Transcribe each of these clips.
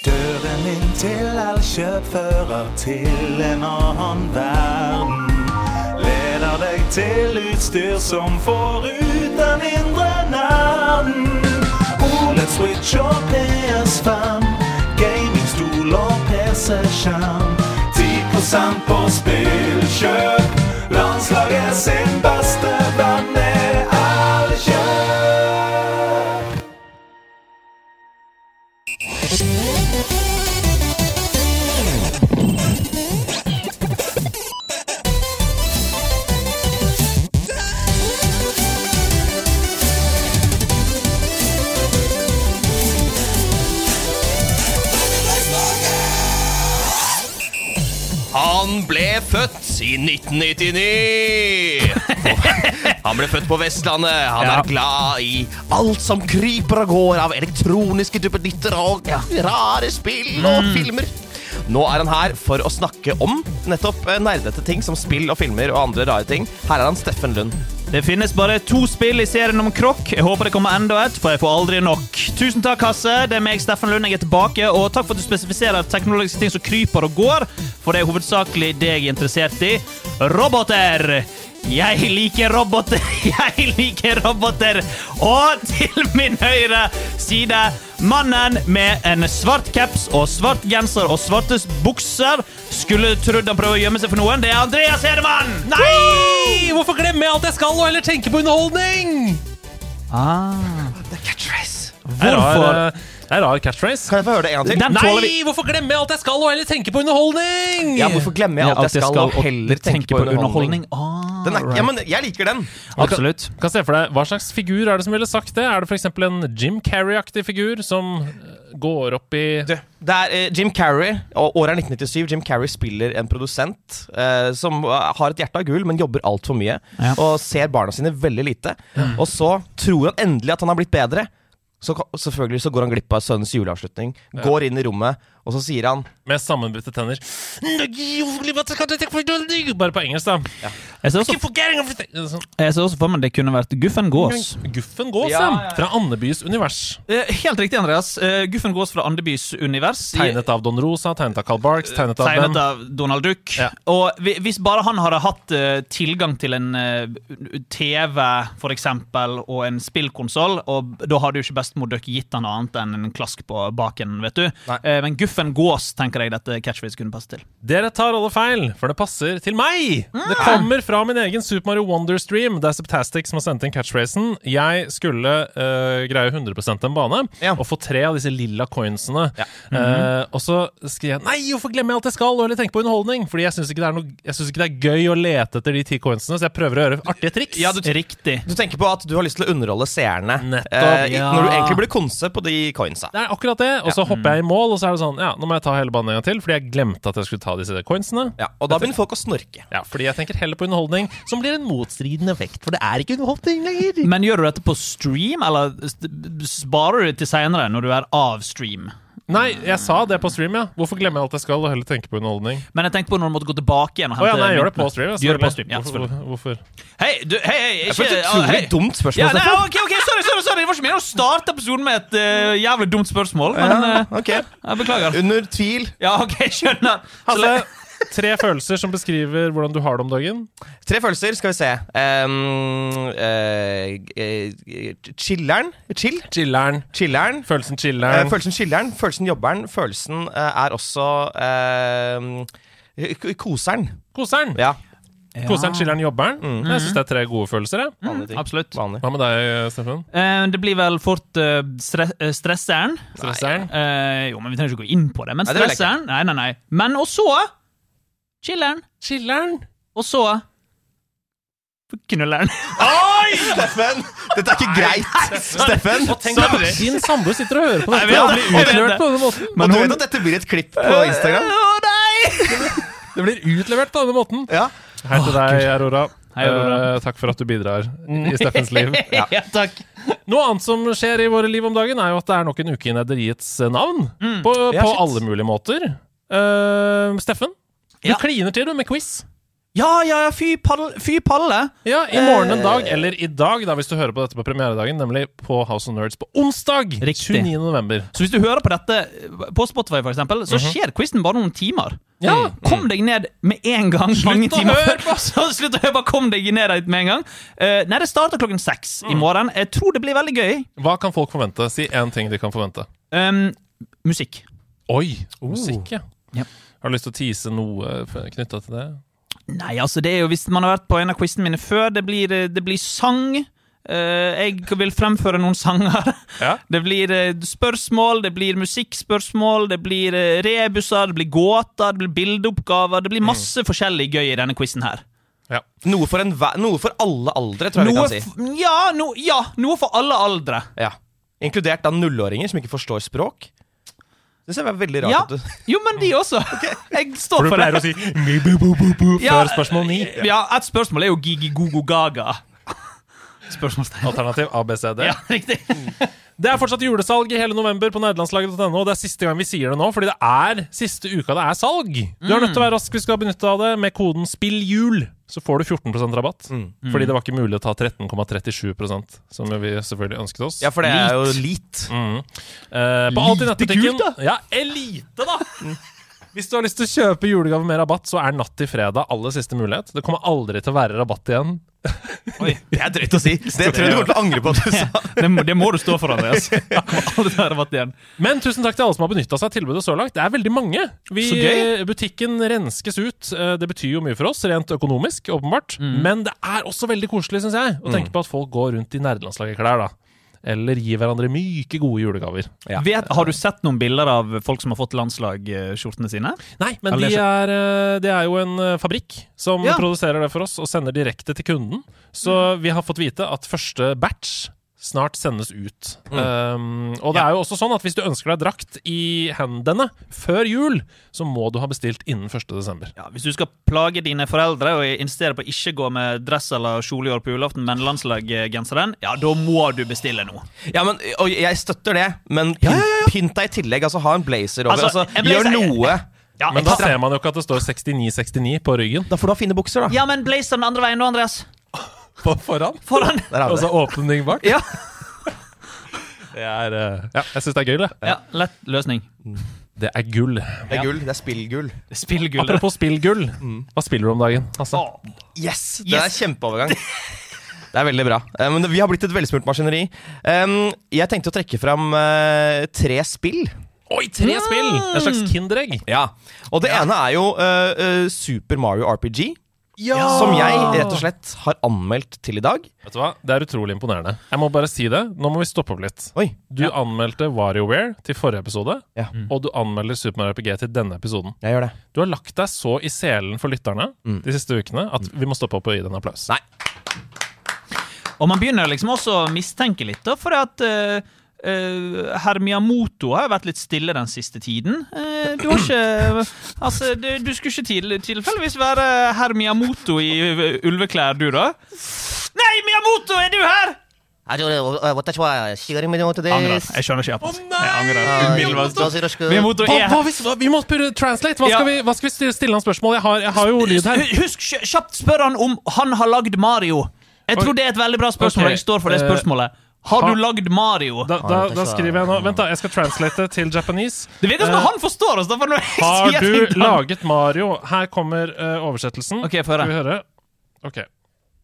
Velkommen inn til elkjøpfører til en annen verden. Leder deg til utstyr som får ut den indre nerden. OLED Switch og PS5, gamingstol og PC-skjerm. 10 på spillkjøp. Landslaget sin beste venn er Elkjøp. Han ble født i 1999. Han ble født på Vestlandet. Han Ja. er glad i alt som kryper og går av elektroniske duppeditter og rare spill og filmer. Nå er han her for å snakke om nettopp eh, nerdete ting som spill og filmer og andre rare ting. Her er han Steffen Lund. Det finnes bare to spill i serien om krokk. Jeg håper det kommer enda et, for jeg får aldri nok. Tusen takk, Hasse. Det er meg, Steffen Lund. Jeg er tilbake. Og takk for at du spesifiserer teknologiske ting som kryper og går, for det er hovedsakelig det jeg er interessert i. Roboter! Jeg liker roboter, jeg liker roboter! Og til min høyre side mannen med en svart caps og svart genser og svarte bukser. Skulle trodd han prøvde å gjemme seg for noen. Det er Andreas Hedemann! Nei! Hvorfor glemmer jeg alt jeg skal, og heller tenke på underholdning? Hvorfor? eh, Det er rar catchphrase. Kan jeg få høre det en gang til? Den tåler vi. Nei! Hvorfor glemmer jeg alt jeg skal, og heller tenke på underholdning? Ja, hvorfor glemmer jeg alt jeg skal, og heller tenke på underholdning? Ah, Den er, ja, men jeg liker den. Absolutt. Kan se for deg, Hva slags figur er det som ville sagt det? Er det f.eks. en Jim Carrey-aktig figur som eh, går opp i Du, det er eh, Jim Carrey, og året er 1997. Jim Carrey spiller en produsent eh, som eh, har et hjerte av gull, men jobber altfor mye. Ja. Og ser barna sine veldig lite. Og så tror han endelig at han har blitt bedre. Så ka- selvfølgelig så går han glipp av sønnens juleavslutning. Går inn i rommet, og så sier han med sammenbrutte tenner. Bare på engelsk, da. Jeg ser, også, Keep forgetting everything. Sånn. jeg ser også for meg det kunne vært Guffen Gås. Guffen gås, Ja, ja. ja, ja. Fra Andebys univers. Eh, helt riktig, Andreas. Eh, Guffen Gås fra Andebys univers. Tegnet av Don Rosa, tegnet av Carl Barks, tegnet av Tegnet hvem? av Donald Duck. Ja. Og hvi- hvis bare han hadde hatt eh, tilgang til en eh, TV for eksempel, og en spillkonsoll, og da hadde jo ikke bestemor Duck gitt han noe annet enn en klask på baken, vet du. Nei. Eh, men Guffen Gås tenker jeg dette catchphrase kunne passe til. Dere tar alle feil, for det passer til meg! Mm. Det kommer fra min egen Super Mario Wonder-stream. Det er Septastic som har sendt inn catchphrasen. Jeg skulle eh, greie 100 en bane Ja. og få tre av disse lilla coinsene. Ja. Mhm. Eh, og så skriver jeg Nei, hvorfor glemmer jeg alt jeg skal? Og heller tenke på underholdning. Fordi jeg syns ikke, det er noe- jeg synes ikke det er gøy å lete etter de ti coinsene, så jeg prøver å gjøre artige triks. Ja, du- Riktig. Du tenker på at du har lyst til å underholde seerne. Nettopp, eh, i- ja. Når du egentlig burde konse på de coinsa. Det er akkurat det. Og så hopper Mhm. jeg i mål, og så er det sånn Ja, nå må jeg ta hele banen en gang til, fordi jeg glemte at jeg skulle ta disse coinsene. Ja, og da begynner folk å snorke. Ja, fordi jeg tenker heller på underholdning, som blir en motstridende effekt. For det er ikke underholdning lenger. Men gjør du dette på stream, eller st- sparer du det til seinere, når du er av stream? Nei, jeg sa det på stream, ja. Hvorfor glemmer jeg alt jeg skal, og heller tenke på underholdning? Men jeg tenkte på når du måtte gå tilbake igjen. og Å ja, hente nei, jeg gjør det på myntene. stream. ja, Du eh, gjør det på selvfølgelig. stream, ja, selvfølgelig. hvorfor, hvorfor? Hei, du, hei, hei, Det ikke var et ja, hei. utrolig dumt spørsmål. ja, nei, ah, Steffen. ok, ok, sorry, sorry, sorry. Det var ikke meningen å starte episoden med et eh, jævlig dumt spørsmål, men Ja, eh, ok. jeg beklager. Under tvil. Ja, OK, skjønner. Så Hasse, le- tre følelser som beskriver hvordan du har det om dagen. Tre følelser, skal vi se. Ehm, eh, eh, chilleren. Chill. Chilleren. Chilleren. Følelsen Eh, chilleren. følelsen chilleren. Følelsen jobberen. Følelsen eh, er også ehm, k- Koseren. Koseren. Ja. Koseren, chilleren, jobberen. Mm. Jeg syns det er tre gode følelser. jeg. vanlige ting. Absolutt. Vanlig. Hva med deg, Steffen? Eh, det blir vel fort eh, stre eh, stresseren. Stresseren? Eh, jo, men vi trenger ikke gå inn på det. Men Nei, det vil jeg ikke. stresseren Nei, nei, nei. Men og så chiller'n. Chilleren. Og så knuller'n. Oi! Steffen! Dette er ikke greit. Steffen! Sorry. Din samboer sitter og hører på Nei, vi dette har og blitt blir utlevert utlevert. på denne måten. Og du vet at dette blir et klipp på Instagram? Å, nei! Det blir utlevert på denne måten. Ja. Hei til deg, Aurora. Hei, Aurora. Eh, takk for at du bidrar i Steffens liv. Ja. takk. Mm. Noe annet som skjer i våre liv om dagen, er jo at det er nok en uke i Nederiets eh, navn. Mm. På, Ja, på shit. alle mulige måter. Eh, Steffen, du Ja. kliner til du med quiz. Ja, ja, ja, fy, paddel, fy palle! Ja, i morgen en dag, Eh. eller i dag, da, hvis du hører på dette på premieredagen, nemlig på House of Nerds på onsdag Riktig. 29. november. Så hvis du hører på dette eh, på Spotify, for eksempel, så skjer quizen bare noen timer. Ja. Kom deg ned med en gang. mange å timer høre før. Så Slutt å høre på! Kom deg ned dit med en gang. Eh, nei, det starter klokken seks Mm. i morgen. Jeg tror det blir veldig gøy. Hva kan folk forvente? Si én ting de kan forvente. Um, musikk. Oi, musikk, ja. Ja. Har du lyst til å tease noe knytta til det? Nei, altså, det er jo hvis man har vært på en av quizene mine før, det blir, det blir sang. Eh, jeg vil fremføre noen sanger. Ja. Det blir eh, spørsmål, det blir musikkspørsmål, det blir eh, rebuser, det blir gåter, det blir bildeoppgaver. Det Mm. blir masse forskjellig gøy i denne quizen her. ja. Noe for, en, hver- noe for alle aldre, tror jeg Noe vi kan si. f- ja, no, ja, noe for alle aldre. Ja. Inkludert da nullåringer som ikke forstår språk. Det ser veldig rart Ja. ut. Jo, men de også. Jeg står For du for pleier å det. si «mi-bu-bu-bu-bu» Ja. før spørsmål ni. Ja, Et spørsmål er jo gigi-gogo-gaga. Spørsmålstegn. Alternativ ABCD. Ja, riktig. Mm. Det er fortsatt julesalg i hele november på nerdelandslaget.no. og Det er siste gang vi sier det nå, fordi det er siste uka det er salg. Du er nødt til å være rask hvis du skal benytte deg av det. Med koden 'spilljul' så får du 14 rabatt. Mm. Fordi det var ikke mulig å ta 13,37 som vi selvfølgelig ønsket oss. Ja, for det er jo lit. Eh, på alt i nettbutikken. kult, da. Ja, elite, da! Hvis du har lyst til å kjøpe julegave med rabatt, så er natt til fredag aller siste mulighet. Det kommer aldri til å være rabatt igjen. Oi, Det er drøyt å si. Det tror jeg du kommer til å angre på at du sa. det, må, det må du stå for, Andreas. Jeg kommer aldri til å ha rabatt igjen. Men tusen takk til alle som har benytta seg av tilbudet så langt. Det er veldig mange. Vi, eh, Så gøy. Butikken renskes ut. Eh, Det betyr jo mye for oss, rent økonomisk, åpenbart. Mm. Men det er også veldig koselig, syns jeg, å tenke på at folk går rundt i nerdelandslaget-klær, da. Eller gir hverandre myke, gode julegaver. Ja. Vet, har du sett noen bilder av folk som har fått landslagsskjortene sine? Nei, men Eller de er, eh, det er jo en eh, fabrikk som Ja. produserer det for oss og sender direkte til kunden. Så vi har fått vite at første batch snart sendes ut. Um, og det er jo også sånn at hvis du ønsker deg drakt i hendene før jul, så må du ha bestilt innen 1. desember. Ja, Hvis du skal plage dine foreldre og insistere på å ikke gå med dress eller kjole i år på julaften, men landslaggenseren, ja, da må du bestille nå. Ja, men, og jeg støtter det, men pynt, pynt deg i tillegg. Altså, ha en blazer over. Altså, Altså, en gjør blazer- noe. Ja, Men da ekstra- ser man jo ikke at det står 6969 på ryggen Da får du ha fine bukser, da. ja, men blazer den andre veien nå, Andreas. på foran. Foran. Der har Og vi så det. åpning bak. Ja. Det er, eh, ja, jeg syns det er gøy, det. ja, lett løsning. Det er gull. Det er gull. Det er spillgull. Spillgull. Apropos spillgull. Hva spiller du om dagen? Altså, Yes! Det er kjempeovergang. Det er veldig bra. Eh, Men vi har blitt et velsmurt maskineri. Um, jeg tenkte å trekke fram eh, tre spill. Oi, tre spill! Mm. Et slags kinderegg. Ja. Og det ene er jo eh, eh, Super Mario RPG. Ja! Som jeg rett og slett har anmeldt til i dag. Vet du hva? Det er utrolig imponerende. Jeg må bare si det. Nå må vi stoppe opp litt. Oi. Du anmeldte WarioWare til forrige episode, Ja, og du anmelder Super Mario RPG til denne episoden. Mm. jeg gjør det. Du har lagt deg så i selen for lytterne de siste ukene at vi må stoppe opp og gi deg en applaus. Nei. Og man begynner liksom også å mistenke litt, da, for at eh, eh, Herr Miyamoto har jo vært litt stille den siste tiden. Eh, du har ikke Altså, du, du skulle ikke til, tilfeldigvis være herr Miyamoto i eh, ulveklær, du, da? Nei, Miyamoto, er du her?! Eh, I don't know uh, what that's why I see him today. Angrer. Jeg skjønner ikke. Japan. Jeg angrer. Uh, Umiddelbart. does it look good? Miyamoto Hva, er hva, hvis, hva, vi må spørre translate! Hva Ja. skal, vi, hva skal vi stille, stille han spørsmål? Jeg har, jeg har jo lyd her. Hu- Husk, kj- kjapt spør han om han har lagd Mario. Jeg tror det er et veldig bra spørsmål. Ok, Jeg står for det eh, spørsmålet. Har har- du lagd Mario? Da, da, da skriver jeg nå Vent, da. Jeg skal translate til japanese. Det virker som Eh, om han forstår oss. da, for når jeg Har sier ting du til han- laget Mario? Her kommer eh, oversettelsen. Ok, få høre. Skal vi høre? Ok.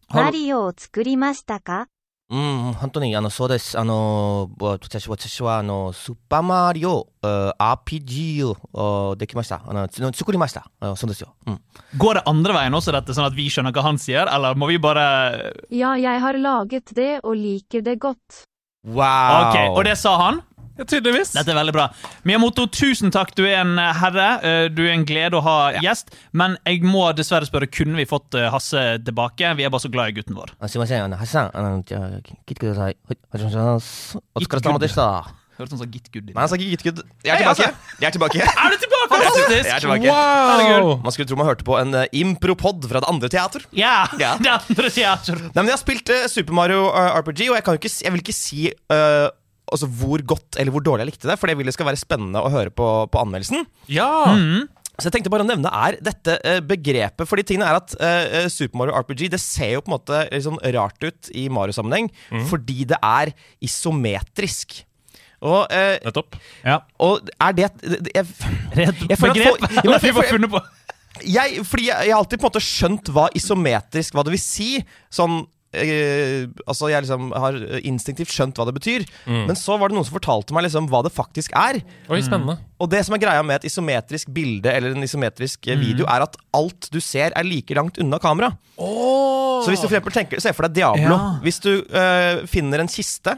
マリオを作りましたかうん、本当に、あの、そうです。あの、私私は、あの、スーパーマリオ、uh, RPG を、uh, できました。あの、つ作りました。あのそうですよ。うん。 Går det andre veien også, dette, sånn at vi skjønner hva han sier? Eller må vi bare Ja, jeg har laget det og liker det godt. Wow. Ok, Og det sa han? Ja, tydeligvis. Dette er veldig bra. Miyamoto, tusen takk. Du er en eh, herre. Eh, Du er en glede å ha gjest. Men jeg må dessverre spørre, kunne vi fått eh, Hasse tilbake? Vi er bare så glad i gutten vår. あすいません。あの、橋さん、あの、じゃあ、き来てください。はい、お願いします。お疲れ様でした。 Hørtes ut som gittgud. Nei, han sa ikke gitt good. Jeg er Hei, tilbake. Jeg er tilbake. Er du tilbake? Jeg er Fantastisk! tilbake. Wow! Man skulle tro man hørte på en eh, impropod fra det andre teater. Ja! Ja. Det andre teater. Nei, men Jeg har spilt eh, Super Mario eh, RPG, og jeg, kan jo ikke, si- jeg vil ikke si eh, altså hvor godt eller hvor dårlig jeg likte det, for det vil det skal være spennende å høre på, på anmeldelsen. Ja! Så jeg tenkte bare å nevne er dette eh, begrepet. Fordi tingene er at eh, eh, Super Mario RPG det ser jo på en måte litt sånn rart ut i Mario-sammenheng, fordi det er isometrisk. Og, eh, Nettopp. Ja. og er det det- det- Det jeg, er et Jeg føler at begrep folk- Ja, men vi for- har funnet på. jeg, fordi jeg, jeg har alltid på en måte skjønt hva isometrisk hva det vil si. Sånn eh, Altså, jeg liksom har instinktivt skjønt hva det betyr. Men så var det noen som fortalte meg liksom hva det faktisk er. Oi, spennende. Og det som er greia med et isometrisk bilde eller en isometrisk eh, video, er at alt du ser, er like langt unna kamera. Så hvis du for eksempel tenker, ser for deg Diablo Ja. Hvis du eh, finner en kiste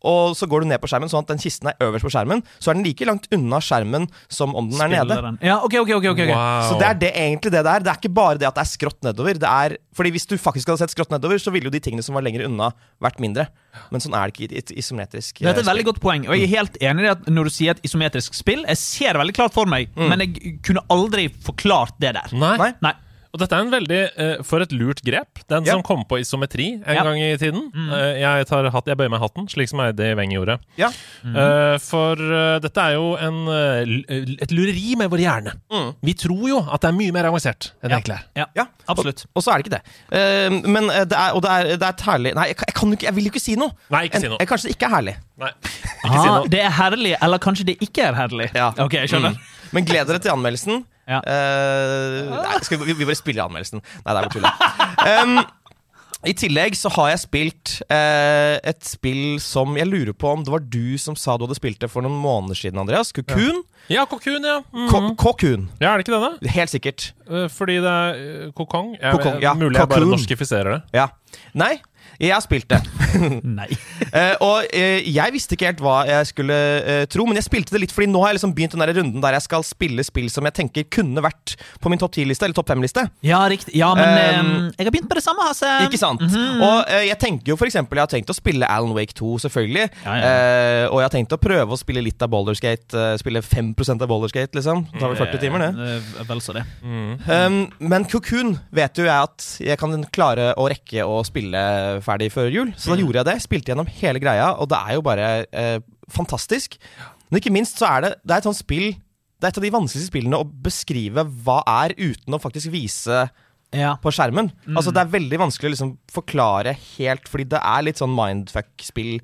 og så går du ned på skjermen, sånn at den kisten er øverst på skjermen, så er den like langt unna skjermen som om den er nede. Spilleren. Ja, ok, ok, ok, ok, ok. Wow. Så det er det, egentlig det det er. Det er ikke bare det at det er skrått nedover. Det er, fordi Hvis du faktisk hadde sett skrått nedover, så ville jo de tingene som var lenger unna, vært mindre. Men sånn er det ikke i et isometrisk Dette er eh, et veldig godt poeng, og jeg er helt enig i det at når du sier et isometrisk spill Jeg ser det veldig klart for meg, men jeg kunne aldri forklart det der. Nei. Nei. Nei. Og dette er en veldig eh, For et lurt grep. Den Ja. som kom på isometri en Ja. gang i tiden. Eh, jeg, tar hatt, jeg bøyer meg i hatten, slik som Eide Weng gjorde. Ja. Eh, for eh, dette er jo en, eh, l- et lureri med vår hjerne. Vi tror jo at det er mye mer avansert enn det egentlig er. Ja, Ja. absolutt. Og så er det ikke det. Eh, men eh, det er, og det er, det er et herlig Nei, jeg, kan- jeg, kan jo ikke, jeg vil jo ikke si noe! Nei, ikke si En- noe. eh, kanskje det ikke er herlig. Nei. Ikke si Ah, noe. det er herlig, eller kanskje det ikke er herlig. Ja. Ok, jeg skjønner. Mm. Men gled dere til anmeldelsen. Ja. Eh, nei, skal vi, vi bare spiller anmeldelsen. Nei, det er bare tull. Um, I tillegg så har jeg spilt eh, et spill som Jeg lurer på om det var du som sa du hadde spilt det for noen måneder siden, Andreas. Cocoon? Ja, kokun, ja. Mm. Ko- Cocoon. ja. Er det ikke denne? Helt sikkert. Eh, fordi det er eh, kokong? Jeg, Kokong, ja. Mulig jeg bare Cocoon. norskifiserer det. Ja. Nei, jeg har spilt det. Nei. Eh, og eh, jeg visste ikke helt hva jeg skulle eh, tro, men jeg spilte det litt fordi nå har jeg liksom begynt den der runden der jeg skal spille spill som jeg tenker kunne vært på min topp 10-liste eller topp 5-liste. Ja, riktig. Ja, men Um, eh, jeg har begynt med det samme, Mm. Hasse. Ikke sant? mhm. Og eh, jeg tenker jo for eksempel, jeg har tenkt å spille Alan Wake 2, selvfølgelig. Ja, ja. Eh, og jeg har tenkt å prøve å spille litt av Boulderskate. Uh, spille 5 av Boulderskate, liksom. Det tar vel 40 timer, det. Eh, Vel så det. Um, men Cocoon vet jo jeg at jeg kan klare å rekke å spille ferdig før jul. Så da Mm. gjorde jeg det. Spilte gjennom hele greia, og det er jo bare eh, fantastisk. Men ikke minst så er det, det er et sånt spill Det er et av de vanskeligste spillene å beskrive hva er, uten å faktisk vise Ja. på skjermen. Altså Det er veldig vanskelig å liksom forklare helt, fordi det er litt sånn mindfuck-spill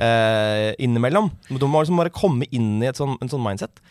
eh, innimellom. Du må liksom bare komme inn i et sånn, en sånn mindset.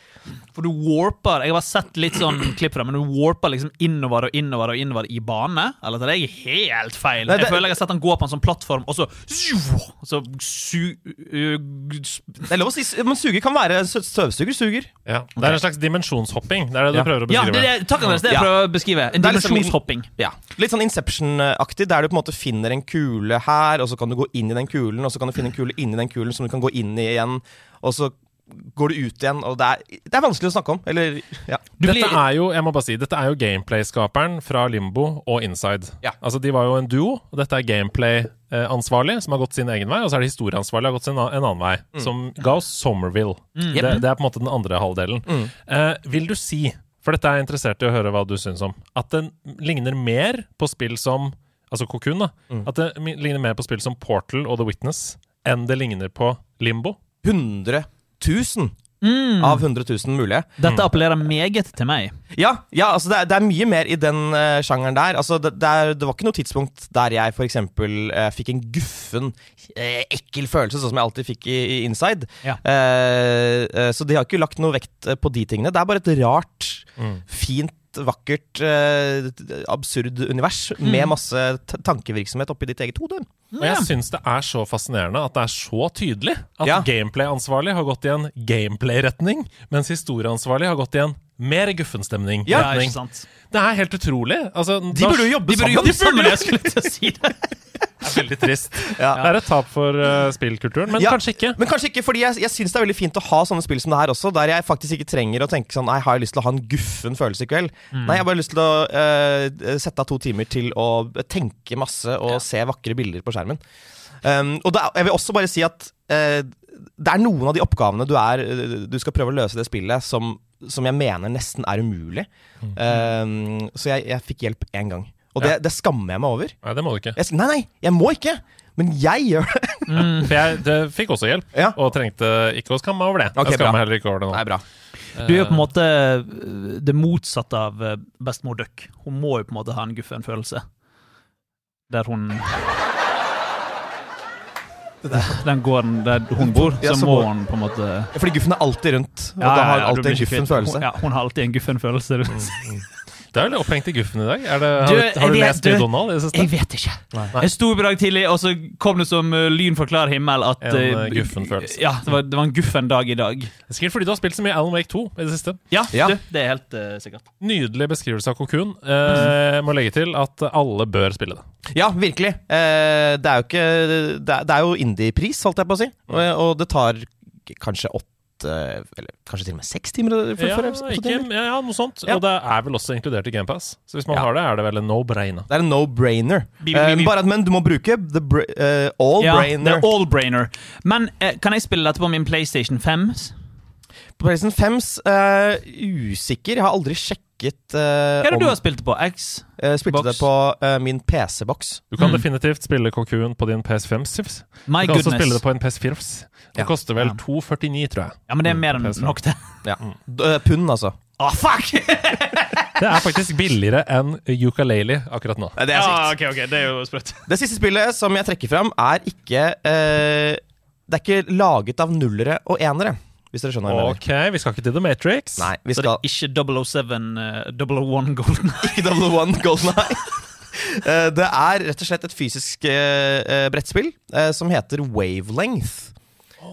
For du warper Jeg har bare sett litt sånn klipp fra det, men du warper liksom innover og innover og innover i bane. Eller tar jeg helt feil? Nei, det- Jeg føler jeg har sett han gå på en sånn plattform, og så Så su... uh, s- Det er lov å si, men suger kan være sø- Støvsuger suger. Ja. Det er en slags dimensjonshopping. Det er det du Ja. prøver å Ja, beskrive. det, det, takk, Andreas. Det er Ja. jeg prøver å beskrive. En Det er liksom- dimensjonshopping. Ja, Litt sånn Inception-aktig, der du på en måte finner en kule her, og så kan du gå inn i den kulen, og så kan du finne en kule inni den kulen som du kan gå inn i igjen, og så går du ut igjen, og det er, det er vanskelig å snakke om. Eller, ja. Du dette blir- er jo, jeg må bare si, dette er jo gameplay-skaperen fra Limbo og Inside. Ja. Altså, De var jo en duo, og dette er gameplay-ansvarlig, eh, som har gått sin egen vei, og så er det historieansvarlig, har gått sin a- en annen vei, Mm. som ga oss Somerville. Det, det er på en måte den andre halvdelen. Mm. Eh, vil du si, for dette er jeg interessert i å høre hva du syns om, at den ligner mer på spill som Altså Cocoon, da. Mm. At det mi- ligner mer på spill som Portal og The Witness enn det ligner på Limbo. 100 000 av 100 000 mulige. Dette appellerer meget til meg. Ja, ja altså det, er, det er mye mer i den eh, sjangeren der. Altså det, det, er, det var ikke noe tidspunkt der jeg f.eks. Uh, fikk en guffen, eh, ekkel følelse, sånn som jeg alltid fikk i, i Inside. Ja. Eh, eh, så de har ikke lagt noe vekt eh, på de tingene. Det er bare et rart, fint, vakkert, eh, d- absurd univers med masse t tankevirksomhet oppi ditt eget hode. Og jeg syns det er så fascinerende at det er så tydelig at Ja. gameplay-ansvarlig har gått i en gameplay-retning, mens historieansvarlig har gått i en mer guffenstemning. Ja, retning. ikke sant? det er helt utrolig. Altså, De burde jo jobbe De burde sammen. jobbe sammen, jeg skulle til å si det. Det er veldig trist. Ja. Det er et tap for eh, spillkulturen, men Ja, kanskje ikke. Men kanskje ikke, fordi jeg, jeg syns det er veldig fint å ha sånne spill som det her også, der jeg faktisk ikke trenger å tenke sånn Nei, har jeg lyst til å ha en guffen følelse i kveld? Nei, jeg har bare lyst til å eh, sette av to timer til å tenke masse og se vakre bilder på skjermen. Um, og det, er- jeg vil også bare si at eh, det er noen av de oppgavene du, er, du skal prøve å løse i det spillet, som, som jeg mener nesten er umulig. Um, så jeg, jeg fikk hjelp én gang. Og det, det skammer jeg meg over. Nei, det må du ikke. Jeg, s- nei, nei, jeg må ikke! Men jeg gjør det. Mm. For jeg det fikk også hjelp, Ja. og trengte ikke å skamme meg over det. Ok, jeg skammer bra. meg heller ikke over det nå. Nei, bra. Du er jo på en måte eh, det motsatte av eh, bestemor Duck. Hun må jo på en måte ha en guffen følelse. Der hun Den gården der hun bor, Ja, så så må må- hun på en måte Fordi guffen er alltid rundt, og da Ja, ja, har ja, hun du alltid blir en ikke guffen kvitt- følelse. Mm. Hun, ja, hun har alltid en guffen følelse. Det er jo litt opphengt i guffen i dag. Er Du, det, har, du, jeg har du vet- lest du- mye Donald i det siste? Jeg vet ikke. Jeg sto opp i dag tidlig, og så kom det som eh, lyn fra klar himmel at En, eh, eh, guffen-følelse. Ja, det var, det var en guffen dag i dag. Det er Sikkert fordi du har spilt så mye Alan Wake 2 i det siste. Ja, Ja. Du, det er helt eh, sikkert. Nydelig beskrivelse av Cocoon. Eh, må legge til at alle bør spille det. Ja, virkelig. Eh, det er jo ikke Det er, det er jo indiepris, holdt jeg på å si. Og, og det tar k- kanskje åtte Eller kanskje til og med seks timer å Ja, fullføre. åtte ikke, timer. ja, ja, noe sånt. Ja. Og det er vel også inkludert i GamePass. Så hvis man Ja. har det, er det vel en no-brainer. Det er en no-brainer. Bi- bi- bi- Eh, bare at Men du må bruke the br eh, all-brainer. Ja, det er all brainer. Men eh, kan jeg spille dette på min PlayStation 5? På PlayStation 5s eh, usikker. Jeg har aldri sjekket eh, Hva er det om du har spilt det på? X? eh, Spilte boks? det på eh, min PC-boks. Du kan Mm. definitivt spille Cocoon på din PS5. Sivs. My Du kan også spille goodness. det på en PS4. Det Ja. koster vel Ja. 249, tror jeg. Ja, men det er mer enn PS5. nok, det. Ja. Mm. D- eh, pund, altså. Å, fuck! Det er faktisk billigere enn ukulele akkurat nå. Det er sykt. Ah, ok, ok, det er jo sprøtt. Det siste spillet som jeg trekker fram, er ikke eh, Det er ikke laget av nullere og enere, hvis dere skjønner hva jeg mener. Ok, vi skal ikke til The Matrix. Nei, vi Så det skal er ikke 007, eh, 001 Golden ikke Double One Golden Eye. Eh, det er rett og slett et fysisk eh, eh, brettspill eh, som heter Wavelength.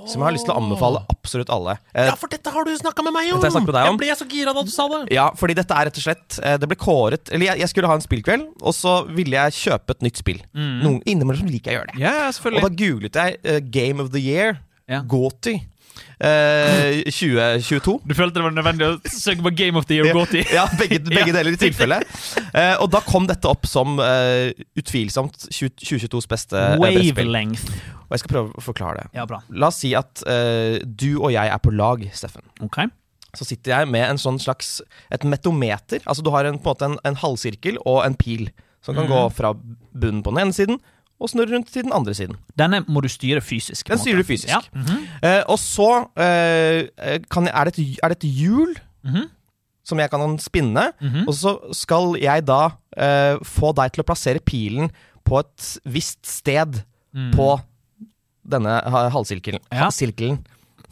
Som jeg har lyst til å anbefale absolutt alle. Eh, Ja, for dette har du snakka med meg om! Dette har jeg snakket med deg om. Jeg ble så gira da du sa det! Ja, fordi dette er rett og slett eh, Det ble kåret Eller jeg, jeg skulle ha en spillkveld, og så ville jeg kjøpe et nytt spill. Mm. Noen Innimellom liker jeg å gjøre det. Ja, Og da selvfølgelig. googlet jeg eh, Game of the Year, Ja. Goty, eh, 2022. Du følte det var nødvendig å søke på Game of the Year Goti? Ja, begge, begge deler i tilfelle. Eh, og da kom dette opp som eh, utvilsomt 20, 2022s beste eh, brettspill. Wavelength. Og jeg skal prøve å forklare det. Ja, bra. La oss si at eh, du og jeg er på lag, Steffen. Ok. Så sitter jeg med en sånn slags et metometer. Altså du har en, på en måte en, en halvsirkel og en pil som Mhm. kan gå fra bunnen på den ene siden og snurre rundt til den andre siden. Denne må du styre fysisk. på en Den styrer måte. du fysisk. Ja. Mhm. Eh, og så eh, kan jeg, er, det et, er det et hjul Mhm. som jeg kan spinne, Mm. og så skal jeg da eh, få deg til å plassere pilen på et visst sted Mm. på denne ha- halvsirkelen. Ja. halvsirkelen.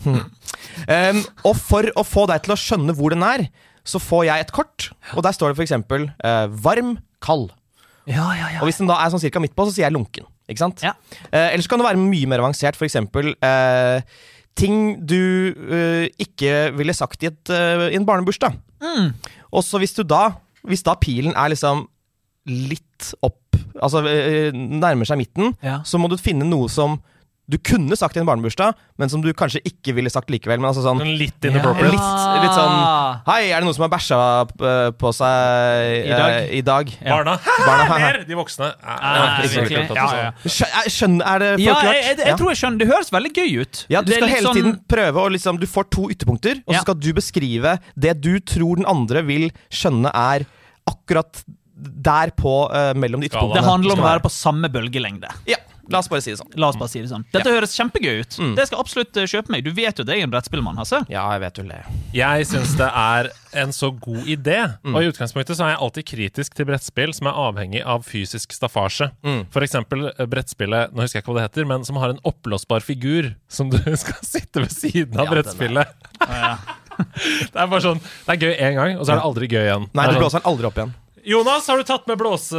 Hm. Em, og for å få deg til å skjønne hvor den er, så får jeg et kort, og der står det f.eks. Uh, varm, kald. ja, ja, ja. Og hvis den da er sånn cirka midt på, så sier jeg lunken. Ikke sant? Ja. Eh, ellers kan det være mye mer avansert, for eksempel eh, ting du eh, ikke ville sagt i, et, eh, i en barnebursdag. Mm. Og så hvis du da, hvis da pilen er liksom litt opp, altså eh, nærmer seg midten, Ja. så må du finne noe som du kunne sagt i en barnebursdag, men som du kanskje ikke ville sagt likevel. Men altså sånn Sånn litt inappropriate. Litt- litt sånn- Hei, er det noen som har bæsja eh, på seg I dag? eh, i dag? Ja. Barna Hæ, Barna, hæ, hæ. mer! De voksne er, Ah, er ikke så virkelig. veldig opptatt Ja, av ja, ja. sånn. Skjønner, skjønner, eh, er det forklart? Ja, jeg, jeg, Ja. jeg tror jeg skjønner. Det høres veldig gøy ut. Ja, Du Det er skal litt hele sånn- tiden prøve å liksom Du får to ytterpunkter, og Ja. så skal du beskrive det du tror den andre vil skjønne er akkurat der på eh, mellom de Skalaen. ytterpunktene. Det handler om å Skalaen. være på samme bølgelengde. Ja, la oss bare si det sånn. La oss bare si det sånn. Dette høres kjempegøy ut. Det skal jeg absolutt eh, kjøpe meg. Du vet jo at jeg er en brettspillmann, Hasse. Ja, jeg vet vel det. Jeg syns det er en så god idé. Og i utgangspunktet så er jeg alltid kritisk til brettspill som er avhengig av fysisk staffasje. For eksempel eh, brettspillet nå husker jeg ikke hva det heter, men som har en oppblåsbar figur som du skal sitte ved siden av Ja, den er- brettspillet. det er bare sånn Det er gøy én gang, og så er det aldri gøy igjen. Nei, Det du er sånn, blåser den aldri opp igjen. Jonas, har du tatt med blåse,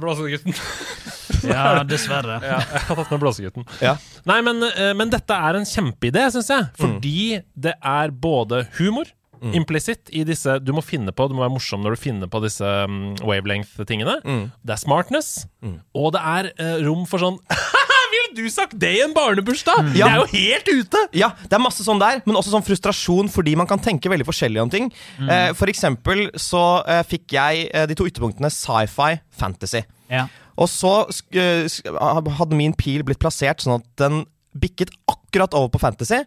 blåsegutten? Ja, dessverre. ja, jeg har tatt med blåsegutten. Ja. Nei, men, eh, men dette er en kjempeidé, syns jeg. Fordi det er både humor implisitt i disse Du må finne på, du må være morsom når du finner på disse mm, wavelength-tingene. Det er smartness, og det er eh, rom for sånn Ville du sagt det i en barnebursdag?! Det Ja. er jo helt ute! Ja, det er masse sånn der, men også sånn frustrasjon fordi man kan tenke veldig forskjellig om ting. Mm. Eh, for eksempel så eh, fikk jeg eh, de to ytterpunktene sci-fi, fantasy. Ja. Og så sk- eh, sk- hadde min pil blitt plassert sånn at den bikket akkurat over på fantasy,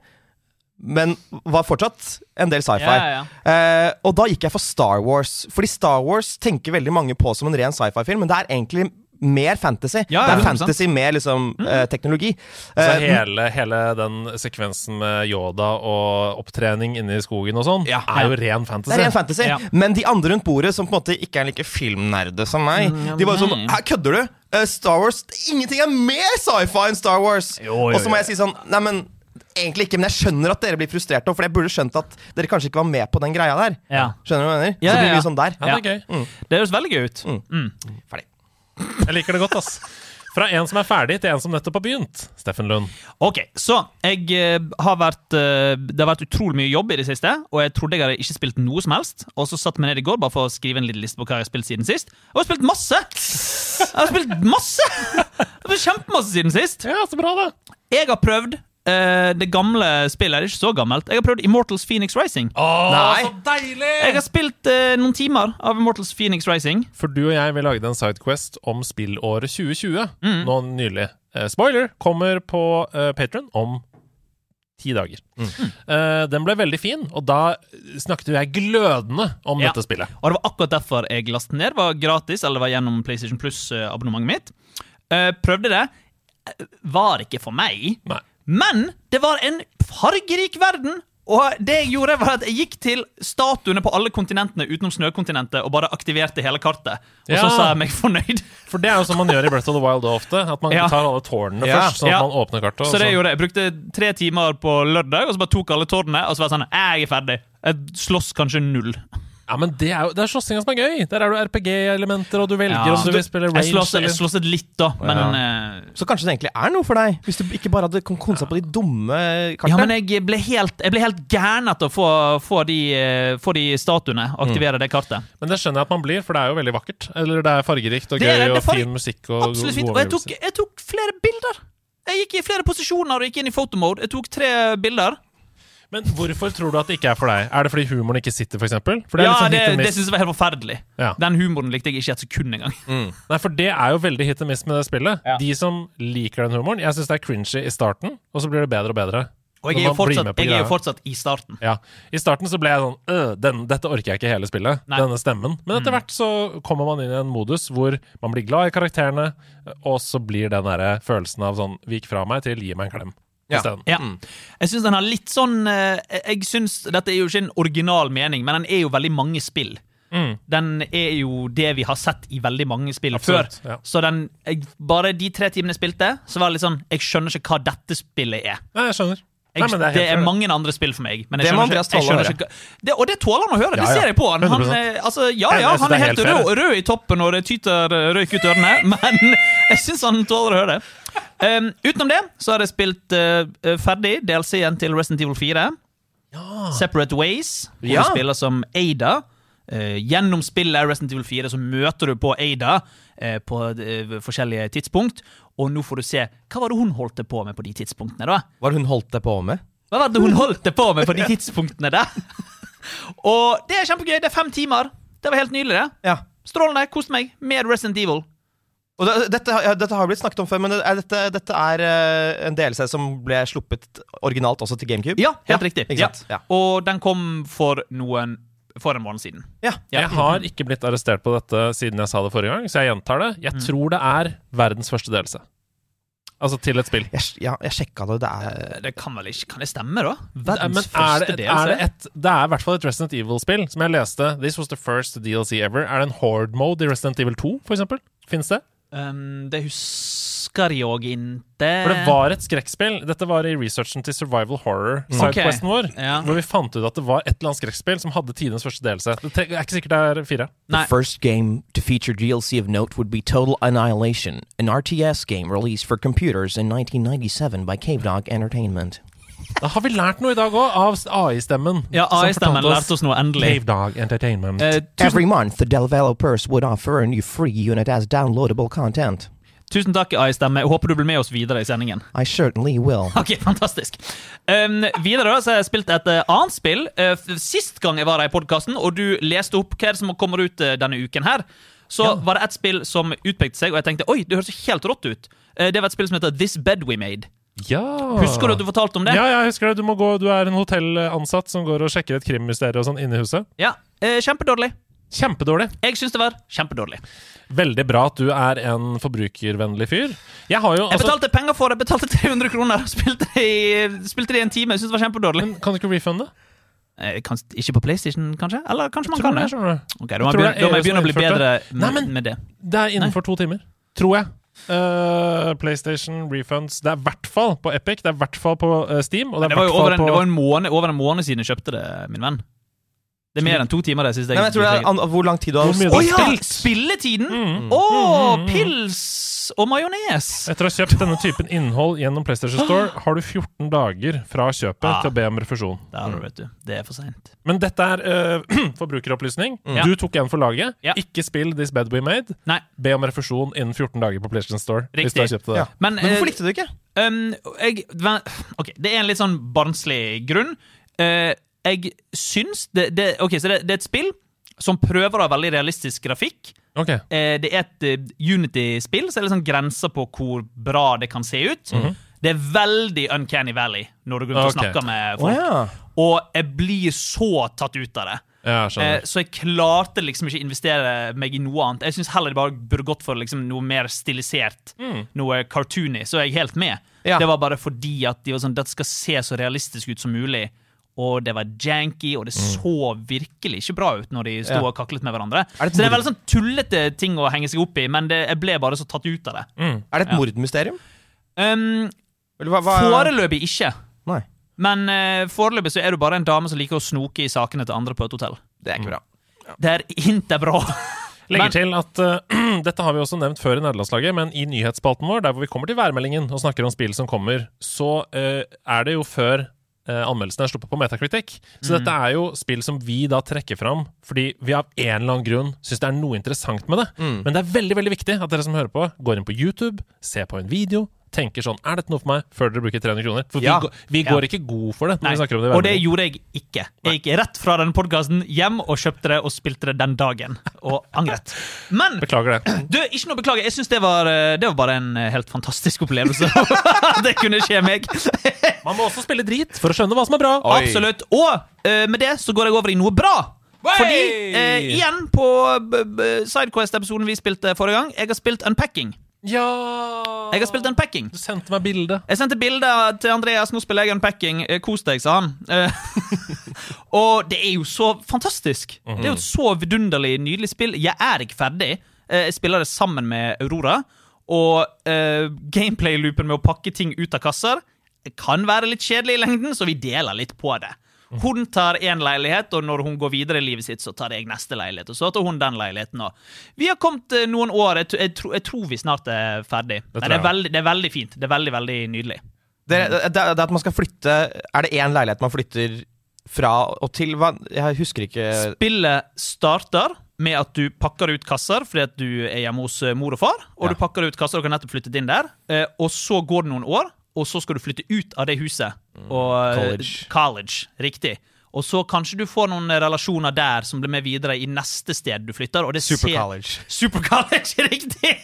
men var fortsatt en del sci-fi. Ja, ja, Eh, og da gikk jeg for Star Wars, fordi Star Wars tenker veldig mange på som en ren sci-fi-film, men det er egentlig mer fantasy. Ja, Mm. det ja, er 100%. fantasy med liksom eh, teknologi. Altså Eh, hele, hele den sekvensen med Yoda og opptrening inne i skogen og sånn, Ja. er jo ren fantasy. Det er ren fantasy. Ja. Men de andre rundt bordet, som på en måte ikke er like filmnerde som meg, Mm, de var jo sånn Her kødder du! Eh, Star Wars Ingenting er mer sci-fi enn Star Wars! Jo, jo, Og så må jo. jeg si sånn Nei, men egentlig ikke, men jeg skjønner at dere blir frustrerte, for jeg burde skjønt at dere kanskje ikke var med på den greia der. Ja. Skjønner du hva jeg mener? Ja, så ja, blir ja. vi sånn der. Ja, det er gøy. Det høres veldig gøy ut. Ferdig. Jeg liker det godt, ass. Fra en som er ferdig, til en som nettopp har begynt. Steffen Lund. Ok, så jeg eh, har vært eh, Det har vært utrolig mye jobb i det siste, og jeg trodde jeg hadde ikke spilt noe som helst. Og så satt jeg meg ned i går bare for å skrive en liten liste på hva jeg har spilt siden sist. Og jeg har spilt masse! Jeg har spilt masse! Jeg har spilt Kjempemasse siden sist. Ja, så bra, da. Jeg har prøvd eh, det gamle spillet, det er ikke så gammelt. Jeg har prøvd Immortals Phoenix Racing. Nei. Jeg har spilt eh, noen timer av Immortals Phoenix Racing. For du og jeg, vi lagde en Sidequest om spillåret 2020 Mm. nå nylig. Eh, spoiler kommer på eh, Patron om ti dager. Mm. Eh, den ble veldig fin, og da snakket jo jeg glødende om Ja. dette spillet. Og det var akkurat derfor jeg lastet ned. Det var gratis, eller det var gjennom PlayStation Plus-abonnementet mitt. Eh, prøvde det. Eh, Var ikke for meg. Nei. Men det var en fargerik verden! Og det jeg gjorde var at jeg gikk til statuene på alle kontinentene utenom snøkontinentet og bare aktiverte hele kartet. Og Ja. så sa jeg meg fornøyd. For det er jo som man gjør i Breath of the Wild også ofte. At man Ja. tar alle tårnene Ja. først, sånn at Ja. man åpner kartet. og Så det så- gjorde jeg. Jeg brukte tre timer på lørdag, og så bare tok alle tårnene. Og så var jeg sånn Jeg er ferdig. Jeg slåss kanskje null. Ja, men det er jo det er slåssinga som er gøy! Der er det RPG-elementer, og du velger Ja. om du vil spille Jeg range slåss- eller Jeg slåss litt, da, men eh, Så kanskje det egentlig er noe for deg, hvis du ikke bare hadde kon- konsa på de dumme Ja, kartene. men jeg ble helt, jeg ble helt gæren etter å få, få, de, eh, få de statuene og Mm. aktivere det kartet. Men det skjønner jeg at man blir, for det er jo veldig vakkert. Eller det er fargerikt og Det er det, det gøy og er farg- fin musikk og go- Absolutt fint. Og gode jeg tok, omgivelser. jeg tok flere bilder. Jeg gikk i flere posisjoner og gikk inn i photomode. Jeg tok tre bilder. Men hvorfor tror du at det ikke er for deg? Er det fordi humoren ikke sitter, for eksempel? For det ja, er litt sånn det, hit and det miss. synes jeg var helt forferdelig. Ja. Den humoren likte jeg ikke et sekund engang. Mm. Nei, for det er jo veldig hit and miss med det spillet. De som liker den humoren Jeg syns det er cringy i starten, og så blir det bedre og bedre. Og Når jeg er jo man blir fortsatt, med på jeg er jo greia. fortsatt i starten. ja. I starten så ble jeg sånn øh, den, Dette orker jeg ikke hele spillet. Nei. Mm. Denne stemmen. Men etter hvert så kommer man inn i en modus hvor man blir glad i karakterene, og så blir den derre følelsen av sånn Vik fra meg til gi meg en klem Mm. Ja. isteden. Ja. Jeg syns den har litt sånn eh, Jeg synes, Dette er jo ikke en original mening, men den er jo veldig mange spill. Mm. Den er jo det vi har sett i veldig mange spill Absolutt, før. ja. Så den, jeg, bare de tre timene jeg spilte, så var det litt sånn Jeg skjønner ikke hva dette spillet er. Nei, jeg skjønner. Jeg, Nei, men det, er helt fair. mange andre spill for meg. Men jeg Det må skjønner Andreas ikke, jeg tåle å skjønner ikke hva- det, Og det tåler han å høre! Det Ja, ja. ser jeg på han. han 100%. eh, altså, ja, Jeg- jeg ja, synes han det er er helt helt rød, fair. rød i toppen, og det tyter eh, røyk ut ørene, men jeg syns han tåler å høre det. Um, utenom det så har jeg spilt eh, eh, ferdig DLC-en til Resident Evil 4. Separate Ways. Hvor Ja. du spiller som Ada. Eh, gjennom spillet Resident Evil 4 så møter du på Ada eh, på eh, forskjellige tidspunkt. Og nå får du se hva var det hun holdt på med på de tidspunktene. da? Hva har hun holdt deg på med? Hva var det hun holdt det på med på de tidspunktene der? Og det er kjempegøy. Det er fem timer. Det var helt nydelig, det. Ja. Strålende. Kost meg med Resident Evil. Og det, dette, har- ja, dette har blitt snakket om før, men det, er dette, dette er eh, en DLC som ble sluppet originalt også til GameCube. Ja, helt riktig. Ikke Ja. sant? Ja. Og den kom for noen for en måned siden. Ja. Ja. Jeg har ikke blitt arrestert på dette siden jeg sa det forrige gang, så jeg gjentar det. Mm. Jeg tror det er verdens første delelse. Altså til et spill. Jeg, sj- ja, jeg sjekka det, det eh, er Det kan vel ikke Kan det stemme, da? Men Verdens er det, første et, del. er det, så. et, det er i hvert fall et Resident Evil-spill som jeg leste. This was the first DLC ever. Er det en horde mode i Resident Evil 2, for eksempel? Fins det? Um, det husker jeg òg ikke. For det var et skrekkspill. Dette var i researchen til Survival Horror, sidequesten vår, Mm. Ja. hvor vi fant ut at det var et eller annet skrekkspill som hadde tidenes første delelse. Det tre- er ikke sikkert det er fire. Nei. The first game to feature DLC of note would be Total Annihilation, an RTS game released for computers in 1997 by Cave Dog Entertainment. Da har vi lært noe i dag òg, av AI-stemmen. Ja, som AI-stemmen fortalte oss lærte oss noe endelig. Cave Dog Entertainment. Eh, tusen, Every month, the developers would offer a new free unit as downloadable content. tusen takk, AI-stemme. Jeg Håper du blir med oss videre i sendingen. I certainly will. Ok, fantastisk. Um, videre da, så har jeg spilt et eh, annet spill. Eh, f- sist gang jeg var her i podkasten, og du leste opp hva er det som kommer ut eh, denne uken her, så var det et spill som utpekte seg, og jeg tenkte oi, det høres helt rått ut. Eh, det var et spill som heter This Bed We Made. ja. Husker du at du fortalte om det? Ja, jeg husker det. Du, må gå, du er en hotellansatt som går og sjekker et krimmysterium og sånn inne i huset. Ja, eh, Kjempedårlig. Kjempedårlig. Jeg syns det var kjempedårlig. Veldig bra at du er en forbrukervennlig fyr. Jeg har jo Jeg altså, betalte penger for det, betalte 300 kroner. Spilte det i, spilte det i en time. Jeg syns det var kjempedårlig. Men Kan du ikke refunde? Eh, kans- ikke på PlayStation, kanskje? Eller kanskje man Tror kan du det? det, skjønner du? Ok, Da må tror jeg det er begynne, da må jeg EU som begynne å bli innførte bedre det. med, Nei, men- med det. Det er innenfor to timer. Tror jeg. Eh, PlayStation, refunds Det er i hvert fall på Epic, det er i hvert fall på eh, Steam. Og det, er Det var i jo hvert over en, fall på... det var en måned, over en måned siden jeg kjøpte det, min venn. Det er mer enn to timer. det siste Nei, men jeg tror det er an hvor lang tid du har Hvor mye Å Oi, ja! Spilt. Spilletiden! Å, Mm. pils og majones! Etter å ha kjøpt denne typen innhold gjennom PlayStation Store, har du 14 dager fra kjøpet Ah. til å be om refusjon. Der, vet du. Det er for seint. Men dette er eh, forbrukeropplysning. Ja. Du tok en for laget. Mm. Ja. Ikke spill This Bed We Made. Nei, Be om refusjon innen 14 dager på PlayStation Store. Hvis du Riktig. har kjøpt det. Ja. men, Men hvorfor eh, likte du det ikke? Um, jeg, men, ok, det er en litt sånn barnslig grunn. Eh, jeg syns det, det, Ok, så det, det er et spill som prøver å ha veldig realistisk grafikk. Ok. Eh, det er et eh, Unity-spill, så det er liksom grenser på hvor bra det kan se ut. Mhm. Det er veldig Uncanny Valley når du går rundt og Ok. snakker Å med folk. ja. Og jeg blir så tatt ut av det. Ja, jeg Eh, skjønner. så jeg klarte liksom ikke å investere meg i noe annet. Jeg syns heller det bare burde gått for liksom noe mer stilisert, noe cartoony. Så er jeg helt med. Mm. Ja. Det var bare fordi at de var sånn, dette skal se så realistisk ut som mulig. Og det var janky, og det så virkelig ikke bra ut når de sto Mm. Ja. og kaklet med hverandre. Er det et så det er mord- veldig sånn tullete ting å henge seg opp i, men det, jeg ble bare så tatt ut av det. Er det et Ja. mordmysterium? Um, Eller Mm. hva, hva foreløpig ikke. Nei. Men eh, foreløpig så er du bare en dame som liker å snoke i sakene til andre på et hotell. Det er ikke bra. Det er ikke bra. Mm. Legger men- til at eh, dette har vi også nevnt før i nederlandslaget, men i nyhetsspalten vår, der hvor vi kommer til værmeldingen og snakker om spill som kommer, så eh, er det jo før eh, anmeldelsen er sluppet på Metacritic. Så Mm. dette er jo spill som vi da trekker fram fordi vi av en eller annen grunn syns det er noe interessant med det. Mm. Men det er veldig veldig viktig at dere som hører på, går inn på YouTube, ser på en video, tenker sånn Er dette noe for meg? Før dere bruker 300 kroner. For Ja. vi, går- vi Ja. går ikke god for det når vi snakker om det. i og det værmeldingen. gjorde jeg ikke. Jeg gikk rett fra den podkasten hjem og kjøpte det og spilte det den dagen, og angret. Men Beklager det. du, ikke noe beklager. Jeg syns det, var, eh, det var bare en eh, helt fantastisk opplevelse. det kunne skje meg. Man må også spille drit for å skjønne hva som er bra. Absolutt. Og eh, med det så går jeg over i noe bra. Fordi, eh, igjen på b- b- Sidequest-episoden vi spilte forrige gang, jeg har spilt Unpacking. Ja Jeg har spilt Unpacking. Du sendte meg bilde. Jeg sendte bilder til Andreas. Nå spiller jeg unpacking. Eh, Kos deg, sa han. Eh, og det er jo så fantastisk. Det er jo et Mhm. så vidunderlig, nydelig spill. Jeg er ikke ferdig. Eh, Jeg spiller det sammen med Aurora. Og eh, gameplay-loopen med å pakke ting ut av kasser kan være litt kjedelig i lengden, så vi deler litt på det. Mhm. Hun tar én leilighet, og når hun går videre i livet sitt, så tar jeg neste leilighet. Og så tar hun den leiligheten også. Vi har kommet eh, noen år. Jeg, tr- jeg, tro, jeg tror vi snart er ferdig. Nei, Det tror det, jeg er veldig, det er veldig fint. Det er veldig, veldig nydelig. Det, det, det er at man skal flytte Er det én leilighet man flytter fra og til? Hva? Jeg husker ikke Spillet starter med at du pakker ut kasser fordi at du er hjemme hos eh, mor og far. Og Ja. du pakker ut kasser og kan nettopp flytte inn der. Eh, og så går det noen år, og så skal du flytte ut av det huset. Og, Mm. eh, college. college. Riktig. Og så kanskje du får noen eh, relasjoner der som blir med videre i neste sted du flytter. Og det Super ser- College. Super college, riktig!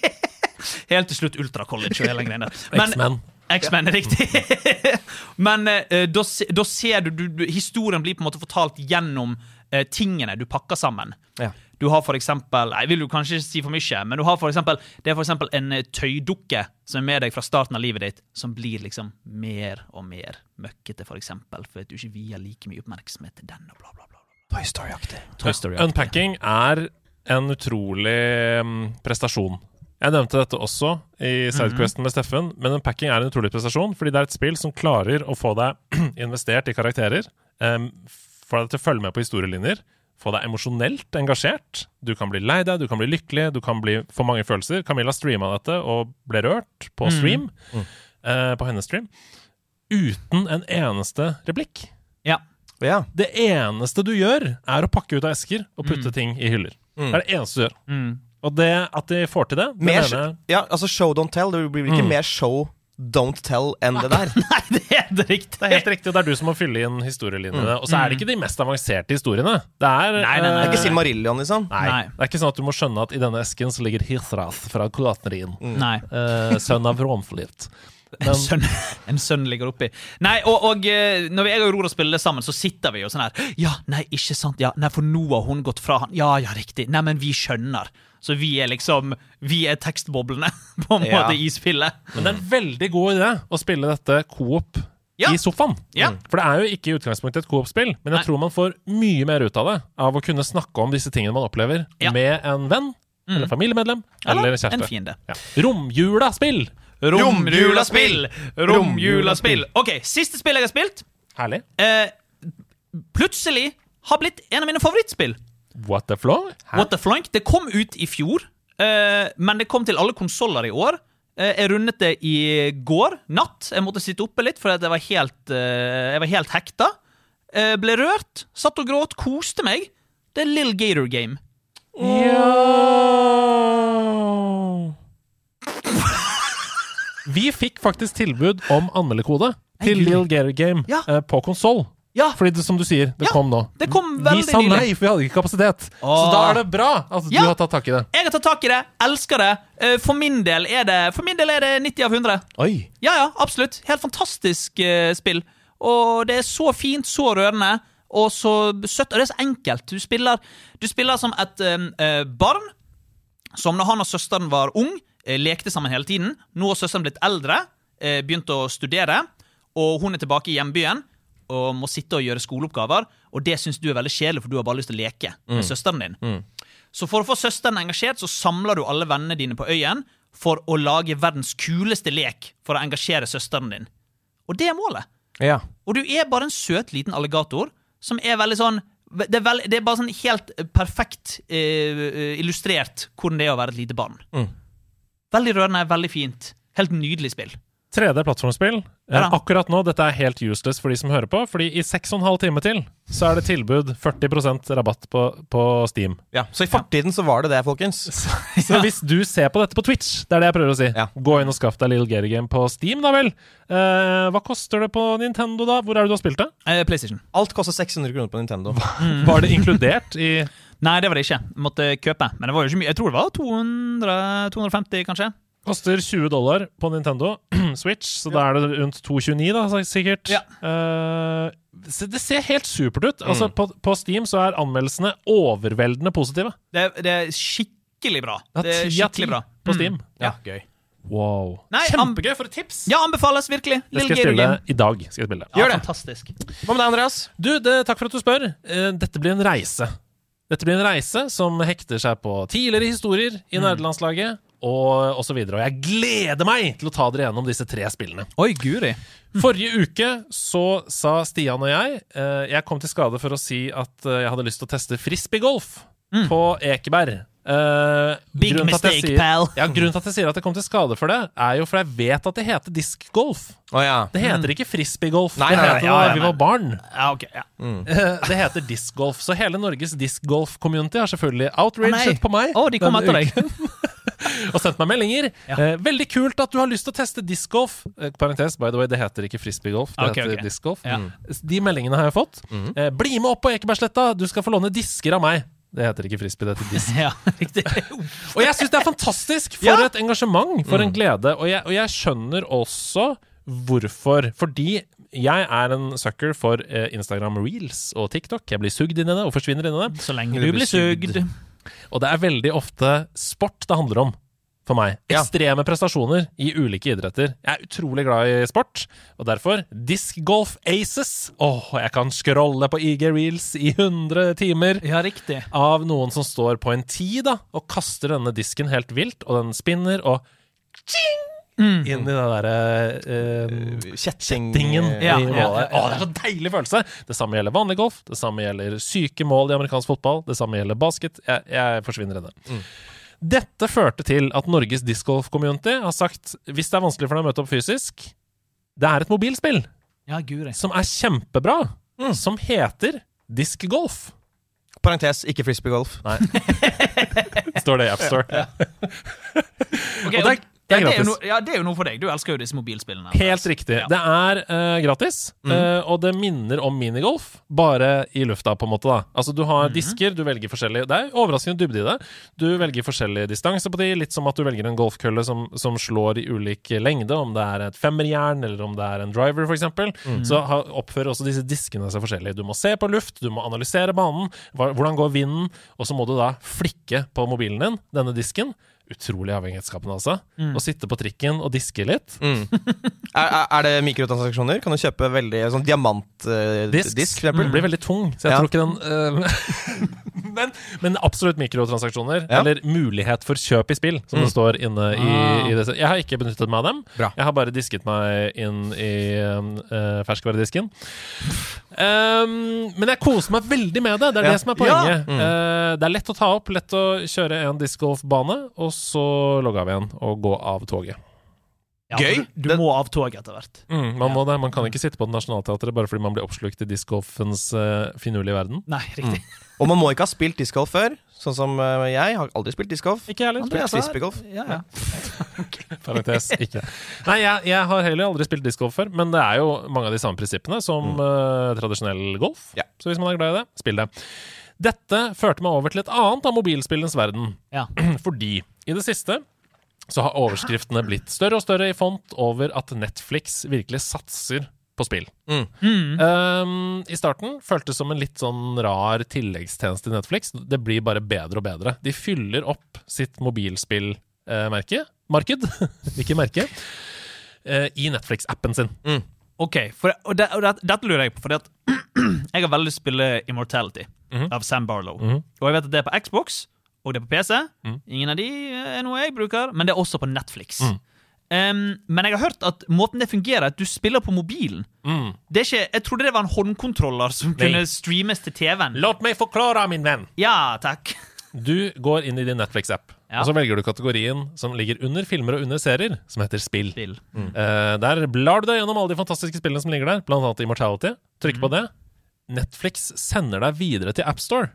Helt til slutt Ultra College og hele greia der. Men- X-Men. X-Men, riktig. Men eh, da, se- da ser du, du, du Historien blir på en måte fortalt gjennom eh, tingene du pakker sammen. Ja. Du har for eksempel Nei, jeg vil jo kanskje ikke si for mye, men du har for eksempel, det er for eksempel en eh, tøydukke som er med deg fra starten av livet ditt, som blir liksom mer og mer møkkete, for eksempel, for at du ikke vier like mye oppmerksomhet til den, og bla, bla, bla. Toy Story-aktig. Toy Story, ja. Unpacking er en utrolig mm, prestasjon. Jeg nevnte dette også i Mhm. Sidequesten med Steffen, men Unpacking er en utrolig prestasjon, fordi det er et spill som klarer å få deg investert i karakterer, em, få deg til å følge med på historielinjer, få deg emosjonelt engasjert. Du kan bli lei deg, du kan bli lykkelig, du kan bli for mange følelser. Camilla streama dette og ble rørt på Mhm. stream, Mm. eh, på hennes stream, uten en eneste replikk. ja. Ja. Det eneste du gjør, er å pakke ut av esker og putte ting i hyller. Det er det eneste du gjør. Mm. Og det at de får til det, det Mer, mener jeg ja, altså show don't tell. Det blir vel ikke mer show don't tell enn det der. Nei, det er helt riktig. det er helt riktig, og det er du som må fylle inn historielinjene. Og så er det ikke de mest avanserte historiene. Det er, Mm. Nei, nei, nei. Det er ikke eh, Silmarillion, liksom. nei. Nei. Det er ikke sånn at du må Mm. skjønne at i denne esken så ligger Hithrath fra Kulatnerien. Nei. eh, sønn av Romflit. En sønn, en sønn ligger oppi. Nei, og, og eh, når jeg og Aurora spiller det sammen, så sitter vi jo sånn her. Ja, nei, ikke sant. Ja, nei, for nå har hun gått fra han. Ja, ja, riktig. Nei, men vi skjønner. Så vi er liksom Vi er tekstboblene, på en Ja. måte, i spillet. Men det er en veldig god idé å spille dette co-op Ja. i sofaen. Mm. Ja. For det er jo ikke i utgangspunktet et co-op-spill, men jeg Nei. tror man får mye mer ut av det av å kunne snakke om disse tingene man opplever Ja. med en venn, eller familiemedlem, eller, Eller en kjæreste. fiende. Ja. Romjula-spill! Romjulaspill! Romjulaspill. OK, siste spill jeg har spilt, Herlig. eh, plutselig har blitt en av mine favorittspill. What the flow? What the Flank. Det kom ut i fjor, eh, men det kom til alle konsoller i år. Eh, jeg rundet det i går natt. Jeg måtte sitte oppe litt, for jeg var helt, eh, jeg var helt hekta. Eh, ble rørt, satt og gråt, koste meg. Det er Lill Gator Game. Vi fikk faktisk tilbud om anmeldekode til Nei, gud. Lill Gator Game Ja. eh, på konsoll. Ja, Fordi det, som du sier, det Ja, kom nå. det kom Vi veldig sa nylig. nei, for vi hadde ikke kapasitet. Så Åh. da er det bra at du Ja. har tatt tak i det. Jeg har tatt tak i det, elsker det. Eh, for, min del er det for min del er det 90 av 100. Oi. Ja, ja, absolutt. Helt fantastisk eh, spill. Og det er så fint, så rørende, og så søtt. Og det er så enkelt. Du spiller, du spiller som et eh, eh, barn som når han og søsteren var ung, eh, lekte sammen hele tiden. Nå har søsteren blitt eldre, eh, begynt å studere, og hun er tilbake i hjembyen og må sitte og gjøre skoleoppgaver. Og det syns du er veldig kjedelig, for du har bare lyst til å leke med søsteren din. Så for å få søsteren engasjert, så samler du alle vennene dine på øyen for å lage verdens kuleste lek for å engasjere søsteren din. Og det er målet. Ja. Og du er bare en søt liten alligator som er veldig sånn Det er, veld, det er bare sånn helt perfekt eh, illustrert hvordan det er å være et lite barn. Veldig rørende, veldig fint. Helt nydelig spill. 3D-plattformspill. Ja da. Eh, Akkurat nå, dette er helt useless for de som hører på, fordi i 6,5 timer til så er det tilbud 40 rabatt på, på Steam. Ja, Så i fortiden så var det det, folkens. Så hvis du ser på dette på Twitch, det er det jeg prøver å si, Ja. gå inn og skaff deg Little Gator Game på Steam, da vel. Eh, hva koster det på Nintendo, da? Hvor er det du har spilt det? Eh, PlayStation. Alt koster 600 kroner på Nintendo. Mm. Var det inkludert i Nei, det var det ikke. Måtte kjøpe. Men det var jo ikke mye. Jeg tror det var 200, 250, kanskje. Koster 20 dollar på Nintendo Switch, så da er det rundt 229, da, så- sikkert. Ja. Eh, så det ser helt supert ut. Altså, Mm. på, på Steam så er anmeldelsene overveldende positive. Det, det er skikkelig bra. Ja, Det er ti av ti skikkelig bra. Mm. på Steam. Ja, gøy. Wow. Nei, am- Kjempegøy for et tips! Mm. Ja, anbefales virkelig. Det Lill skal jeg Gator spille Game. i dag. Skal jeg spille. Ja, fantastisk. Hva med deg, Andreas? Du, det, takk for at du spør. Eh, Dette blir en reise. Dette blir en reise som hekter seg på tidligere historier i Mm. nerdelandslaget og osv. Og jeg gleder meg til å ta dere gjennom disse tre spillene. Oi, guri. Forrige uke så sa Stian og jeg eh, Jeg kom til skade for å si at eh, jeg hadde lyst til å teste frisbeegolf på Ekeberg. Eh, Mm. Big grunnen til at jeg mistake, sier- pal. Ja, grunnen til at jeg sier at jeg kom til skade for det, er jo for jeg vet at det heter diskgolf. Å ja. Mm. Det heter ikke frisbeegolf. Nei, Det nei, nei, heter det ja, da ja, vi nei. var barn. Ja, Mm. ok. Ja. Eh, Det heter discgolf. Så hele Norges discgolf-community har selvfølgelig Å, outraget nei. på meg. Å, de kom denne etter deg. uken, og sendt meg meldinger. Eh, veldig kult at du har lyst til å teste discgolf. Eh, parentes, by the way, det heter ikke frisbeegolf, det Ok, heter ok. discgolf. Ja. Mhm. Mm. De meldingene har jeg fått. Eh, bli med opp på Ekebergsletta, du skal få låne disker av meg. Det heter ikke frisbee, det heter disk. Ja, riktig. Og jeg syns det er fantastisk! For Ja. Mm. et engasjement, for en glede. Og jeg, og jeg skjønner også hvorfor. Fordi jeg er en sucker for eh, Instagram reels og TikTok. Jeg blir sugd inn i det og forsvinner inn i det. Så lenge du blir sugd. Og det er veldig ofte sport det handler om. For meg. Ja. Ekstreme prestasjoner i ulike idretter. Jeg er utrolig glad i sport, og derfor Discgolf Aces. Åh, jeg kan scrolle på IG Reels i 100 timer Ja, riktig. av noen som står på en ti da, og kaster denne disken helt vilt, og den spinner, og Mm. tjing! inn i den derre Kjetting. Dingen Ja, i ja, målet. Å, det er så deilig følelse! Det samme gjelder vanlig golf, det samme gjelder syke mål i amerikansk fotball, det samme gjelder basket. Jeg, jeg forsvinner i det. Dette førte til at Norges discgolf-community har sagt hvis det er vanskelig for deg å møte opp fysisk, det er et mobilspill Ja, guri. som er kjempebra, som heter diskgolf. Parentes, ikke frisbeegolf. Står det i AppStore. Ok, Og det er, Det er Ja, gratis. jo noe- ja, det er jo noe for deg. Du elsker jo disse mobilspillene. Helt riktig. Det er eh, gratis, eh, og det minner om minigolf, bare i lufta, på en måte. da Altså Du har disker, du velger forskjellige Det er overraskende dybde i det. Du velger forskjellig distanse på de, litt som at du velger en golfkølle som, som slår i ulik lengde, om det er et femmerjern eller om det er en driver, f.eks. eksempel Så ha, oppfører også disse diskene seg forskjellig. Du må se på luft, du må analysere banen, hva, hvordan går vinden, og så må du da flikke på mobilen din, denne disken. Utrolig avhengighetsskapende, altså. Å sitte på trikken og diske litt. Er, er, er det mikrotransaksjoner? Kan du kjøpe veldig sånn diamantdisk? Disk, disk for eksempel? Den blir veldig tung, så jeg Ja. tror ikke den eh, men, men absolutt mikrotransaksjoner, Ja. Mm. eller mulighet for kjøp i spill, som det står inne i, i det. Jeg har ikke benyttet meg av dem. Ah. Bra. Jeg har bare disket meg inn i eh, ferskvaredisken. Um, men jeg koser meg veldig med det. Det er Ja. det som er Ja. Mm. poenget. Eh, det er lett å ta opp, lett å kjøre en discgolfbane, og så logge av igjen og gå av toget. Ja, Gøy. for Du, du Den- må av toget etter hvert. Mm, man, må det. man kan ikke sitte på Nationaltheatret bare fordi man blir oppslukt i discgolfens eh, finurlige verden. Nei, riktig. Mm. Og man må ikke ha spilt discgolf før. Sånn som eh, jeg har aldri spilt discgolf. Ikke jeg heller. Spilt frisbeegolf. Ja, ja. Parentes, ikke. Nei, jeg, jeg har heller aldri spilt discgolf før, men det er jo mange av de samme prinsippene som eh, tradisjonell golf. Ja. Så hvis man er glad i det, spill det. Dette førte meg over til et annet av mobilspillens verden, Ja. fordi i det siste så har overskriftene blitt større og større i font over at Netflix virkelig satser på spill. Um, I starten føltes som en litt sånn rar tilleggstjeneste til Netflix. Det blir bare bedre og bedre. De fyller opp sitt mobilspillmerke Marked, ikke merke. eh, I Netflix-appen sin. Ok, for, og, det, og det, dette lurer jeg på, fordi at jeg har veldig lyst til å spille Immortality Mhm. av Sam Barlow. Og jeg vet at det er på Xbox, og det er på PC. Mhm. Ingen av de eh, er noe jeg bruker, men det er også på Netflix. Em, men jeg har hørt at måten det fungerer, er at du spiller på mobilen. Mm. Det er ikke, jeg trodde det var en håndkontroller som Nei. kunne streames til TV-en. La meg forklare, min venn! Ja, takk. Du går inn i din Netflix-app, Ja. og så velger du kategorien som ligger under filmer og under serier, som heter spill. Bill. Eh, der blar du deg gjennom alle de fantastiske spillene som ligger der, blant annet Immortality. Trykk Mhm. på det. Netflix sender deg videre til AppStore,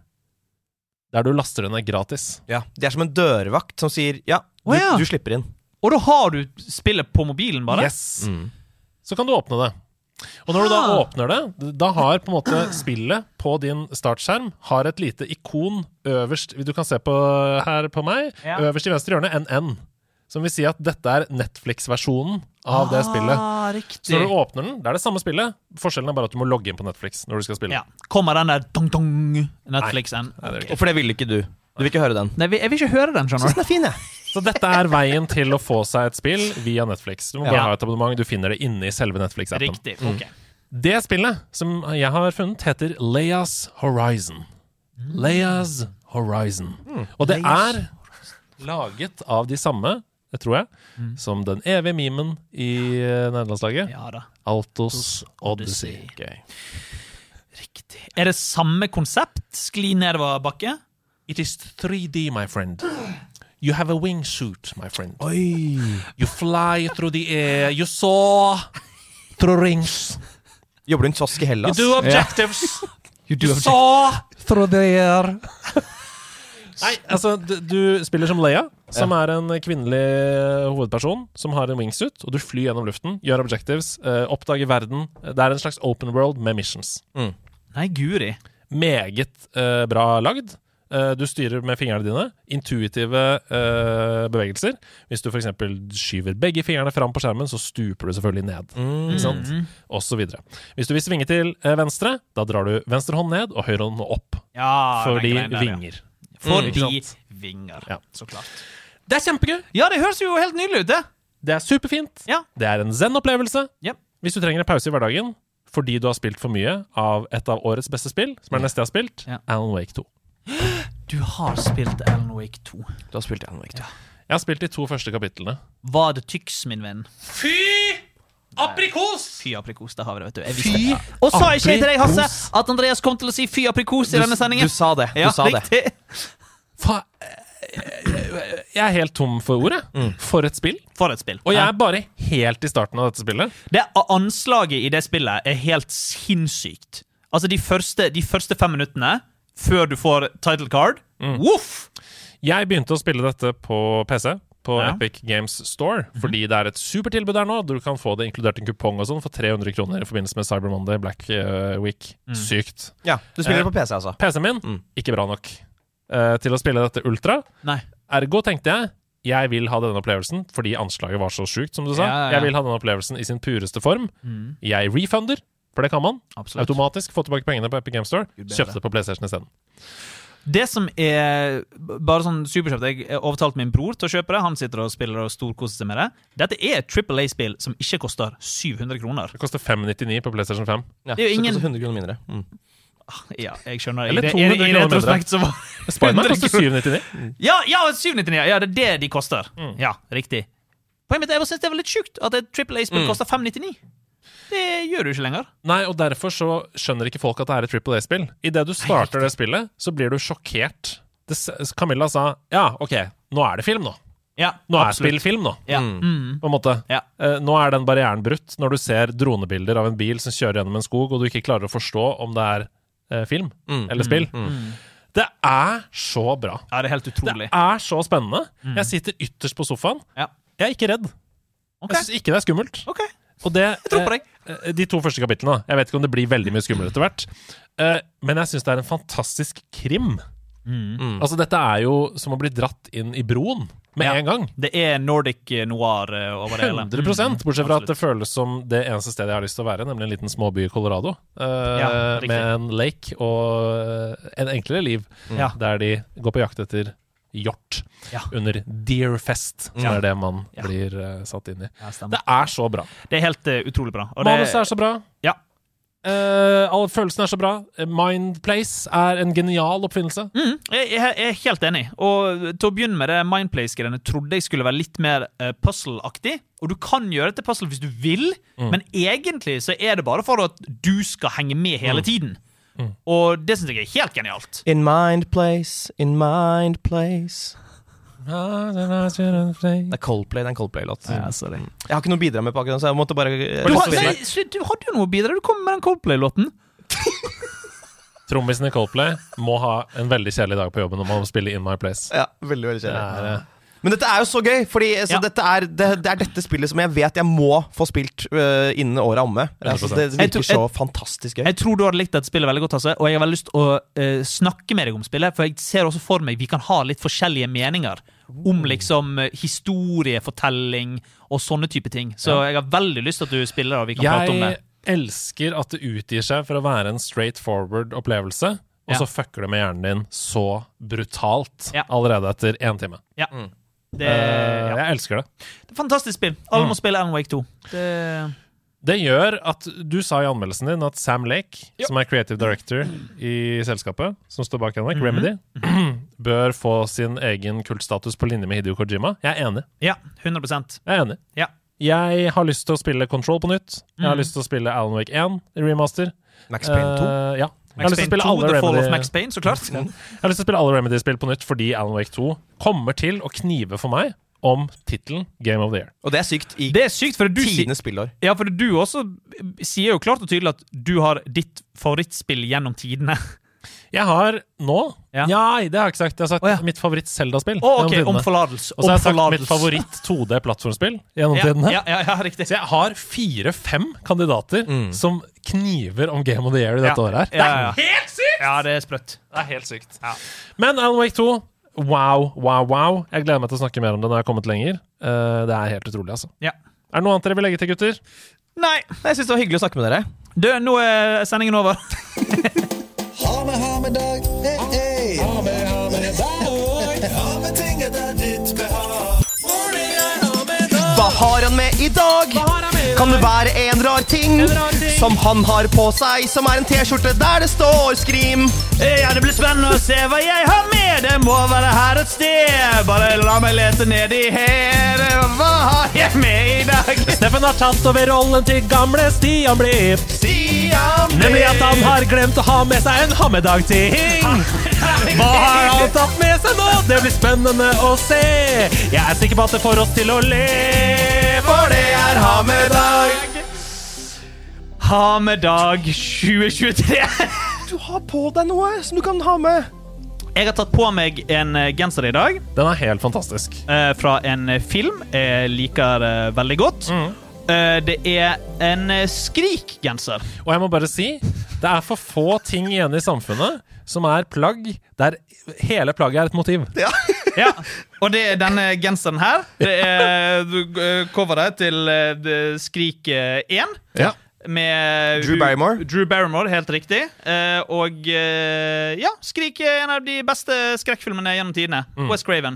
der du laster den ned gratis. Ja. Det er som en dørvakt som sier ja, du, Å, ja. du slipper inn. Og da har du spillet på mobilen, bare? Yes. Så kan du åpne det. Og når du da Mm. Ah. åpner det, da har på en måte spillet på din startskjerm har et lite ikon øverst Du kan se på her på meg. Ja. Øverst i venstre hjørne, en N. Som vil si at dette er Netflix-versjonen av det spillet. Ah, Så riktig. når du åpner den, det er det samme spillet. Forskjellen er bare at du må logge inn på Netflix når du skal spille. Ja. Kommer den der dong-dong Netflixen? Nei, det er Og for det ville ikke du. Du vil ikke høre den. Nei, vi- jeg vil ikke høre den, skjønner du. Den er fin, jeg. Så dette er veien til å få seg et spill via Netflix. Du må bare Ja. ha et abonnement. Du finner det inne i selve Netflix-appen. Riktig. ok Det spillet som jeg har funnet, heter Leias Horizon. Leias Horizon. Hmm. Og det er laget av de samme, det tror jeg, som den evige memen i eh, nederlandslaget. Hmm. Ja da. Altos Odyssey. Riktig. Er det samme konsept? Skli nedover bakke? It is 3D, my friend. You have a wingsuit, my friend. You fly through the air. You saw through rings. Jobber du i en kiosk i You Hellas? do objectives. You You saw through the air. Nei, altså, du, du spiller som Leia, som er en kvinnelig eh, hovedperson som har en wingsuit, og du flyr gjennom luften, gjør objectives, eh, oppdager verden. Det er en slags open world med missions. Nei, guri. Meget eh, bra lagd. Eh, du styrer med fingrene dine. Intuitive eh, bevegelser. Hvis du f.eks. skyver begge fingrene fram på skjermen, så stuper du selvfølgelig ned. Mm. Ikke sant? Og så videre. Hvis du vil svinge til eh, venstre, da drar du venstre hånd ned og høyre hånd opp. Ja, Fordi den greien der, ja. vinger. Fordi Ikke vinger, Ja. så klart. Det er kjempegøy! Ja, det høres jo helt nydelig ut, det. Det er superfint. Ja. Det er en zen-opplevelse. Ja. Hvis du trenger en pause i hverdagen fordi du har spilt for mye av et av årets beste spill, som er det neste jeg har spilt, Ja. Alan Wake 2. Du har spilt Alan Wake 2. Du har spilt Alan Wake, du. Jeg har spilt de to første kapitlene. Var det tyks, min venn? Fy aprikos! Fy aprikos, det har vi det, vet du. Jeg visste det. Og sa ikke jeg til deg, Hasse, at Andreas kom til å si fy aprikos i denne Du sendingen? sa det. Du ja, sa det. riktig. Fa jeg er helt tom for ordet. For et spill. For et spill. Og jeg Mm. Ja. er bare helt i starten av dette spillet. Det anslaget i det spillet er helt sinnssykt. Altså, de første, de første fem minuttene Mm. før du får title card Voff! Jeg begynte å spille dette på PC på Ja. Mhm. Epic Games Store, fordi det er et supertilbud der nå. Du kan få det inkludert en kupong og sånn for 300 kroner i forbindelse med Cyber Monday, Black eh, Week. Mm. Sykt. Ja, du spiller Eh, det på PC, altså. PC-en min, ikke bra nok eh, til å spille dette ultra. Nei. Ergo tenkte jeg jeg vil ha denne opplevelsen fordi anslaget var så sjukt, som du sa. Ja, Mm. ja, ja. Jeg vil ha denne opplevelsen i sin pureste form. Jeg refunder, for det kan man. Absolutt. Automatisk få tilbake pengene på Epic Game Store. Kjøpte det på PlayStation isteden. Det som er bare sånn superkjøpt Jeg overtalte min bror til å kjøpe det. Han sitter og spiller og storkoser seg med det. Dette er et Triple A-spill som ikke koster 700 kroner. Det koster 599 på PlayStation 5. Ja, det er jo så ingen- koster 100 kroner mindre. Mm. Ja, jeg skjønner. Eller I det- 200 i- i kroner mindre. retrospekt så var Spiderman 100 koster kroner. 799. Ja, ja, 799. Ja, det er det de koster. Mm. Ja, riktig. Poenget mitt er at jeg synes det er litt sjukt at et Triple A-spill Mm. koster 599. Det gjør du ikke lenger. Nei, og derfor så skjønner ikke folk at det er et Triple A-spill. Idet du starter det spillet, så blir du sjokkert. Det, s- Camilla sa ja, OK, nå er det film, nå. Ja, Nå er absolutt. spill film, nå. Ja. Mm. På en måte. Ja. Eh, nå er den barrieren brutt når du ser dronebilder av en bil som kjører gjennom en skog, og du ikke klarer å forstå om det er eh, film eller spill. Det er så bra. ja, det er helt Det utrolig. Mm. er så spennende. Jeg sitter ytterst på sofaen. Ja. Jeg er ikke redd. Ok. Jeg syns ikke det er skummelt. ah, OK, Og det, jeg tror på deg. eh, de to første kapitlene. da. Jeg vet ikke om det blir veldig mye skummelt etter hvert. Eh, Men jeg syns det er en fantastisk krim. Altså, dette er jo som å bli dratt inn i broen med Mm. Ja. en gang. Det er nordic noir eh, over det hele. 100 Bortsett fra at det føles som det eneste stedet jeg har lyst til å være, nemlig en liten småby i Colorado. eh, Ja, riktig. med en lake og eh, en enklere liv, Ja. der de går på jakt etter hjort Mm. Ja. under Deerfest, som Ja. er det man Ja. blir eh, satt inn i. Mm. Ja, Det stemmer. er så bra. Det er helt eh, utrolig bra. Og det- Manuset er så bra. Ja. Eh, alle følelsene er så bra. Mindplace er en genial oppfinnelse. Mm, jeg, jeg, jeg er helt enig. Og til å begynne med det Mindplace-greiene trodde jeg skulle være litt mer eh, puzzle-aktig. Og du kan gjøre det til puzzle hvis du vil, men egentlig så er det bare for at du skal henge med hele tiden. Og det syns jeg er helt genialt. In mind place, in mind place. Det er Coldplay, det er en Coldplay-låt. Mm. Jeg har ikke noe å bidra med på akkurat, så jeg måtte bare eh, Du, har, spille. nei, slutt, du hadde jo noe å bidra Du kom med den Coldplay-låten. Trommisen i Coldplay må ha en veldig kjedelig dag på jobben når man spiller In My Place. Ja, veldig, veldig Det kjedelig. er, eh, Men dette er jo så gøy, Fordi eh, så Ja. dette er, det, det er dette spillet som jeg vet jeg må få spilt øh, innen året er omme. Altså, det 100%. Jeg tror- virker så fantastisk gøy. Jeg tror du hadde likt dette spillet veldig godt, Hasse, og jeg har veldig lyst til å eh, snakke med deg om spillet, for jeg ser også for meg vi kan ha litt forskjellige meninger om liksom eh, historiefortelling og sånne type ting. Så jeg har veldig lyst til at du spiller, og vi kan prate om det. Jeg elsker at det utgir seg for å være en straight forward opplevelse, og Ja. så fucker det med hjernen din så brutalt Ja. allerede etter én time. Ja. Det, Eh, ja. Mm. Jeg elsker det. det er Fantastisk spill. Alle må spille Alan Wake 2. Det, Det gjør at du sa i anmeldelsen din at Sam Lake, som er creative director i selskapet, som står bak Mhm. Henrik, Remedy, bør få sin egen kultstatus på linje med Hidio Kojima. Jeg er enig. ja, 100 Jeg er enig. Ja. Mhm. Jeg har lyst til å spille Control på nytt. Jeg har lyst til å spille Alan Wake 1 i remaster. Max Payne 2. Eh, ja. Jeg har Max lyst til å Payne 2, spille alle The Fall of Remedy- Max Payne, så klart. Jeg har lyst til å spille alle Remedy-spill på nytt fordi Alan Wake 2 kommer til å knive for meg om tittelen Game of the Year. Og det er sykt i Det er sykt, for du, si, tidenes spillår. ja, for du også sier jo klart og tydelig at du har ditt favorittspill gjennom tidene. Jeg har nå Ja. Nei, det har jeg ikke sagt. Jeg har sagt Å, ja. mitt favoritt-Zelda-spill. Å, ok, gjennom om tidene. forlatelse. Og så har jeg sagt mitt favoritt favoritt 2D-plattformspill gjennom ja, tidene. ja, ja, ja, riktig. Så jeg har fire-fem kandidater som kniver om Game of the Year i dette Mm. Ja. året her. Ja, ja, ja. Det er helt sykt! Ja, det er sprøtt. Det er helt sykt. Ja. Men Alan Wake 2, wow, wow, wow. Jeg gleder meg til å snakke mer om det når jeg har kommet lenger. Eh, det er helt utrolig, altså. Ja. Er det noe annet dere vil legge til, gutter? Nei, Nei, Jeg syns det var hyggelig å snakke med dere. du, nå er sendingen over. Ha med, ha med dag. Hey, hey. Ha med, ha med dag. Ha med ting etter ditt behag. Morningen, ha med dag. Hva har han med i dag? Kan det være en rar ting som han har på seg, som er en T-skjorte der det står 'Skrim'? Ja, det blir spennende å se hva jeg har med. Det må være her et sted. Bare la meg lete nedi her. Hva har jeg med i dag? Steffen har tatt over rollen til gamle Stian Blipp. Stian Nemlig at han har glemt å ha med seg en hammedagting. Hva har han tatt med seg nå? Det blir spennende å se. Jeg er sikker på at det får oss til å le. For det er ha med dag. Ha med dag 2023. Du har på deg noe som du kan ha med. Jeg har tatt på meg en eh, genser i dag Den er helt fantastisk. eh, fra en eh, film jeg liker eh, veldig godt. Mm. Eh, det er en eh, Skrik-genser. Og jeg må bare si, det er for få ting igjen i samfunnet som er plagg der hele plagget er et motiv. Ja. Og det er denne genseren her. Det er eh, coveret til eh, det- Skrik eh, 1. Ja. Med Drew Barrymore. Drew Barrymore, helt riktig. Eh, og eh, ja, Skrik er en av de beste skrekkfilmene gjennom tidene. Mm. West Craven.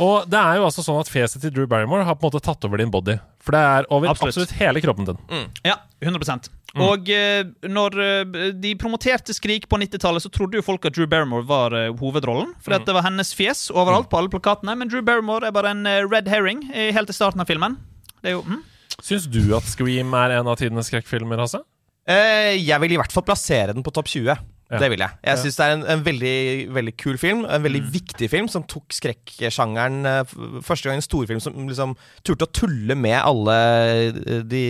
Og det er jo altså sånn at fjeset til Drew Barrymore har på en måte tatt over din body. For det er over Absolutt. Mm. absolutt, hele kroppen din. Ja, 100 Og eh, når eh, de promoterte Skrik på 90-tallet, så trodde jo folk at Drew Barrymore var eh, hovedrollen. For at det var hennes fjes overalt på alle plakatene. Men Drew Barrymore er bare en eh, red herring eh, helt i starten av filmen. Det er jo, mm. Syns du at Scream er en av tidenes skrekkfilmer, altså? Hasse? Eh, jeg vil i hvert fall plassere den på topp 20. Ja. Mm. Det vil jeg. Jeg syns det er en, en veldig, veldig kul film, en veldig viktig film, som tok skrekksjangeren eh, f- Første gang en storfilm som liksom turte å tulle med alle eh, de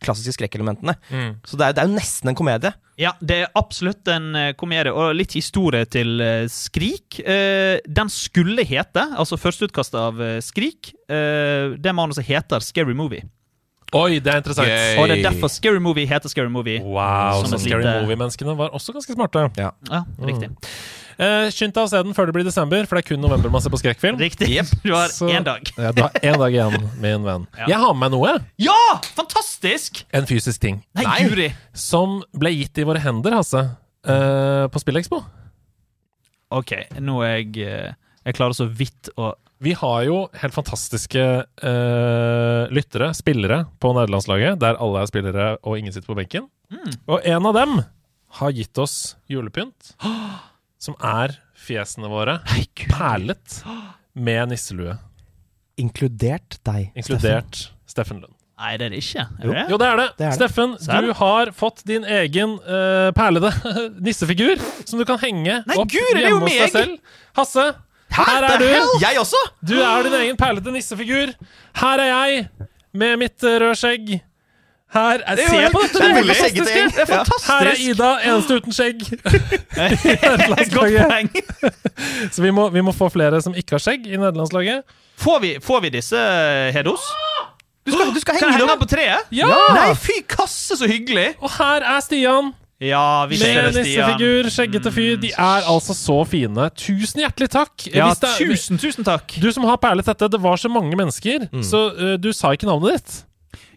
klassiske skrekkelementene. Mm. Så det er, det er jo nesten en komedie. Ja, det er absolutt en eh, komedie, og litt historie til eh, Skrik. Eh, Den skulle hete, altså førsteutkastet av eh, Skrik, eh, det manuset heter Scary Movie. Oi, det er interessant. Yay. Og det er derfor Scary Movie heter Scary Movie. Wow, Som så et Scary lite- Movie-menneskene var også ganske smarte. Ja, riktig. Eh, Skynd deg å se den før det blir desember, for det er kun november man ser på skrekkfilm. Riktig. Du har Så- én dag. Ja, da, en dag igjen, min venn. Ja. Jeg har med meg noe. Ja! Fantastisk! En fysisk ting. Nei, guri. Som ble gitt i våre hender, Hasse. eh, på Spillekspo. OK, nå er jeg eh, Jeg klarer så vidt å Vi har jo helt fantastiske eh, lyttere, spillere, på nederlandslaget. Der alle er spillere og ingen sitter på benken. Og en av dem har gitt oss julepynt. Som er fjesene våre perlet med nisselue. Inkludert deg. Inkludert Steffen Lund. Nei, det er det ikke. Er det? Jo, det er det. Det er det. Steffen, Serr? du har fått din egen eh, perlede nissefigur som du kan henge Nei, opp guri, det er jo hjemme hos deg meg! selv. Hasse, her Steffen. er du. Jeg også! Du er din egen perlete nissefigur. Her er jeg med mitt eh, røde skjegg. Her er er, jo Se helt- på dette! det er veldig fantastiske! skjeggete gjeng. Det er Ja. fantastisk. Her er Ida, eneste uten skjegg. Godt poeng. Så vi må, vi må få flere som ikke har skjegg i nederlandslaget. Får vi, får vi disse, eh, Hedos? Du skal, du skal Kan jeg henge henge dem den på treet? Ja! Nei, Fy kasse, så hyggelig! Og her er Stian. Ja, vi ser Med det, Stian. Mm. nissefigur, skjeggete fyr. De er altså så fine. Tusen hjertelig takk. Ja, Hvis det er- tusen, tusen takk. Du som har perlet dette, det var så mange mennesker, Mm. så eh, du sa ikke navnet ditt.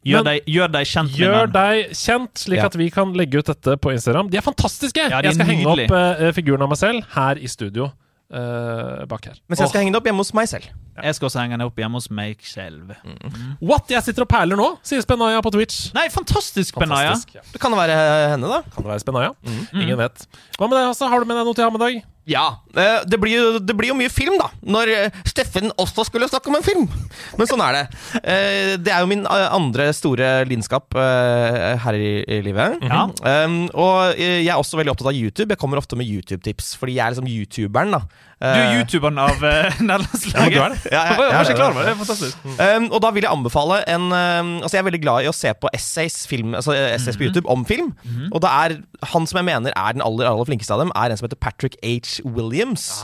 Gjør Men- deg, gjør deg kjent med den. Gjør deg kjent, slik Ja. at vi kan legge ut dette på Instagram. De er fantastiske! Ja, de er jeg skal henge nydelige. opp eh, figuren av meg selv her i studio. eh, bak her. Mens jeg skal henge det opp hjemme hos meg selv. Jeg skal også henge den opp hjemme hos meg selv. What? Jeg sitter og perler nå, sier Spenaya på Twitch. Nei, fantastisk, Benaya. Fantastisk. Ja. Det kan det være eh, henne, da. Kan det være Spenaya? Mm. Mm. Ingen vet. Hva med deg, Hasse? Har du med deg noe til Hamedag? Ja, eh, det blir, jo, det blir jo mye film, da. Når eh, Steffen også skulle snakke om en film. Men sånn er det. Eh, Det er jo min eh, andre store lidenskap eh, her i i livet. Mhm. Ja. Um, og eh, jeg er også veldig opptatt av YouTube. Jeg kommer ofte med YouTube-tips, fordi jeg er liksom YouTuberen, da. Du er Eh, youtuberen av eh, nederlandslaget. Ja, du er det. Ja, ja, jeg var ja, ikke klar over det. Det er fantastisk. Um, og da vil jeg anbefale en um, Altså Jeg er veldig glad i å se på essays, film, altså eh, essays Mhm. på YouTube om film. Og da er han som jeg mener er den aller, aller flinkeste av dem, er en som heter Patrick H. Ah. Williams.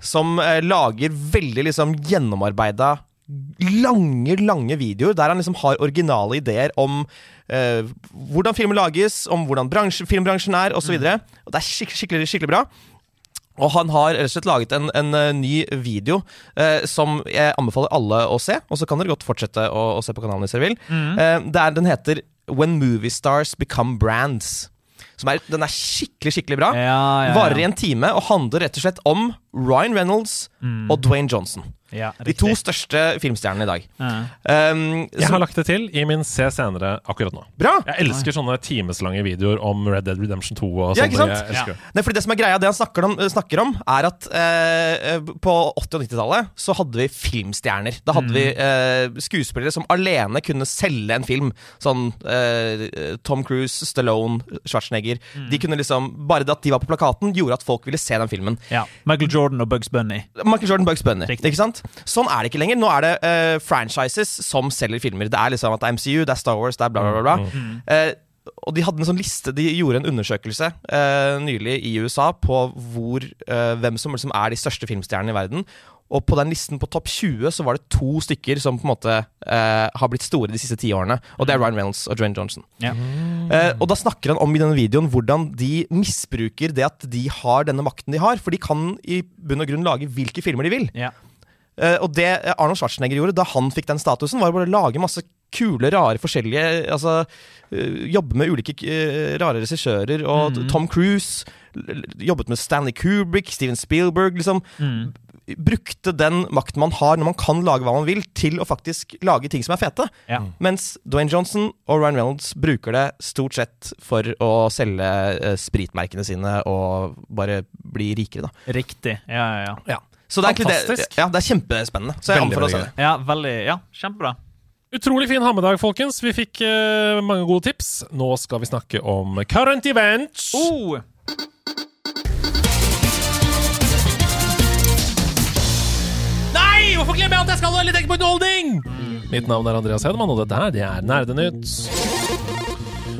Som eh, lager veldig liksom gjennomarbeida Lange, lange videoer der han liksom har originale ideer om eh, hvordan film lages, om hvordan bransje, filmbransjen er, osv. videre Og det er skik skikkelig, skikkelig bra. Og han har rett og slett laget en, en eh, ny video eh, som jeg anbefaler alle å se. Og så kan dere godt fortsette å, å se på kanalen hvis dere vil. Eh, det er, den heter When Movie Stars Become Brands. Som er, den er skikkelig, skikkelig bra. Ja, ja, ja. Varer i en time og handler rett og slett om Ryan Reynolds Mm. og Dwayne Johnson. Ja, De to største filmstjernene i dag. Ja. Um, Jeg så, har lagt det til i min Se senere akkurat nå. bra! Jeg elsker sånne timeslange videoer om Red Dead Redemption 2 og Ja, sånne. ikke sant? Jeg elsker det. Nei, fordi det som er greia, det han snakker om, eh, snakker om er at eh, eh, på 80- og 90-tallet så hadde vi filmstjerner. Da hadde Mm. vi eh, skuespillere som alene kunne selge en film. Sånn eh, Tom Cruise, Stallone, Schwarzenegger. Mm. De kunne liksom, Bare det at de var på plakaten, gjorde at folk ville se den filmen. Ja. Michael Jordan og Bugs Bunny. Michael Jordan, Bugs Bunny. Riktig. Ikke sant? Sånn er det ikke lenger. Nå er det eh, franchises som selger filmer. Det er liksom at det er MCU, det er Star Wars, det er bla, bla, bla. bla. Eh, og de hadde en sånn liste, de gjorde en undersøkelse eh, nylig i USA på hvor, eh, hvem som liksom er de største filmstjernene i verden. Og på den listen på topp 20 så var det to stykker som på en måte eh, har blitt store de siste ti årene. Og det er Ryan Reynolds og Dwayne Johnson. Ja. Mm. Eh, og da snakker han om i denne videoen hvordan de misbruker det at de har denne makten de har. For de kan i bunn og grunn lage hvilke filmer de vil. Ja. Eh, og det Arnold Schwarzenegger gjorde da han fikk den statusen, var å bare lage masse kule, rare, forskjellige altså, eh, Jobbe med ulike eh, rare regissører. Og Tom Cruise. l- l- Jobbet med Stanley Kubrick, Steven Spielberg. liksom Mm. Brukte den makten man har når man kan lage hva man vil, til å faktisk lage ting som er fete. Ja. Mens Dwayne Johnson og Ryan Reynolds bruker det stort sett for å selge eh, spritmerkene sine og bare bli rikere, da. Riktig. Ja, ja, ja. Så det er egentlig det, Fantastisk. ja, det er kjempespennende. Så jeg Veldig, anbefaler å veldig se gøy. det. Ja, veldig, ja, kjempebra. Utrolig fin hammedag, folkens. Vi fikk eh, mange gode tips. Nå skal vi snakke om current events. Oh, Nei! Hvorfor glemmer jeg at jeg skal være litt tenke på underholdning? Mitt navn er Andreas Hedman, og dette her, det er Nerdenytt.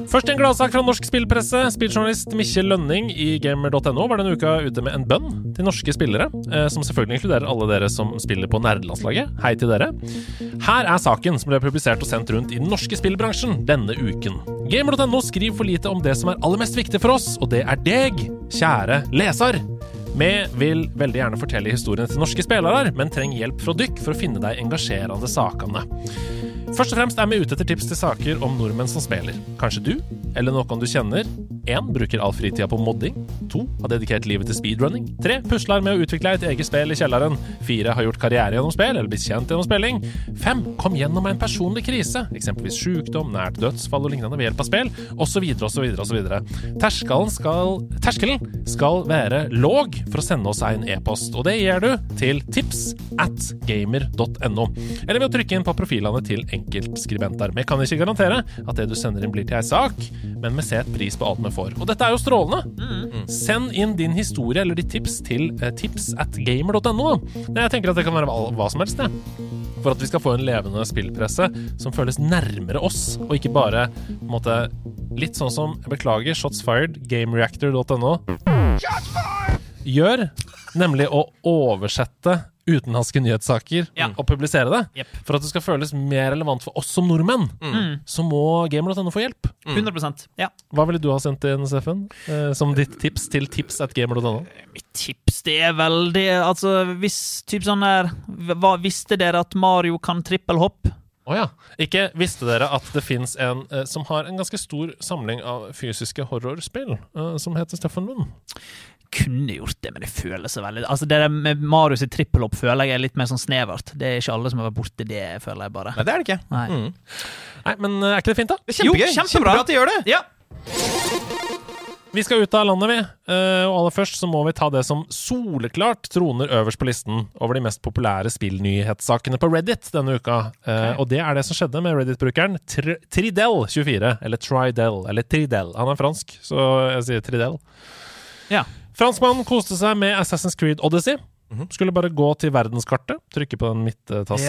Først en gladsak fra norsk spillpresse. Spilljournalist Mikkjel Lønning i gamer.no var denne uka ute med en bønn til norske spillere, eh, som selvfølgelig inkluderer alle dere som spiller på nerdelandslaget. Hei til dere. Her er saken som ble publisert og sendt rundt i den norske spillbransjen denne uken. Gamer.no skriver for lite om det som er aller mest viktig for oss, og det er deg, kjære leser. Vi vil veldig gjerne fortelle historiene til norske spillere, men trenger hjelp fra dykk for å finne de engasjerende sakene. Først og fremst er vi ute etter tips til saker om nordmenn som spiller. Kanskje du, eller noen du kjenner. 1. Bruker all fritida på modding. 2. Har dedikert livet til speedrunning. 3. Pusler med å utvikle et eget spill i kjelleren. 4. Har gjort karriere gjennom spill, eller blitt kjent gjennom spilling. 5. Kom gjennom en personlig krise, eksempelvis sykdom, nært dødsfall og lignende ved hjelp av spill, osv., osv., osv. Terskelen skal, terskelen skal være låg for å sende oss en e-post, og det gjør du til tips at gamer.no, eller ved å trykke inn på profilene til enkeltskribenter. Vi kan ikke garantere at det du sender inn blir til ei sak, men vi setter pris på alt vi får. Og dette er jo strålende! Mm. Send inn din historie eller ditt tips til eh, tips at gamer.no. da. Jeg tenker at det kan være hva- hva som helst, det. For at vi skal få en levende spillpresse som føles nærmere oss, og ikke bare på en måte, litt sånn som jeg Beklager, shots fired, gamereactor.no gjør, nemlig å oversette utenlandske nyhetssaker Ja. og publisere det. Jep. Mm. For at det skal føles mer relevant for oss som nordmenn, så må gamer.no få hjelp. 100 ja. Hva ville du ha sendt inn, Steffen? Eh, som ditt tips til tips at gamer.no? Mitt tips det er vel det Altså, hvis typ sånn der hva, Visste dere at Mario kan trippelhopp? Å ja. Ikke visste dere at det fins en eh, som har en ganske stor samling av fysiske horrorspill, eh, som heter Steffen Lund? Kunne gjort det, men det føles så veldig Altså, det der med Mario sitt trippelhopp føler jeg er litt mer sånn snevert. Det er ikke alle som har vært borti det, føler jeg bare. Nei, det er det ikke. Nei. Mm. Nei, men eh, er ikke det fint, da? Det er Jo, kjempegøy. kjempebra. at de gjør det. Ja. Vi skal ut av landet, vi. Eh, Og aller først så må vi ta det som soleklart troner øverst på listen over de mest populære spillnyhetssakene på Reddit denne uka. Eh, Og det er det som skjedde med Reddit-brukeren Tr Tridel24. Eller Tridel. Eller Tridel. Han er fransk, så jeg sier Tridel. Ja. Franskmannen koste seg med Assassin's Creed Odyssey. Skulle bare gå til verdenskartet, trykke på den midttasten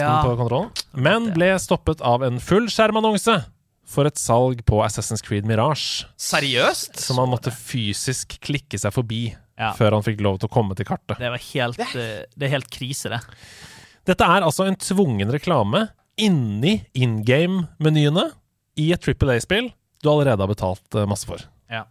Mhm. Ja. på kontrollen, men ble stoppet av en fullskjermannonse for et salg på Assassin's Creed Mirage. Seriøst? Som han måtte fysisk klikke seg forbi Ja. før han fikk lov til å komme til kartet. Det var helt eh, Det er helt krise, det. Dette er altså en tvungen reklame inni in game-menyene i et Triple A-spill du allerede har betalt eh, masse for. Ja.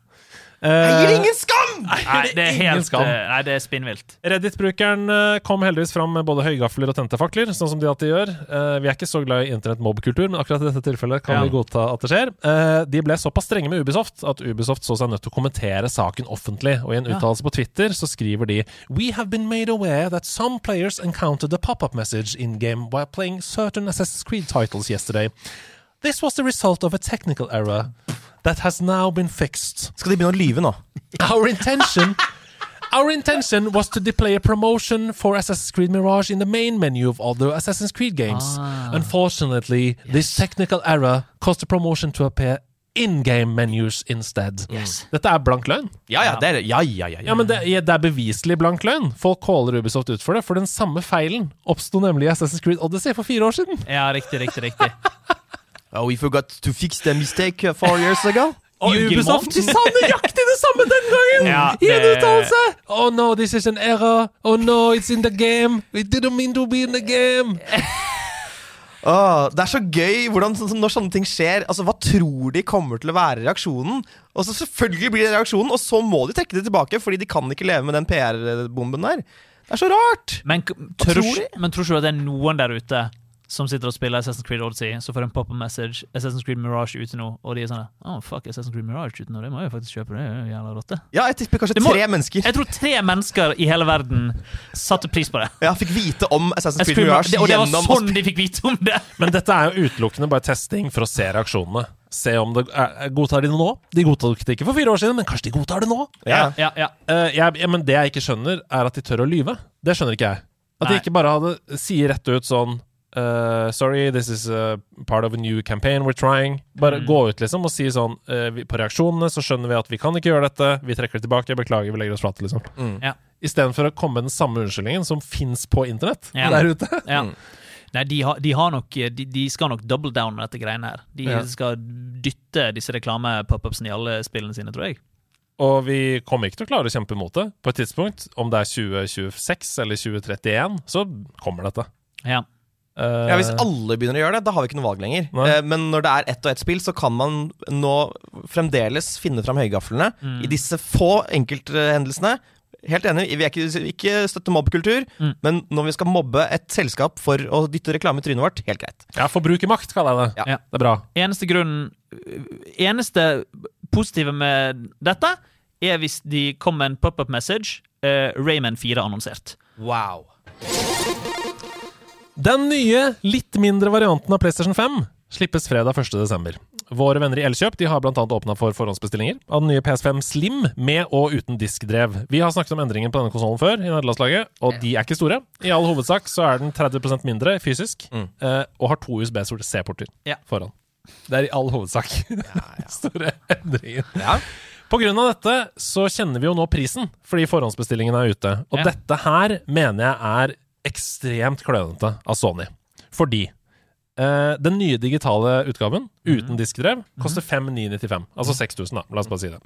Gir det Eh, ingen skam! Nei, det er ingen helt skam. eh, Nei, det er spinnvilt. Reddit-brukeren eh, kom heldigvis fram med både høygafler og tentefakler, sånn som de alltid gjør. Eh, Vi er ikke så glad i internettmobbkultur, men akkurat i dette tilfellet kan Ja. vi godta at det skjer. Eh, De ble såpass strenge med Ubisoft at Ubisoft så seg nødt til å kommentere saken offentlig, og i en uttalelse på Twitter så skriver de We have been made aware that some players encountered a pop-up message in game while playing certain Assassin's Creed titles yesterday. This was the result of a technical error that has now been fixed. Skal de begynne å lyve nå? Our intention Our intention was to display a promotion for Assassin's Creed Mirage in the main menu of other Assassin's Creed games. Unfortunately, this technical error caused the promotion to appear in game menus instead. Dette er blank løgn. Ja ja, det er Ja ja ja. Ja, men det, det er beviselig blank løgn. Folk caller Ubisoft ut for det, for den samme feilen oppsto nemlig i Assassin's Creed Odyssey for fire år siden. Ja, riktig, riktig, riktig. Oh, we forgot to fix the mistake uh, four years ago. Og Juggelmon. Ubisoft de sa nøyaktig det samme den gangen! Ja, I en det- uttalelse! Oh no, this is an error. Oh no, it's in the game. We didn't mean to be in the game. Åh, Ah, det er så gøy hvordan, sånn som når sånne ting skjer. Altså, Hva tror de kommer til å være reaksjonen? Og så Selvfølgelig blir det reaksjonen, og så må de trekke det tilbake, fordi de kan ikke leve med den PR-bomben der. Det er så rart! Men k- tror, tror ikke- men tror ikke du at det er noen der ute som sitter og spiller Assassin's Creed Odyssey, så får en pop-up message Assassin's Creed Mirage ute nå, og de er sånn Oh, fuck, Assassin's Creed Mirage ute nå, det må jeg jo faktisk kjøpe, det er jo jævla rått, det. Ja, jeg tipper kanskje Det må- tre mennesker Jeg tror tre mennesker i hele verden satte pris på det. Ja, fikk vite om Assassin's Assassin's Creed Creed Mirage, Mirage det- og det var gjennom å sånn de fikk vite om det! Men dette er jo utelukkende bare testing for å se reaksjonene. Se om det er, Godtar de det nå? De godtok det ikke for fire år siden, men kanskje de godtar det nå? Ja. Ja, ja. Eh, jeg, ja, men det jeg ikke skjønner, er at de tør å lyve. Det skjønner ikke jeg. Nei. At de ikke bare hadde, sier rett ut sånn eh, Sorry, this is eh, part of a new campaign we're trying. Bare Mm. gå ut liksom og si sånn eh, vi, På reaksjonene så skjønner vi at vi kan ikke gjøre dette. Vi trekker det tilbake. Beklager, vi legger oss flate, liksom. Mm. Ja. Istedenfor å komme med den samme unnskyldningen som fins på internett Ja. der ute. ja. Mm. Nei, de, har, de, har nok, de, de skal nok double down med dette greiene her. De Ja. skal dytte disse reklame-pop-upsene i alle spillene sine, tror jeg. Og vi kommer ikke til å klare å kjempe imot det. På et tidspunkt, om det er 2026 eller 2031, så kommer dette. Ja. Eh, Ja, Hvis alle begynner å gjøre det, da har vi ikke noe valg lenger. Nei. Eh, Men når det er ett og ett spill, så kan man nå fremdeles finne fram høygaflene Mm. i disse få enkelthendelsene. Helt enig, vi er ikke, ikke støtter mobbekultur, Mm. men når vi skal mobbe et selskap for å dytte reklame i trynet vårt, helt greit. Ja, forbrukermakt kaller jeg det. Ja. Det er bra. Eneste grunnen Eneste positive med dette er hvis de kom med en pop-up message. eh, Rayman 4 annonsert. Wow. Den nye, litt mindre varianten av PlayStation 5 slippes fredag 1.12. Våre venner i Elkjøp de har bl.a. åpna for forhåndsbestillinger av den nye PS5 Slim med og uten diskdrev. Vi har snakket om endringen på denne konsollen før, i nederlandslaget, og de er ikke store. I all hovedsak så er den 30 mindre fysisk Mm. eh, og har to USB-C-porter Ja. foran. Det er i all hovedsak store endringer. Ja. På grunn av dette så kjenner vi jo nå prisen, fordi forhåndsbestillingen er ute. Og Ja. dette her mener jeg er ekstremt klønete av Sony. Fordi eh, den nye digitale utgaven uten diskdrev koster 5995. Altså 6000, da. La oss bare si det.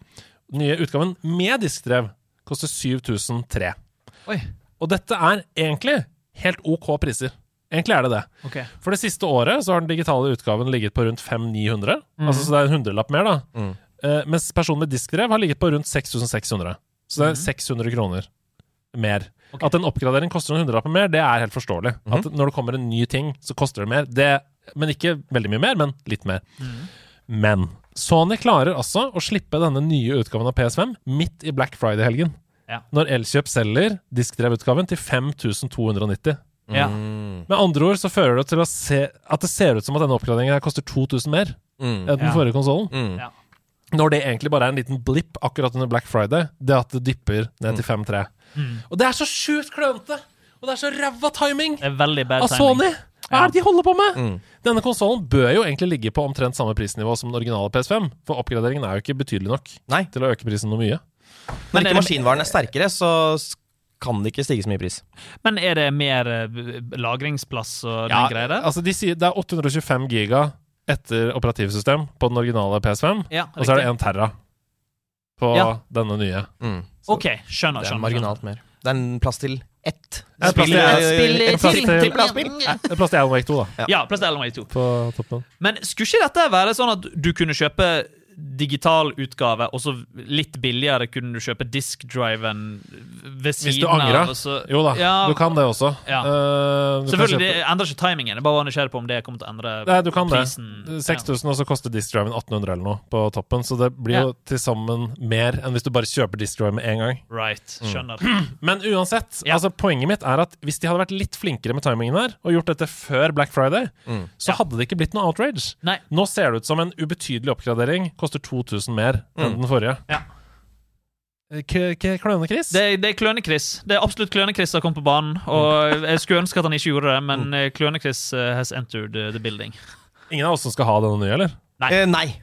Den nye utgaven med diskdrev koster 7003. Oi. Og dette er egentlig helt OK priser. Egentlig er det det. Ok. For det siste året så har den digitale utgaven ligget på rundt 500-900. Mm. Altså, så det er en hundrelapp mer, da. Mm. Eh, mens personen med diskdrev har ligget på rundt 6600. Så det er 600 kroner mer. Mm. Ok. Mm. At en oppgradering koster noen hundrelapper mer, det er helt forståelig. At når det kommer en ny ting, så koster det mer. Det, men ikke veldig mye mer, men litt mer. Mm. Men Sony klarer altså å slippe denne nye utgaven av PS5 midt i Black Friday-helgen. Ja. Når Elkjøp selger diskdrevutgaven til 5290. Ja. Mm. Med andre ord så fører det til å se, at det ser ut som at denne oppgraderingen her koster 2000 mer Mm. enn den Ja. forrige konsollen. Mm. Ja. Når det egentlig bare er en liten blipp akkurat under Black Friday, det at det dypper ned til Mm. 5-3. Mm. Og det er så sjukt klønete! Og det er så ræva timing Det er veldig bad av timing. Sony! Hva Ja. er det de holder på med?! Mm. Denne konsollen bør jo egentlig ligge på omtrent samme prisnivå som den originale PS5, for oppgraderingen er jo ikke betydelig nok Nei. til å øke prisen noe mye. Når Men ikke er det- maskinvaren er sterkere, så s- kan det ikke stige så mye pris. Men er det mer eh, lagringsplass og den greia der? altså de sier Det er 825 giga etter operativsystem på den originale PS5, Ja, og så er det riktig. 1 terra på Ja. denne nye. Mm. OK, skjønner. Det er skjønner, skjønner. marginalt mer. Det er en plass til ett. Det er plass til- En plass til- til- plassbil. Mm. Det er plass til Alan Wake 2 da, Ja, plass til Ellen Wake 2. på toppen. Men skulle ikke dette være sånn at du kunne kjøpe digital utgave, og så litt billigere kunne du kjøpe diskdriven ved Hvis siden du angrer. av, og så- Jo da, Ja, du kan det også. Ja. Eh, du kan Selvfølgelig, kjøpe- det endrer ikke timingen. Jeg bare var nysgjerrig på om det kommer til å endre Nei, du kan det. prisen. 6000, og så koster diskdriven 1800 eller noe på toppen. Så det blir jo til sammen mer enn hvis du bare kjøper diskdrive med en gang. Ja. Right, Mm. skjønner. Men uansett, Ja. altså poenget mitt er at hvis de hadde vært litt flinkere med timingen her, og gjort dette før Black Friday, så hadde det ikke blitt noe outrage. Nei. Nå ser det ut som en ubetydelig oppgradering koster 2000 mer enn den forrige. Eh, Ja. K k kløne, Chris? Det, det er Kløne-Chris. Det er absolutt Kløne-Chris som kom på banen. Og Mm. jeg skulle ønske at han ikke gjorde det, men eh, Kløne-Chris eh, has entered eh, the building. Ingen av oss som skal ha denne nye, eller? Eh, nei.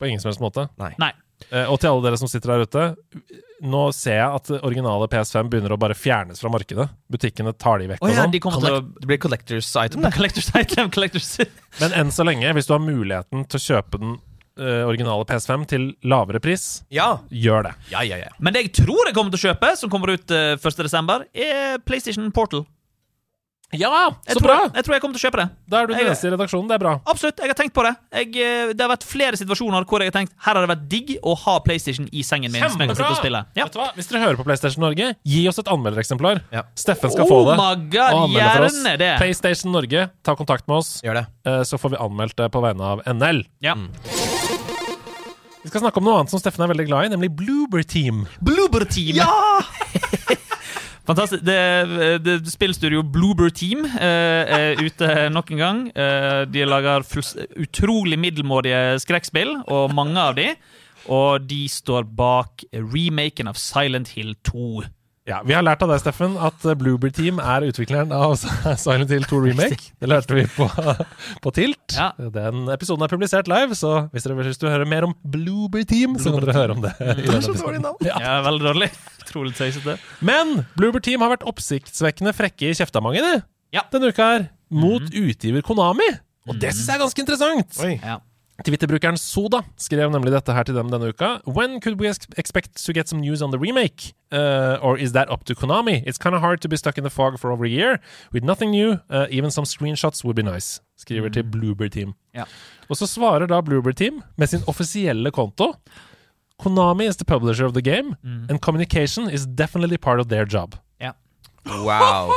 På ingen som helst måte. Nei. Eh, Og til alle dere som sitter der ute, nå ser jeg at det originale PS5 begynner å bare fjernes fra markedet. Butikkene tar de vekk. Å og ja, sånn. de kommer til å Collect, det blir collectors item, det. Collectors item, collectors Men enn så lenge, hvis du har muligheten til å kjøpe den eh, originale PS5 til lavere pris, Ja. gjør det. Ja, ja, ja. Men det jeg tror jeg kommer til å kjøpe, som kommer ut eh, 1. desember er PlayStation Portal. Ja, Jeg, så tror, bra! Jeg, jeg tror jeg kommer til å kjøpe det. Da er du den Jeg- eneste i redaksjonen. Det er bra. Absolutt, jeg har tenkt på det. Jeg, eh, det har vært flere situasjoner hvor jeg har tenkt her har det vært digg å ha PlayStation i sengen min. Som jeg kan sitte og spille ja. Vet du hva? Hvis dere hører på PlayStation Norge, gi oss et anmeldereksemplar. Ja. Steffen skal få Oh det. my god, og anmelde for oss. gjerne det. PlayStation Norge, ta kontakt med oss, Gjør det. eh, så får vi anmeldt det på vegne av NL. Ja. Vi skal snakke om noe annet som Steffen er veldig glad i, nemlig Bloober Team. Bloober Team! Fantastisk. Det, det spillstudio Bloober Team eh, er ute nok en gang. Eh, de lager fulls- utrolig middelmådige skrekkspill, og mange av de. Og de står bak remaken av Silent Hill 2. Ja, Vi har lært av deg, Steffen, at eh, Bloober Team er utvikleren av Silent Hill 2 Remake. Det lærte vi på, på Tilt. Ja. Den episoden er publisert live, så hvis dere vil høre mer om Bloober Team, så kan dere høre om det. i denne episoden. Ja, veldig dårlig. Utrolig tøysete. Men Bloober Team har vært oppsiktsvekkende frekke i kjeftamangene Ja. denne uka her, mot utgiver Konami. Og det synes jeg er ganske interessant. Ja. Twitter-brukeren Soda skrev nemlig dette her til dem denne uka. When could we ex- expect to get some news on the remake? Uh, or is that up to Konami? It's kind of hard to be stuck in the fog for over a year with nothing new. Uh, even some screenshots would be nice. Skriver til Bloober Team. Ja. Og så svarer da Bloober Team med sin offisielle konto. Konami is the publisher of the game, and communication is definitely part of their job. Ja. Wow.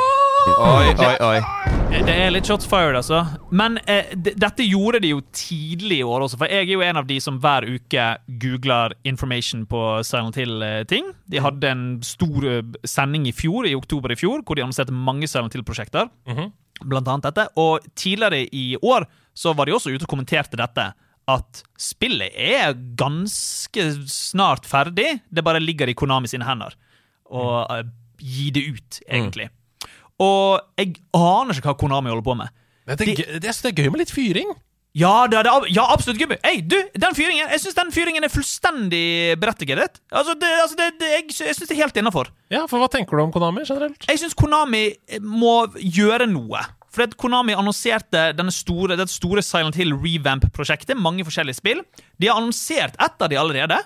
Oi, oi, oi. Det er litt shots fired, altså. Men eh, d- dette gjorde de jo tidlig i år også, for jeg er jo en av de som hver uke googler information på Silent Hill-ting. De hadde en stor eh, sending i fjor, i oktober i fjor, hvor de annonserte mange Silent Hill-prosjekter. Blant annet dette. Og tidligere i år så var de også ute og kommenterte dette. At spillet er ganske snart ferdig, det bare ligger i Konami sine hender. Og eh, gi det ut, egentlig. Og jeg aner ikke hva Konami holder på med. Men det, er gøy- det, jeg synes det er gøy med litt fyring. Ja, det, det, ja absolutt, Gubbe. Hey, du, den fyringen, jeg syns den fyringen er fullstendig berettiget. Altså, det, altså, det, det, jeg, jeg syns det er helt innafor. Ja, for hva tenker du om Konami generelt? Jeg syns Konami eh, må gjøre noe. Fordi at Konami annonserte denne store, det store Silent Hill revamp-prosjektet. Mange forskjellige spill. De har annonsert ett av de allerede,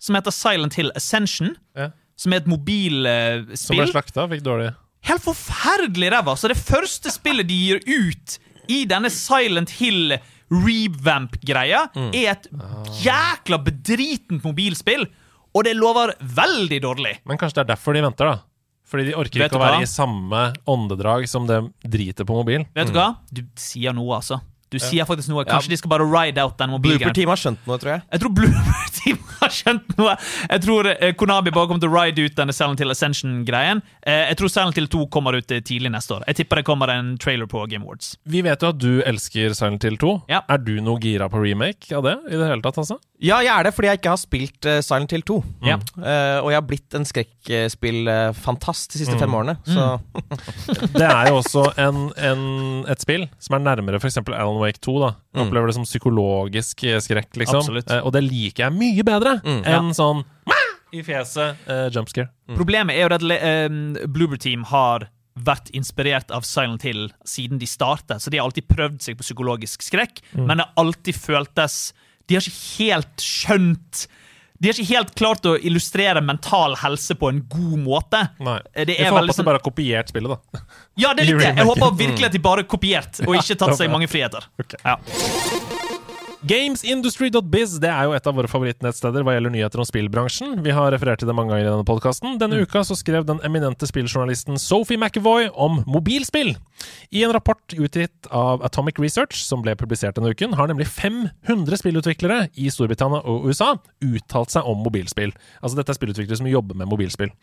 som heter Silent Hill Ascension. Ja. Som er et eh, Som ble mobilspill. slakta, fikk dårlig Helt forferdelig ræva! Så det første spillet de gir ut i denne Silent Hill revamp-greia, Mm. er et Ah. jækla bedritent mobilspill. Og det lover veldig dårlig. Men kanskje det er derfor de venter, da. Fordi de orker Vet ikke å du hva? være i samme åndedrag som det driter på mobilen. Mm. Vet du hva? Du sier noe, altså. Du sier faktisk noe. Kanskje de skal bare ride out den Blooper mobilen. Team har skjønt noe, tror jeg. Jeg tror Blooper Team har skjønt noe. Jeg tror eh, Konabi bare kommer til å ride ut denne Silent Hill Ascension-greien. Eh, Jeg tror Silent Hill 2 kommer ut eh, tidlig neste år. Jeg tipper det kommer en trailer på Game Awards. Vi vet jo at du elsker Silent Hill 2. Ja. Er du noe gira på remake av det i det hele tatt, altså? Ja, jeg er det fordi jeg ikke har spilt eh, Silent Hill 2. Ja. Eh, og jeg har blitt en skrekkspillfantast de siste fem årene. Så Det er jo også en, en, et spill som er nærmere f.eks. Alan Wake 2. da Jeg Opplever det som psykologisk eh, skrekk, liksom. Mm. Absolutt. Mm. Eh, og det liker jeg mye bedre enn sånn «Mæ!» i fjeset, eh, jumpscare. Problemet er jo at uh, Bloober Team har vært inspirert av Silent Hill siden de startet, så de har alltid prøvd seg på psykologisk skrekk, Mm. men det har alltid føltes De har ikke helt skjønt De har ikke helt klart å illustrere mental helse på en god måte. Nei. Eh, Det Vi er får håpe veldig at de sånn bare har kopiert spillet, da. Ja, det er i litt det! Jeg remaken. håper virkelig at de bare har kopiert, og ikke tatt det seg håper mange friheter. Ok. Ja. Gamesindustry.biz det er jo et av våre favorittnettsteder hva gjelder nyheter om spillbransjen. Vi har referert til det mange ganger i denne podkasten. Denne uka så skrev den eminente spilljournalisten Sophie McAvoy om mobilspill. I en rapport utgitt av Atomic Research, som ble publisert denne uken, har nemlig 500 spillutviklere i Storbritannia og USA uttalt seg om mobilspill. Altså dette er spillutviklere som jobber med mobilspill.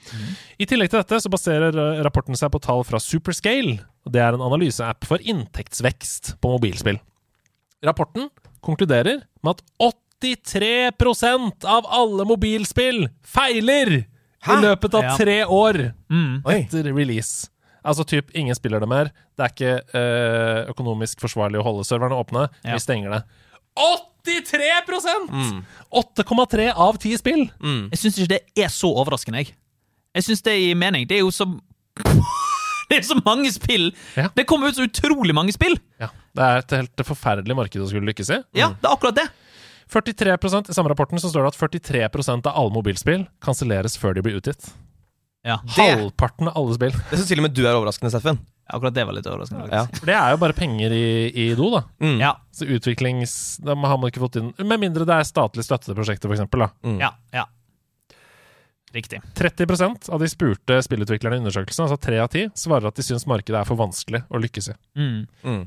I tillegg til dette så baserer eh, rapporten seg på tall fra Superscale. og Det er en analyseapp for inntektsvekst på mobilspill. Rapporten konkluderer med at 83 av alle mobilspill feiler i løpet av Ja. Mm. tre år Oi. etter release. Altså typ, ingen spiller det mer. Det er ikke eh, økonomisk forsvarlig å holde serverne åpne. Ja. Vi stenger det. 83 8,3 av 10 spill! Jeg syns ikke det er så overraskende, jeg. Jeg syns det gir mening. Det er jo så Det er så mange spill! Ja. Det kommer ut så utrolig mange spill! Ja, det er et helt forferdelig marked å skulle lykkes i. Mm. Ja, det er akkurat det. 43 I samme rapporten så står det at 43 av alle mobilspill kanselleres før de blir utgitt. Ja. Halvparten av alle spill. Det syns til og med du er overraskende, Steffen. Akkurat det var litt overraskende. Ja. faktisk. For det er jo bare penger i, i do, da. Ja. Så utviklings... Da har man ikke fått inn Med mindre det er statlig støttede prosjekter, for eksempel, da. Mm. ja, ja. Riktig. 30 av de spurte spillutviklerne i undersøkelsen, altså 3 av 10, svarer at de syns markedet er for vanskelig å lykkes i. Mm. Mm.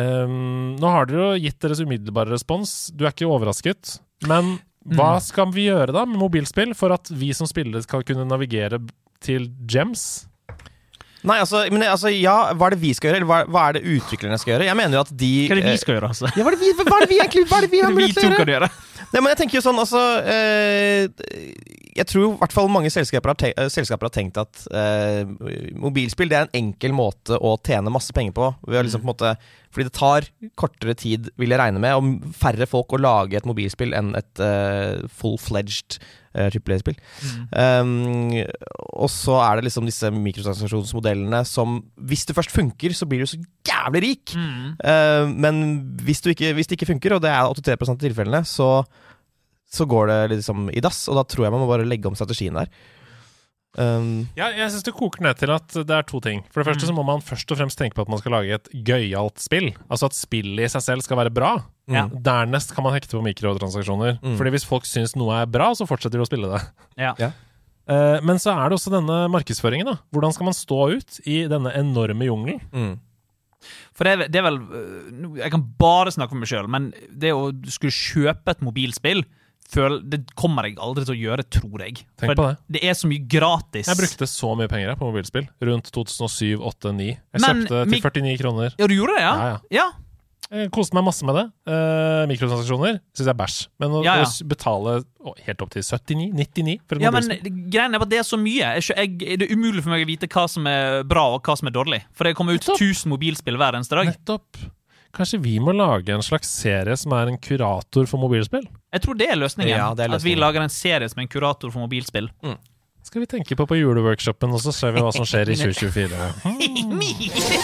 Ehm, nå har dere jo gitt deres umiddelbare respons. Du er ikke overrasket. Men hva skal vi gjøre da med mobilspill for at vi som spillere skal kunne navigere b- til gems? Nei, altså, men altså, ja, hva er det vi skal gjøre, eller hva, hva er det utviklerne skal gjøre? Jeg mener jo at de Hva er det eh, vi skal gjøre, altså? ja, hva er det vi, hva er det vi egentlig hva er det vi Hva har er det vi mulighet til å to gjøre? kan gjøre? Nei, men jeg tenker jo sånn, altså eh, Jeg tror jo i hvert fall mange selskaper har, te eh, selskaper har tenkt at eh, mobilspill det er en enkel måte å tjene masse penger på. Ved å liksom, på en måte, fordi det tar kortere tid, vil jeg regne med, og færre folk å lage et mobilspill enn et eh, full-fledged uh, trippel-spill. Um, og så er det liksom disse mikrotransaksjonsmodellene som Hvis det først funker, så blir du så jævlig rik! Uh, men hvis, du ikke, hvis det ikke funker, og det er 83 av tilfellene, så, så går det liksom i dass. Og da tror jeg man må bare legge om strategien der. Um, Ja, jeg syns det koker ned til at det er to ting. For det første så må man først og fremst tenke på at man skal lage et gøyalt spill. Altså at spillet i seg selv skal være bra. Ja. Dernest kan man hekte på mikrotransaksjoner. Fordi hvis folk syns noe er bra, så fortsetter de å spille det. Ja. Ja. Eh, men så er det også denne markedsføringen. da. Hvordan skal man stå ut i denne enorme jungelen? mm. For det, er- det er vel øh, nå- Jeg kan bare snakke for meg sjøl, men det å skulle kjøpe et mobilspill føl, Det kommer jeg aldri til å gjøre, tror jeg. Tenk for på det. det er så mye gratis. Jeg brukte så mye penger jeg, på mobilspill rundt 2007, 8, 9. Jeg Men kjøpte mik- til 49 kroner. Ja, du gjorde det, ja? Ja, ja. Jeg koste meg masse med det. Eh, mikrotransaksjoner syns jeg er bæsj. Men å, Ja, ja. å s- betale å, helt opp til 79, 99 for et Ja, men mobilspill greien er at det er så mye. Jeg, skjø- jeg, det er umulig for meg å vite hva som er bra, og hva som er dårlig. For det kommer ut 1000 mobilspill hver eneste dag. Nettopp. Kanskje vi må lage en slags serie som er en kurator for mobilspill? Jeg tror det er løsningen. Ja, det er At vi løsningen. lager en serie som er en kurator for mobilspill. Skal vi tenke på på juleworkshopen, og så ser vi hva som skjer i 2024. Mm.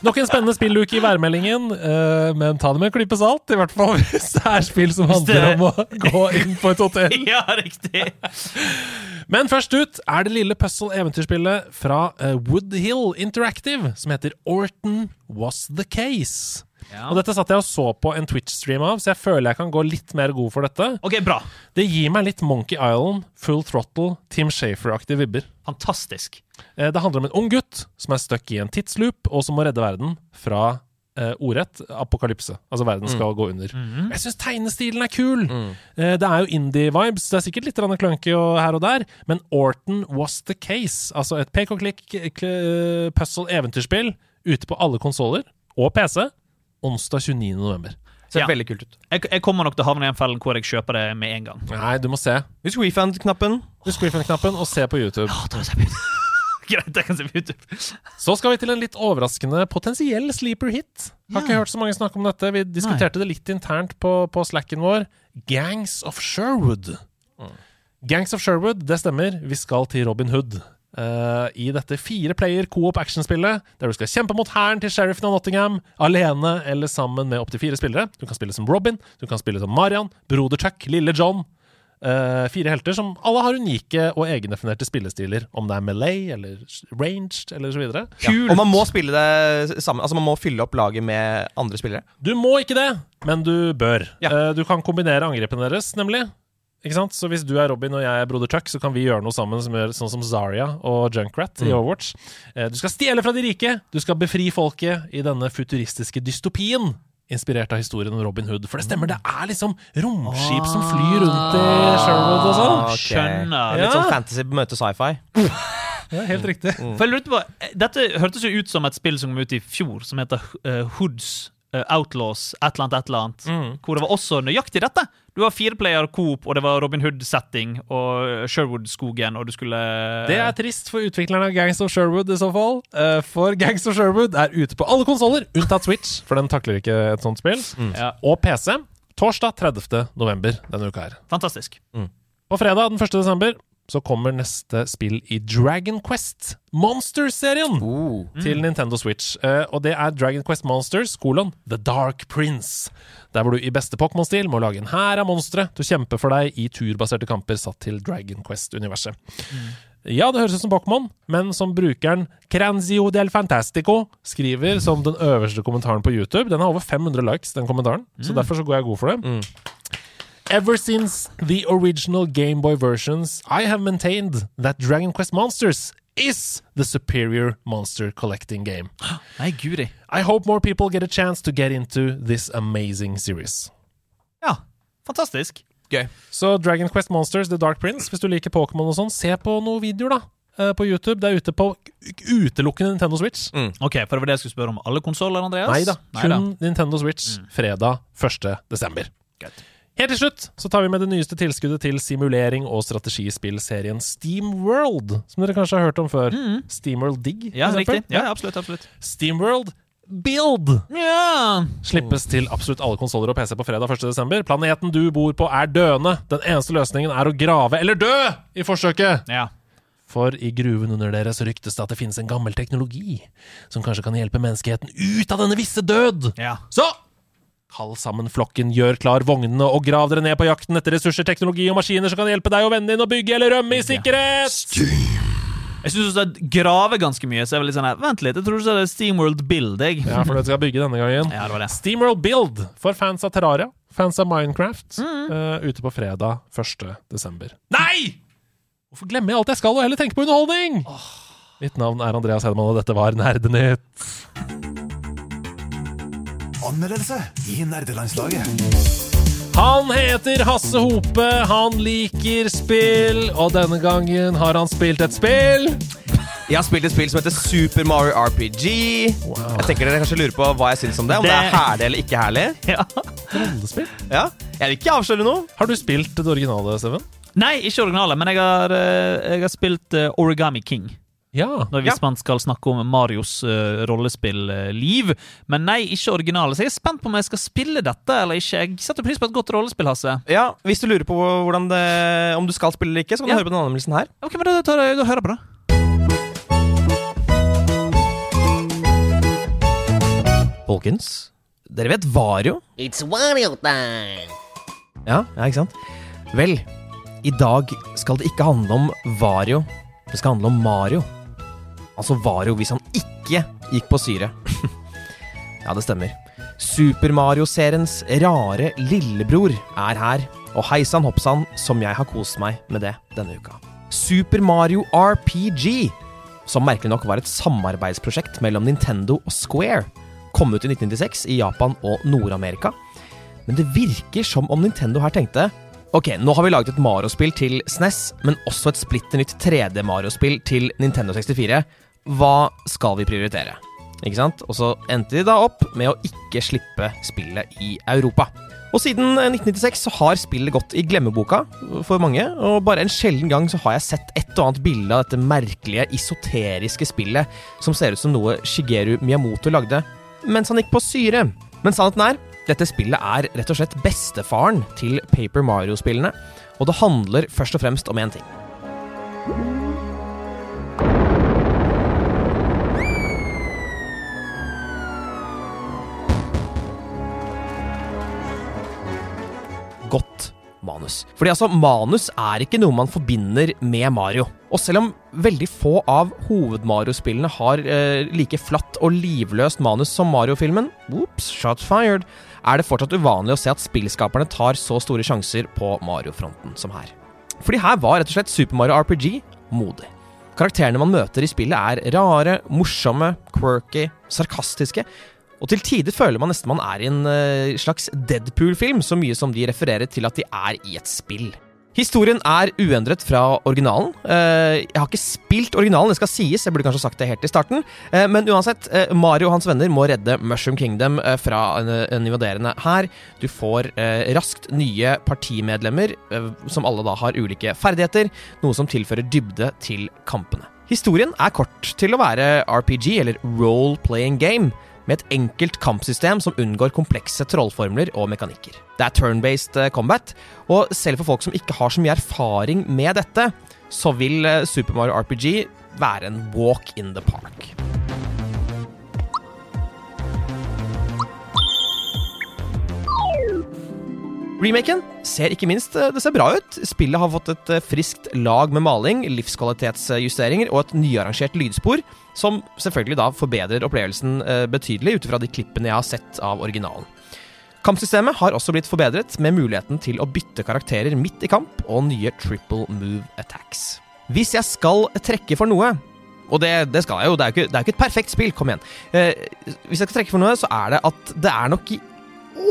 Nok en spennende spilluke i værmeldingen, eh, men ta det med en klype salt. I hvert fall hvis det er spill som handler om å gå inn på et hotell. ja, riktig. Men først ut er det lille puzzle-eventyrspillet fra eh, Woodhill Interactive som heter Orton Was The Case. Ja. Og Dette satt jeg og så på en Twitch-stream av, så jeg føler jeg kan gå litt mer god for dette. OK, bra. Det gir meg litt Monkey Island, Full Throttle, Tim Shafer-aktige vibber. Fantastisk. Eh, Det handler om en ung gutt som er stuck i en tidsloop, og som må redde verden fra eh, ordrett apokalypse. Altså verden skal gå under. Jeg syns tegnestilen er kul! Eh, det er jo indie-vibes. Det er sikkert litt grann clunky og her og der, men Orton was the case. Altså et pek og klikk kl- puzzle-eventyrspill ute på alle konsoller og PC onsdag 29.11. Ser Ja. veldig kult ut. Jeg, jeg kommer nok til å havne i en felle hvor jeg kjøper det med en gang. Nei, du må se. Husk refund-knappen. Husk refund-knappen, og se på YouTube. Ah, da er det på YouTube. Greit, jeg kan se på YouTube. Så skal vi til en litt overraskende potensiell sleeper hit. Har ikke Ja. hørt så mange snakke om dette. Vi diskuterte det litt internt på, på slacken vår. Gangs of Sherwood. Gangs of Sherwood, det stemmer. Vi skal til Robin Hood. Eh, I dette fire player co-op actionspillet, der du skal kjempe mot hæren til sheriffen av Nottingham alene eller sammen med opptil fire spillere. Du kan spille som Robin, du kan spille som Marian, Broder Chuck, Lille John. Eh, fire helter som alle har unike og egendefinerte spillestiler, om det er melee eller ranged eller så videre. Og man må spille det sammen. Altså, man må fylle opp laget med andre spillere. Du må ikke det, men du bør. Ja. Eh, Du kan kombinere angrepene deres, nemlig. Ikke sant? Så hvis du er Robin og jeg er broder Chuck, så kan vi gjøre noe sammen som gjør sånn som Zarya og Junkrat i Overwatch. Eh, Du skal stjele fra de rike, du skal befri folket i denne futuristiske dystopien. Inspirert av historien om Robin Hood. For det stemmer, det er liksom romskip som flyr rundt i Sherwood og sånn. Ah, Ok. Skjønner. Litt Ja. sånn fantasy møte sci-fi. Ja, helt riktig. For jeg lurte på, eh, Dette hørtes jo ut som et spill som kom ut i fjor, som heter eh, Hoods eh, Outlaws et eller annet, et eller annet. Mm. Hvor det var også nøyaktig dette. Du var fireplayer coop, og det var Robin Hood-setting og Sherwood-skogen, og du skulle Det er trist for utviklerne av Gangs of Sherwood i så fall. Eh, For Gangs of Sherwood er ute på alle konsoller, unntatt Switch, for den takler ikke et sånt spill. Ja. Og PC. Torsdag 30. november denne uka her. Fantastisk. På fredag den 1. desember så kommer neste spill i Dragon Quest Monsters-serien til Nintendo Switch. Eh, og det er Dragon Quest Monsters, kolon, The Dark Prince. Der hvor du i beste Pokémon-stil må lage en hær av monstre til å kjempe for deg i turbaserte kamper satt til Dragon Quest-universet. Ja, det høres ut som Pokémon, men som brukeren Cranzio del Fantastico skriver som den øverste kommentaren på YouTube Den har over 500 likes, den kommentaren, så derfor så går jeg god for det. Ever since the original Game Boy versions, I have maintained that Dragon Quest Monsters is the superior monster collecting game. Nei, guri. I hope more people get a chance to get into this amazing series. Ja, fantastisk. Så Dragon Quest Monsters The Dark Prince, hvis du liker Pokémon og sånn, se på noen videoer, da. eh, På YouTube. Det er ute på utelukkende Nintendo Switch. Ok, for det var det jeg skulle spørre om. Alle konsoller, Andreas? Nei da. Neida. Kun Nintendo Switch fredag 1. desember. Helt til slutt så tar vi med det nyeste tilskuddet til simulering og strategispill-serien SteamWorld, som dere kanskje har hørt om før. SteamWorld Dig, for Ja, eksempel. riktig. Ja, absolutt, absolutt. SteamWorld Build Ja. slippes til absolutt alle konsoller og PC på fredag 1. desember. Planeten du bor på er døende. Den eneste løsningen er å grave eller dø i forsøket. ja. For i gruven under deres ryktes det at det finnes en gammel teknologi som kanskje kan hjelpe menneskeheten ut av denne visse død. Ja. Så kall sammen flokken, gjør klar vognene og grav dere ned på jakten etter ressurser, teknologi og maskiner som kan hjelpe deg og vennene dine å bygge eller rømme i sikkerhet! Jeg syns du graver ganske mye, så jeg var litt sånn her Vent litt, jeg tror du sa det er Steamworld Build, jeg. Ja, for det skal jeg bygge denne gangen. Ja, det var det. Steamworld Build for fans av Terraria, fans av Minecraft, eh, ute på fredag 1. desember. Nei! Hvorfor glemmer jeg alt jeg skal og heller tenke på underholdning? Mitt navn er Andreas Hedman, og dette var Nerdenytt. Anmeldelse i nerdelandslaget. Han heter Hasse Hope, han liker spill, og denne gangen har han spilt et spill. Jeg har spilt et spill som heter Super Mario RPG. Jeg tenker Dere kanskje lurer på hva jeg syns om det. Om det, Det- er herlig eller ikke herlig. Ja. Rollespill? Ja. Jeg vil ikke avsløre noe. Har du spilt det originale, Steven? Nei, ikke originale, men jeg har, eh, jeg har spilt eh, Origami King. Ja. Når, hvis man skal snakke om Marios uh, rollespillliv. Men nei, ikke originale. Så jeg er spent på om jeg skal spille dette eller ikke. Jeg setter pris på et godt rollespill, Hasse. Ja, Hvis du lurer på hvordan det, om du skal spille eller ikke, så kan du Ja. høre på den anmeldelsen her. Ok, men da, tar jeg, da hører jeg på det. Folkens, dere vet Vario? It's Wario time! Ja, ja, ikke sant? Vel, i dag skal det ikke handle om Vario. Det skal handle om Mario. Altså Vario hvis han ikke gikk på syre. ja, det stemmer. Super Mario-seriens rare lillebror er her, og hei sann hopp sann som jeg har kost meg med det denne uka. Super Mario RPG, som merkelig nok var et samarbeidsprosjekt mellom Nintendo og Square, kom ut i 1996 i Japan og Nord-Amerika. Men det virker som om Nintendo her tenkte Ok, nå har vi laget et Mario-spill til SNES, men også et splitter nytt 3D-Mario-spill til Nintendo 64. Hva skal vi prioritere? Ikke sant? Og så endte de da opp med å ikke slippe spillet i Europa. Og siden eh, 1996 så har spillet gått i glemmeboka eh, for mange, og bare en sjelden gang så har jeg sett et og annet bilde av dette merkelige, isoteriske spillet som ser ut som noe Shigeru Miyamoto lagde mens han gikk på syre. Men sannheten er, dette spillet er rett og slett bestefaren til Paper Mario-spillene, og det handler først og fremst om én ting. godt manus. Fordi altså, manus er ikke noe man forbinder med Mario. Og selv om veldig få av hoved-Mario-spillene har eh, like flatt og livløst manus som Mario-filmen, whoops, shot fired, er det fortsatt uvanlig å se at spillskaperne tar så store sjanser på Mario-fronten som her. Fordi her var rett og slett Super Mario RPG modig. Karakterene man møter i spillet er rare, morsomme, quirky, sarkastiske, og til tider føler man nesten man er i en eh, slags Deadpool-film, så mye som de refererer til at de er i et spill. Historien er uendret fra originalen. Eh, jeg har ikke spilt originalen, det skal sies. Jeg burde kanskje sagt det helt i starten. Eh, men uansett, eh, Mario og hans venner må redde Mushroom Kingdom eh, fra en, en invaderende hær. Du får eh, raskt nye partimedlemmer, eh, som alle da har ulike ferdigheter, noe som tilfører dybde til kampene. Historien er kort til å være RPG, eller role-playing game med et enkelt kampsystem som unngår komplekse trollformler og mekanikker. Det er turn-based eh, combat, og selv for folk som ikke har så mye erfaring med dette, så vil eh, Super Mario RPG være en walk in the park. Remaken ser ikke minst eh, det ser bra ut. Spillet har fått et eh, friskt lag med maling, livskvalitetsjusteringer og et nyarrangert lydspor, som selvfølgelig da forbedrer opplevelsen eh, betydelig ut ifra de klippene jeg har sett av originalen. Kampsystemet har også blitt forbedret, med muligheten til å bytte karakterer midt i kamp og nye triple move attacks. Hvis jeg skal trekke for noe og det, det skal jeg jo, det er jo, ikke, det er jo ikke et perfekt spill, kom igjen. Eh, hvis jeg skal trekke for noe, så er det at det er nok i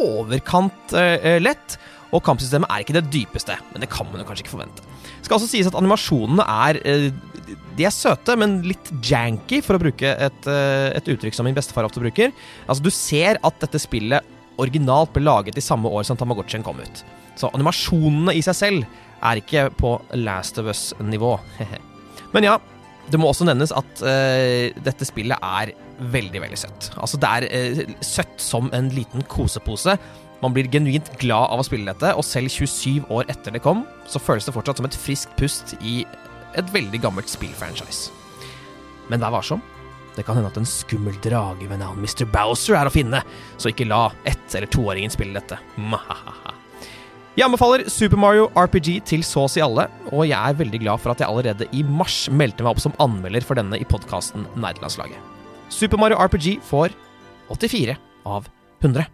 overkant eh, eh, lett, og kampsystemet er ikke det dypeste, men det kan man jo kanskje ikke forvente. Det skal også sies at animasjonene er eh, De er søte, men litt janky, for å bruke et, eh, et uttrykk som min bestefar ofte bruker. Altså, du ser at dette spillet originalt ble laget i samme år som Tamagotchien kom ut. Så animasjonene i seg selv er ikke på Last of Us-nivå. Men ja, det må også nevnes at eh, dette spillet er veldig, veldig søtt. Altså, det er eh, søtt som en liten kosepose. Man blir genuint glad av å spille dette, og selv 27 år etter det kom, så føles det fortsatt som et friskt pust i et veldig gammelt spillfranchise. Men vær varsom. Det kan hende at en skummel drage ved navn Mr. Bowser er å finne, så ikke la ett- eller toåringen spille dette. Mahahaha. Jeg anbefaler Super Mario RPG til så å si alle, og jeg er veldig glad for at jeg allerede i mars meldte meg opp som anmelder for denne i podkasten Nerdelandslaget. Super Mario RPG får 84 av 100.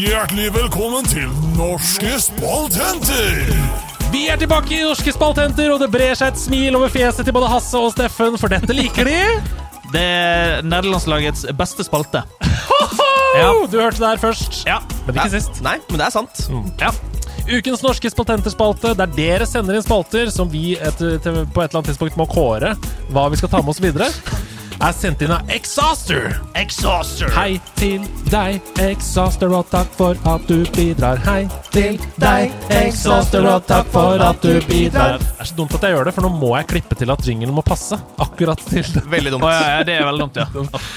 Hjertelig velkommen til Norske spaltenter! Vi er tilbake i norske spalthenter, og det brer seg et smil over fjeset til både Hasse og Steffen, for dette liker de. Det er nederlandslagets beste spalte. Ja. Oh, Du hørte det her først, Ja. men ikke sist. Nei, men det er sant. ja. Ukens norske spaltenterspalte, der dere sender inn spalter som vi etter, til, på et eller annet tidspunkt må kåre hva vi skal ta med oss videre, er sendt inn av Exhauster. Exhauster. Hei til deg, Exhauster, og takk for at du bidrar. Hei til deg, Exhauster, og takk for at du bidrar. Det er så dumt at jeg gjør det, for nå må jeg klippe til at jinglen må passe akkurat til det. Veldig dumt. Å, ja, ja, det er veldig dumt, ja.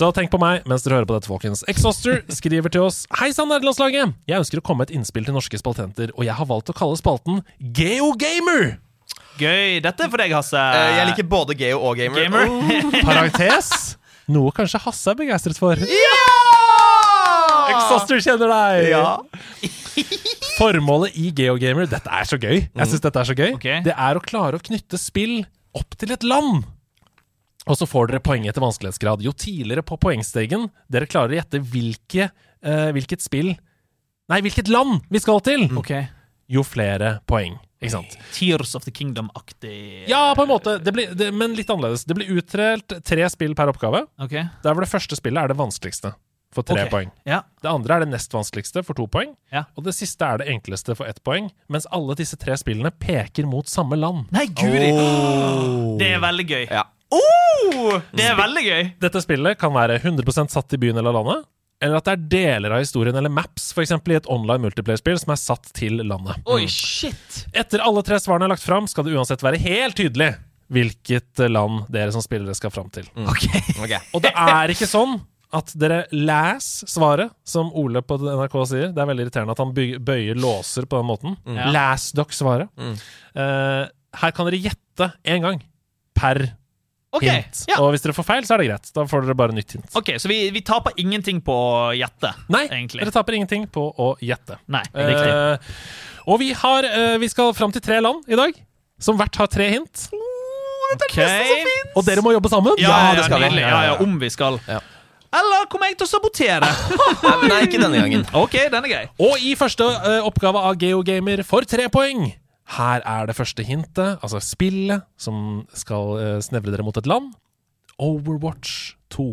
Så tenk på meg mens dere hører på dette, folkens. Exhauster skriver til oss Hei sann, nederlandslaget! Jeg ønsker å komme med et innspill til norske spaltenter, og jeg har valgt å kalle spalten Geogamer! Gøy. Dette er for deg, Hasse. Eh, Jeg liker både Geo og Gamer. Oh, gamer. Parentes. Noe kanskje Hasse er begeistret for. Ja! Exhauster kjenner deg! Ja. Formålet i Geogamer Dette er så gøy. Jeg synes dette er så gøy Ok. Det er å klare å knytte spill opp til et land. Og så får dere poeng etter vanskelighetsgrad. Jo tidligere på poengstegen dere klarer å gjette hvilke, eh, hvilket spill Nei, hvilket land vi skal til, Ok. jo flere poeng. Ikke sant? Tears of the Kingdom-aktig. Ja, på en måte, det blir, det, men litt annerledes. Det blir utdelt tre spill per oppgave. Ok. Der hvor det første spillet er det vanskeligste, for tre Ok. poeng. Ja. Det andre er det nest vanskeligste, for to poeng. Ja. Og det siste er det enkleste, for ett poeng. Mens alle disse tre spillene peker mot samme land. Nei, guri! Det er veldig gøy. Ja. Oh, det er veldig gøy. Dette spillet kan være 100 satt i byen eller landet, eller at det er deler av historien eller maps, f.eks. i et online multiplayer-spill, som er satt til landet. Oi, shit. Etter alle tre svarene er lagt fram, skal det uansett være helt tydelig hvilket land dere som spillere skal fram til. Ok. Ok. Og det er ikke sånn at dere leser svaret, som Ole på NRK sier. Det er veldig irriterende at han by- bøyer låser på den måten. Ja. Les dere svaret. Eh, her kan dere gjette én gang per Ok, hint. ja. Og hvis dere får feil, så er det greit. Da får dere bare nytt hint. Ok, Så vi, vi taper ingenting på å gjette? Nei, egentlig. dere taper ingenting på å gjette. Nei, riktig. Eh, og vi, har, eh, vi skal fram til tre land i dag, som hvert har tre hint. Ok. Og dere må jobbe sammen. Ja, ja, det skal vi. nydelig. Ja, ja, om vi skal. Eller kommer jeg til å sabotere? Nei, ikke denne gangen. ok, den er grei. Og i første eh, oppgave av Geogamer for tre poeng. Her er det første hintet, altså spillet som skal eh, snevre dere mot et land. Overwatch 2.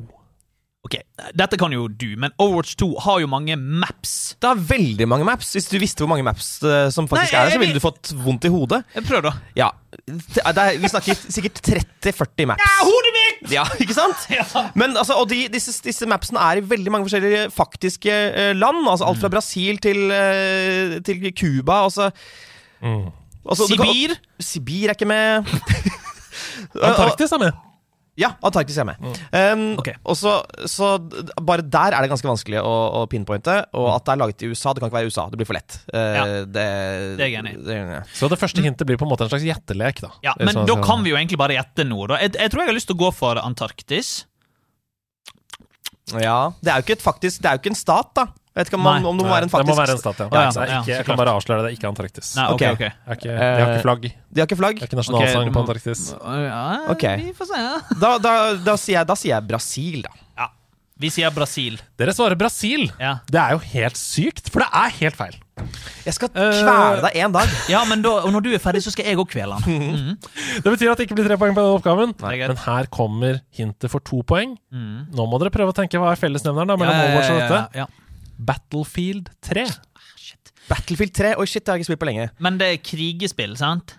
Ok, Dette kan jo du, men Overwatch 2 har jo mange maps. Det er veldig mange maps. Hvis du visste hvor mange maps eh, som faktisk Nei, er der, så jeg- ville du fått vondt i hodet. Prøv, da. Ja, det er, Vi snakker sikkert 30-40 maps. hodet mitt! shit! Ja, ikke sant? Men altså, Og de, disse, disse mapsene er i veldig mange forskjellige faktiske eh, land. Altså Alt fra Brasil til, eh, til Cuba. Altså, altså, du kan- Sibir? Sibir er ikke med. Antarktis er med. Ja, Antarktis er med. Um, Mm. Ok. Og så, så d- bare der er det ganske vanskelig å, å pinpointe. Og at det er laget i USA, det kan ikke være USA. Det blir for lett. Eh, Ja, det, det er jeg enig i. det er jeg enig i. Så det første hintet blir på en måte en slags gjettelek, da. Eh, Ja, men sånn da kan vi jo egentlig bare gjette nå. Da. Jeg, jeg tror jeg har lyst til å gå for Antarktis. Ja, det er jo ikke et faktisk Det er jo ikke en stat, da. Jeg vet ikke om, man, Nei. om det må være en Det faktisk må være en stat, ja. Ja, ja, Så det er ja, ikke, så jeg kan klart. bare avsløre det. Det er ikke Antarktis. Nei, ok, ok. Ok. Det er ikke, de har Eh, ikke flagg. Det De har ikke flagg? er ikke nasjonalsang ok, mm. du på må- Antarktis. Ja, Ok. Vi får se. ja. Da, da, da, sier jeg, da sier jeg Brasil, da. Ja. Vi sier Brasil. Dere svarer Brasil! Ja. Det er jo helt sykt, for det er helt feil. Jeg skal Eh. kvele deg en dag. Ja, men da, og når du er ferdig, så skal jeg òg kvele han. Det betyr at det ikke blir tre poeng på den oppgaven. Det er greit. Mm. Men her kommer hintet for to poeng. Nå må dere prøve å tenke hva er fellesnevneren da, Ja, mellom ja, Overwatch og ja, dette. ja, ja. Battlefield 3. Shit. Battlefield 3. Oi, shit, det har jeg ikke spilt på lenge. Men det er krigespill, sant?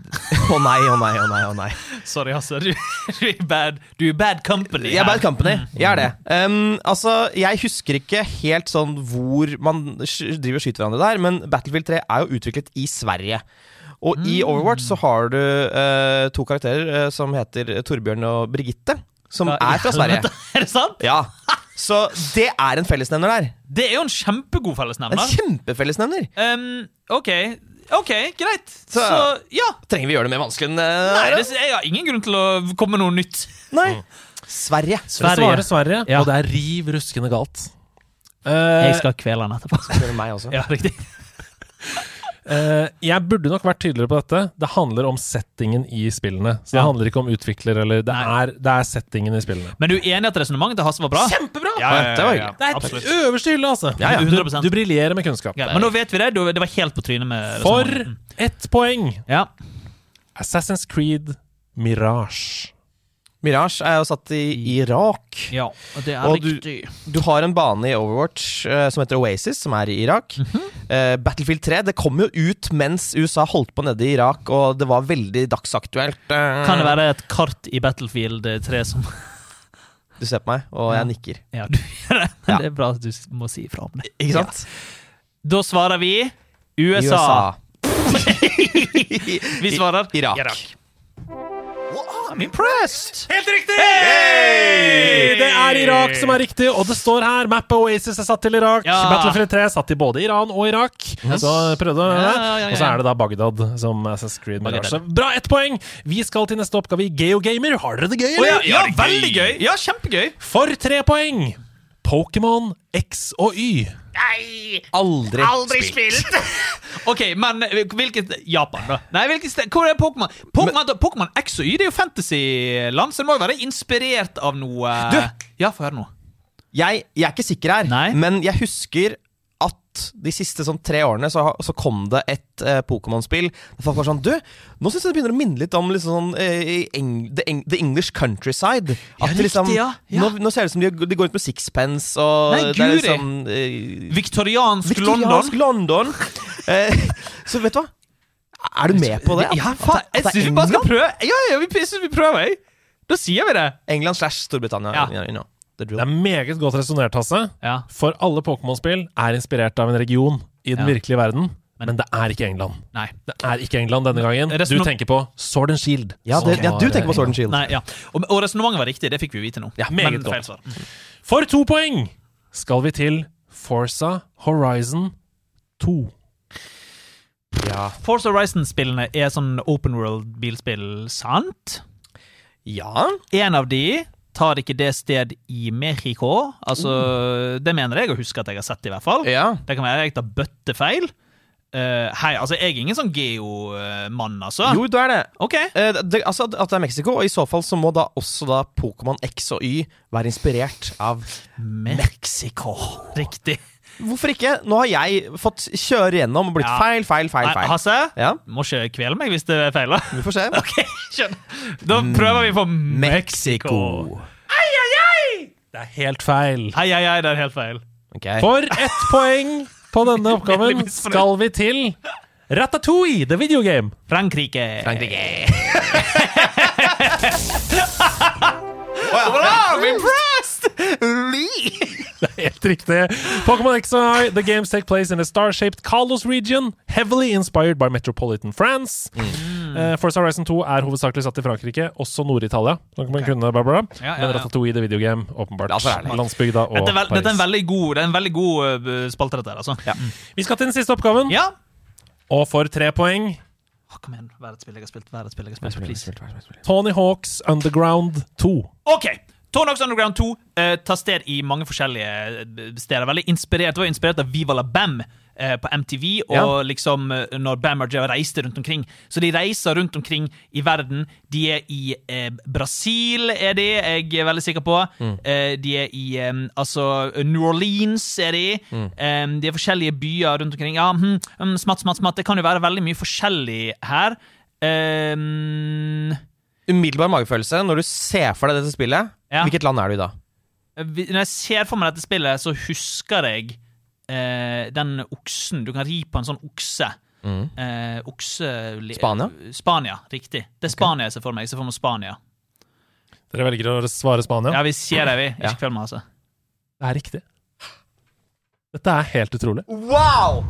Å nei, å nei, å nei. å nei Sorry, altså. Du, du, er, bad, du er bad company. Jeg er her. Bad Company. Jeg er det. Um, altså, jeg husker ikke helt sånn hvor man sk- driver og skyter hverandre der, men Battlefield 3 er jo utviklet i Sverige. Og i Overwatch så har du eh, to karakterer eh, som heter Torbjørn og Brigitte, som Ja, er fra Sverige. Er det sant? Ja. Så det er en fellesnevner der. Det er jo en kjempegod En fellesnevner. kjempefellesnevner. Um, OK, ok, greit. Så, Så- ja. Trenger vi gjøre det mer vanskelig enn Nei, eh, det, jeg har ingen grunn til å komme med noe nytt. Nei. Sverige. Dere svarer Sverige, Ja. og det er riv ruskende galt. Eh, skal kvele han etterpå. Spør meg også. Ja, riktig. eh, jeg burde nok vært tydeligere på dette. Det handler om settingen i spillene. Så det Ja. handler ikke om utvikler, eller Det, Nei. er, det er settingen i spillene. Men du er enig i at resonnementet til Hasse var bra? Kjempebra! Ja, ja, ja, Det var ja. hyggelig. Det er Absolutt. øverste hylle, altså! Ja, ja, Du, 100%. du briljerer med kunnskap. Greit, men nå vet vi det. Du, det var helt på trynet med For resonnementet. ett poeng! Ja. Assassin's Creed Mirage. Mirage er jo satt i Irak. ja, og det er Og du- riktig. Du har en bane i Overwatch eh, som heter Oasis, som er i Irak. Mhm. Eh, Battlefield 3 det kom jo ut mens USA holdt på nede i Irak, og det var veldig dagsaktuelt. Eh, Kan det være et kart i Battlefield 3 som Du ser på meg, og jeg nikker. Ja, du gjør det. Men det er bra at du må si ifra om det. Ikke sant? Da svarer vi USA. Vi svarer I- Irak. I'm impressed! Helt riktig! Det er Irak som er riktig, og det står her Map og Oasis er satt til Irak. Ja. Battlefield 3 er satt til både Iran og Irak. Så prøvde jeg Ja, det. ja, ja, Og så ja. er det da Bagdad som Assassin's Creed med Bagdad. Lars. Bra, ett poeng! Vi skal til neste oppgave i Geogamer. Har dere det gøy, Å ja, eller? ja, veldig gøy! Ja, kjempegøy! For tre poeng! Pokémon X og Y. Aldri, Aldri spilt! Ok, men eh, hvilket Japan, da? Nei, hvilket sted? Hvor er Pokémon? Pokémon Pokémon X og Y det er jo fantasyland, så det må jo være inspirert av noe eh, Du! Ja, få høre nå. Jeg, jeg er ikke sikker her, Nei. men jeg husker at de siste sånn, tre årene så, ha- så kom det et eh, Pokémon-spill. der Folk var sånn Du, nå syns jeg det begynner å minne litt om liksom, sånn, eh, Eng the, Eng the English countryside. At det liksom, riktig, ja, ja. Nå, nå ser det ut som de, de går ut med sixpence og Nei, det er guri. liksom eh, Viktoriansk, Viktoriansk London. London. Eh, så vet du hva? Er du med på det? At- Ja, at- faen, at jeg det er syns vi bare skal England? prøve. Ja, ja, vi- jeg synes vi prøver, jeg. Da sier vi det. England slash Storbritannia. Ja. you know, the drill. Det er meget godt resonnert, Hasse. Ja. For alle Pokémon-spill er inspirert av en region i den Ja. virkelige verden. Men det er ikke England. Nei. Det er ikke England denne gangen. Er det Du sånn- tenker på Sword and Shield. Ja, det, som ja, du var, tenker på eh, Sword and Shield. Nei, ja. Og, og resonnementet var riktig, det fikk vi vite nå. Ja, Men meget godt. feil svar. For to poeng skal vi til Forza Horizon 2. Force Horizon-spillene er sånn open world-bilspill, sant? Ja. En av de tar ikke det sted i Mexico. Altså, det mener jeg å huske at jeg har sett, i hvert fall. ja. Det kan være jeg tar bøttefeil. Eh, hei, altså, jeg er ingen sånn geomann, altså. Jo, du er det. OK. Eh, det, altså at- At det er Mexico, og i så fall så må da også da Pokémon X og Y være inspirert av Mexico. Riktig. Hvorfor ikke? Nå har jeg fått kjøre gjennom og blitt Ja. feil, feil, feil. Nei, feil Eh, Hasse, Ja, du må ikke kvele meg hvis det er feil. da. Vi får se. OK, skjønner. Da prøver vi for Mexico. Mm. Mexico. Det er helt feil. Hei, hei, hei, det er helt feil. Ok. For ett poeng på denne oppgaven Veldig misfornøyd. skal vi til Ratatouille, the video game. Frankrike. Frankrike. Å ja. Helt riktig. Pokémon X and I, the games take place in a star-shaped Kalos region, heavily inspired by metropolitan France. Mm. Eh, Forza Horizon 2 er hovedsakelig satt i Frankrike, også Nord-Italia. Da kan man kunne, Barbara. Ja, ja, Men ja. Ratatouille the video game, åpenbart. La oss være ærlig. Landsbygda og Dette er, vel, dette er en Paris. veldig god, det er en veldig god eh, spalte, dette her, altså. Mm. Vi skal til den siste oppgaven, ja. og for tre poeng Å, Ah, kom igjen. Vær et spill jeg har spilt. Vær et spill jeg har spilt. Please. Tony Hawks Underground 2. OK. Tonox Underground 2 eh, tar sted i mange forskjellige eh, steder. Veldig inspirert. Det var inspirert av Viva la Bam. eh, På MTV, og Ja. liksom eh, når Bam Margera reiste rundt omkring. Så de reiser rundt omkring i verden. De er i eh, Brasil, er de, jeg er veldig sikker på. Eh, de er i eh, altså New Orleans, er de. Eh, de er forskjellige byer rundt omkring. Ja, hm, hm, smatt, smatt, smatt. Det kan jo være veldig mye forskjellig her. Eh, Umiddelbar magefølelse når du ser for deg dette spillet. Ja. Hvilket land er du i da? Vi- Når jeg ser for meg dette spillet, så husker jeg eh, den oksen. Du kan ri på en sånn okse. Mm. Eh, okse Spania? Spania, Riktig. Det er Spania jeg ser for meg. Jeg ser for meg Spania. Dere velger å svare Spania? Ja, vi ser det, vi. Ja. Ikke kveld meg, altså. Det er riktig. Dette er helt utrolig. Wow!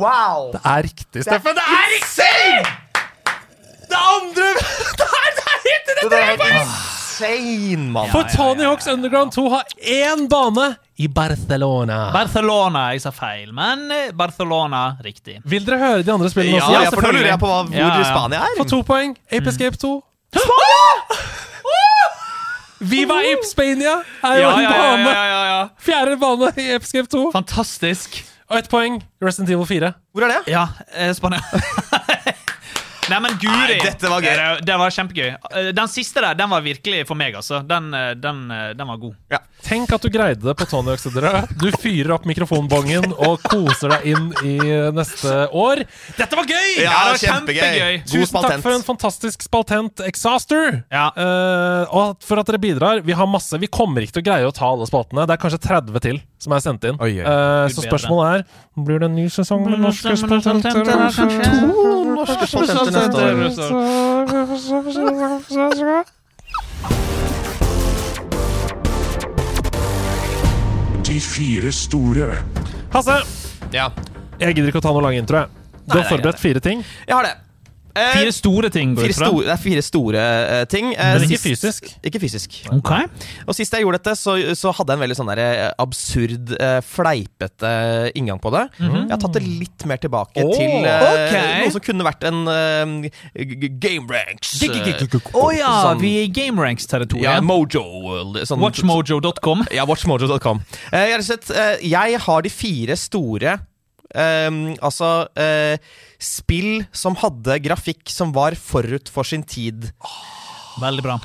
Wow! Det er riktig, Steffen! Det er riktig! Det andre Det er, det er helt det er helt insane, mann! For Tony Hawks Underground 2 har én bane i Barcelona. Barcelona, jeg sa feil, men eh, Barcelona riktig. Vil dere høre de andre spillene Ja, også? ja, for nå lurer jeg på hva, hvor Ja, ja. Spania er. For to poeng. Ape Escape 2. Viva Ape Spania er jo en bane! Fjerde bane i Ape Escape 2. Fantastisk. Og ett poeng. Resident Evil 4. Hvor er det? Ja, eh, Spania. Nei, men guri! Nei, dette var gøy. Det, det var kjempegøy. Eh, Den siste der, den var virkelig for meg, altså. Den, eh, den, eh, den var god. Tenk at du greide det på Tony Hawks Underground. Du fyrer opp mikrofonbongen og koser deg inn i neste år. Dette var gøy! Ja, det var kjempegøy. God Tusen takk spaltent. for en fantastisk spaltent Exhauster. Ja. Eh, og for at dere bidrar. Vi har masse Vi kommer ikke til å greie å ta alle spaltene. Det er kanskje 30 til som er sendt inn. Oi, oi. Eh, så Gud bedre. spørsmålet er Blir det en ny sesong med norske spaltenter? Norske spaltenter neste år. De fire store. Hasse, Ja, jeg gidder ikke å ta noe lang intro. jeg. Du har nei, forberedt fire ting. jeg har det. Eh, Fire store ting går fire ut fra. store, det er fire store eh, ting. Eh, Men ikke sist- fysisk. Ikke fysisk. Ok. Og sist jeg gjorde dette, så, så hadde jeg en veldig sånn der, eh, absurd, eh, fleipete eh, inngang på det. Jeg har tatt det litt mer tilbake Åh, til eh, ok. noe som kunne vært en eh, g- g- game ranks. eh, Å ja, Sånn- vi er i GameRanks-territoriet. ja, Mojo. eh, Sånn, Watchmojo.com. Ja, watchmojo.com. Eh, jeg, har sett, eh, jeg har de fire store eh, Altså eh, spill som hadde grafikk som var forut for sin tid-opplevelser. Veldig bra.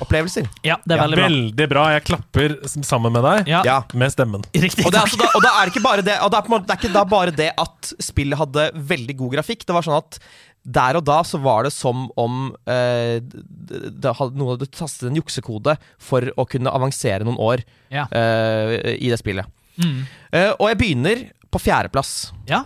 Ja, det er veldig bra. Veldig bra. Jeg klapper s- sammen med deg. Ja, Ja. Med stemmen. riktig. Og det, er altså da, og da er det ikke bare det Og det er, på en måte, det er ikke da bare det at spillet hadde veldig god grafikk. Det var sånn at der og da så var det som om eh, d- det hadde, noen hadde tastet en juksekode for å kunne avansere noen år Ja. eh, i det spillet. Mm. Eh, og jeg begynner på fjerdeplass. ja.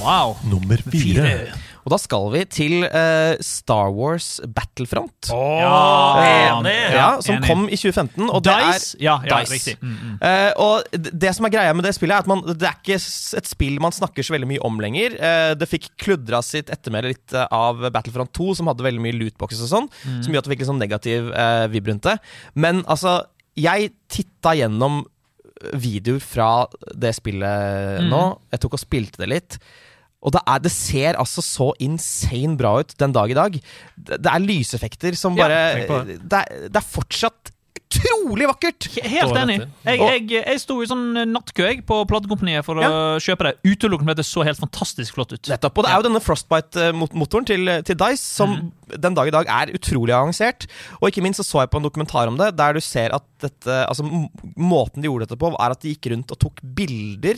Wow. Nummer fire. Og da skal vi til eh, Star Wars Battlefront. Eh, Ja, enig. ja, som kom i 2015. Og det er Dice? Ja, ja, Dice. riktig. Mm, mm. Eh, og d- det som er greia med det spillet, er at man, det er ikke s- et spill man snakker så veldig mye om lenger. Eh, det fikk kludra sitt ettermæle litt eh, av Battlefront 2, som hadde veldig mye lootboxes og sånn, Mm. som gjorde at det fikk litt sånn negativ eh, vib rundt det. Men altså, jeg titta gjennom videoer fra det spillet Mm. nå. Jeg tok og spilte det litt. Og det, er, det ser altså så insane bra ut den dag i dag. Det, det er lyseffekter som Ja, bare tenk på det. det, er, det er fortsatt utrolig vakkert! He- Helt Står enig. etter. Jeg, Og- jeg, jeg sto i sånn nattkø jeg, på platekompaniet for å kjøpe det. Utelukkende fordi det så helt fantastisk flott ut. Nettopp. Og det er jo denne Frostbite-motoren til, til Dice som den dag i dag er utrolig avansert. Og ikke minst så så jeg på en dokumentar om det, der du ser at dette, altså, m- måten de gjorde dette på, er at de gikk rundt og tok bilder.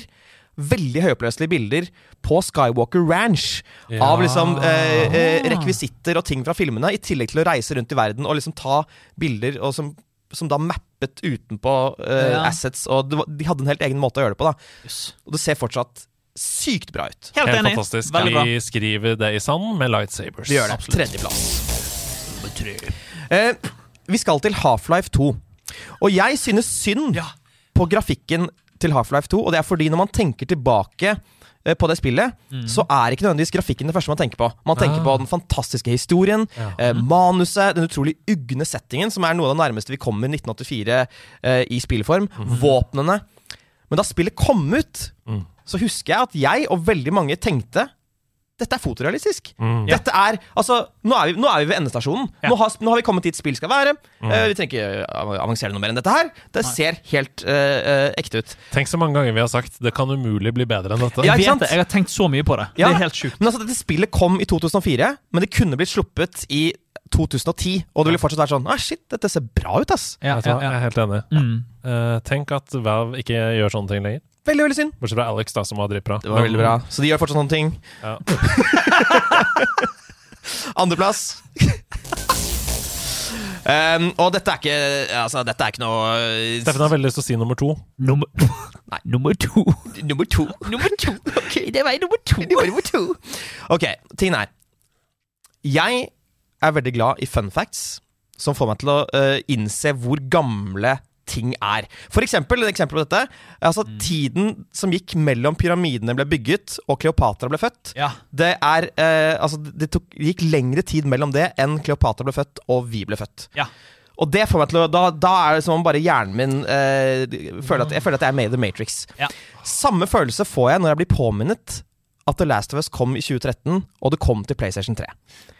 Veldig høyoppløselige bilder på Skywalker Ranch av liksom eh, eh, rekvisitter og ting fra filmene, i tillegg til å reise rundt i verden og liksom ta bilder og som, som da mappet utenpå eh, Ja. assets. Og det var, de hadde en helt egen måte å gjøre det på, da. Yes. Og det ser fortsatt sykt bra ut. Helt Helt enig. fantastisk. Veldig bra. Vi skriver det i sand med lightsabers. Vi gjør det. Tredjeplass. Eh, vi skal til Half-Life 2. Og jeg synes synd på grafikken til Half-Life 2, og det er fordi når man tenker tilbake eh, på det spillet, så er ikke nødvendigvis grafikken det første man tenker på. Man tenker på den fantastiske historien, eh, manuset, den utrolig ugne settingen, som er noe av det nærmeste vi kommer 1984 eh, i spillform, våpnene. Men da spillet kom ut, så husker jeg at jeg og veldig mange tenkte dette er fotorealistisk. Mm. Dette er, altså, nå, er vi, nå er vi ved endestasjonen. Ja. Mm. Nå, har, nå har vi kommet dit spill skal være. Eh, vi trenger ikke eh, avansere noe mer enn dette her. Det ser helt eh, eh, ekte ut. Tenk så mange ganger vi har sagt 'det kan umulig bli bedre enn dette'. Ja, ikke Jeg vet sant? det, jeg har tenkt så mye på det. Ja. Det er helt sjukt. Men altså, Dette spillet kom i 2004, men det kunne blitt sluppet i 2010. Og det ville fortsatt vært sånn ah, Shit, dette ser bra ut, ass. Ja, Vet du hva, ja, Jeg ja. er helt enig. Mm. Eh, tenk at Valve ikke gjør sånne ting lenger. Veldig, veldig synd. Bortsett fra Alex, da, som var dritbra. Det var veldig Mm. bra. Så de gjør fortsatt sånne ting. Ja. Andreplass. um, og dette er ikke Altså, dette er ikke noe Steffen har veldig lyst til å si nummer to. Nummer, Nei. nummer to. Nummer to. nummer to. Det var nummer to. Det var nummer to. Ok, tingen er Jeg er veldig glad i fun facts som får meg til å eh, innse hvor gamle ting er. For eksempel, et eksempel på dette altså Tiden som gikk mellom pyramidene ble bygget og Kleopatra ble født, Ja. det er eh, Altså, det tok, det gikk lengre tid mellom det enn Kleopatra ble født og vi ble født. Ja. Og det får meg til å Da, da er det som om bare hjernen min eh, føler at, Jeg føler at jeg er med i The Matrix. Ja. Samme følelse får jeg når jeg blir påminnet at The Last of Us kom i 2013, og det kom til PlayStation 3.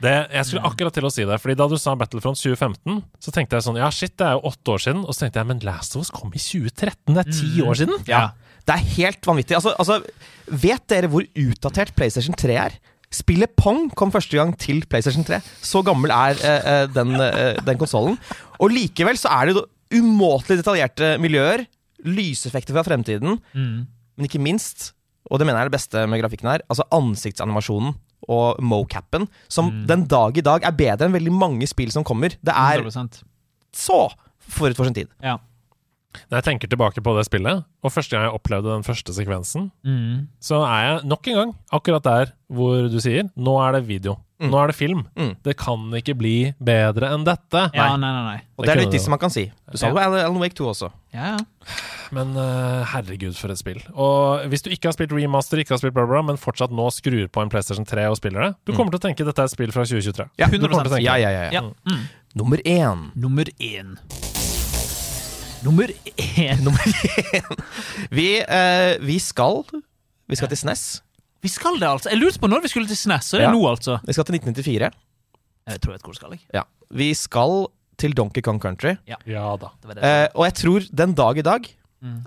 Det, jeg skulle Mm. akkurat til å si det, Fordi da du sa Battlefront 2015, så tenkte jeg sånn Ja, shit, det er jo åtte år siden. Og så tenkte jeg, men Last of Us kom i 2013. Det er ti år siden. Ja. Det er helt vanvittig. Altså, altså, vet dere hvor utdatert PlayStation 3 er? Spillet Pong kom første gang til PlayStation 3. Så gammel er eh, eh, den, eh, den konsollen. Og likevel så er det jo umåtelig detaljerte miljøer, lyseffekter fra fremtiden, men ikke minst, og det mener jeg er det beste med grafikken her, altså ansiktsanimasjonen og mocapen, som den dag i dag er bedre enn veldig mange spill som kommer. Det er 100%. så forut for sin tid. Ja. Når jeg tenker tilbake på det spillet, og første gang jeg opplevde den første sekvensen, Mm. så er jeg nok en gang akkurat der hvor du sier Nå er det video. Nå er det film. Mm. Det kan ikke bli bedre enn dette. ja. Nei, nei, nei. Og det er kunne det viktigste man kan si. Du sa det jo Alan Wake 2 også. Ja, ja. Men eh, herregud, for et spill. Og hvis du ikke har spilt remaster, ikke har spilt bla, bla, bla, men fortsatt nå skrur på en PlayStation 3 og spiller det, Mm. du kommer til å tenke dette er et spill fra 2023. Ja, Du kommer til å tenke Ja, det. ja, ja, ja. ja. Mm. Nummer én. Nummer én. Nummer én Vi, eh, vi skal Vi skal til E SNES. Vi skal det, altså. Jeg lurte på når vi skulle til SNES, så det er Ja. nå, altså. Vi skal til 1994. Jeg tror jeg vet hvor skal jeg. Ja. Vi skal til Donkey Kong Country. Ja da. Det var det. Eh, og jeg tror den dag i dag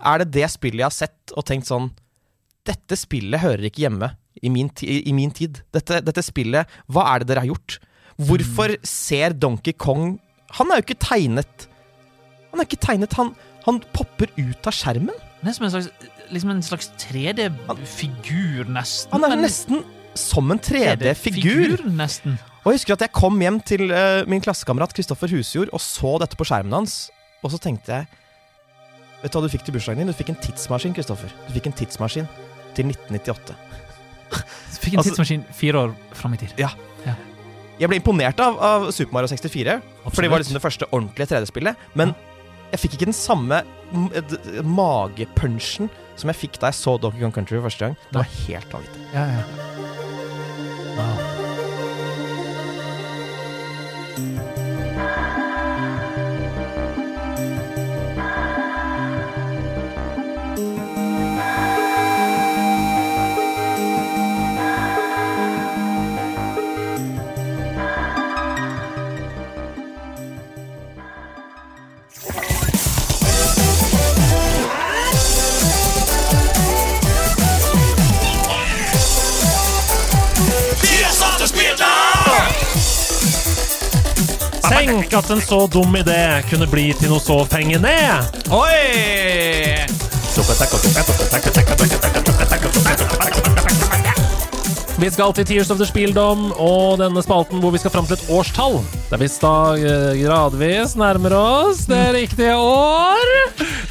er det det spillet jeg har sett og tenkt sånn Dette spillet hører ikke hjemme i min, ti i min tid. Dette, dette spillet Hva er det dere har gjort? Hvorfor ser Donkey Kong Han er jo ikke tegnet. Han er ikke tegnet. Han, han popper ut av skjermen. Det er som en slags, liksom en slags 3D-figur, nesten. Han er men- nesten som en 3D-figur. Nesten. Og jeg husker at jeg kom hjem til eh, min klassekamerat Kristoffer Husjord og så dette på skjermen hans. Og så tenkte jeg Vet du hva du fikk til bursdagen din? Du fikk en tidsmaskin, Kristoffer. Du fikk en tidsmaskin til 1998. Fikk en Altså- tidsmaskin fire år fram i tid. Jeg ble imponert av, av Super Mario 64, for det Absolutt. var liksom det første ordentlige 3D-spillet. Men jeg fikk ikke den samme m- d- magepunchen som jeg fikk da jeg så Donkey Kong Country for første gang. Det var helt vanvittig. Ja, ja. Ah. Wow. Tenk at en så dum idé kunne bli til noe så pengende! Oi! Vi skal til Tears of the Spieldom og denne spalten hvor vi skal fram til et årstall. Der vi sta- eh, gradvis nærmer oss det riktige år.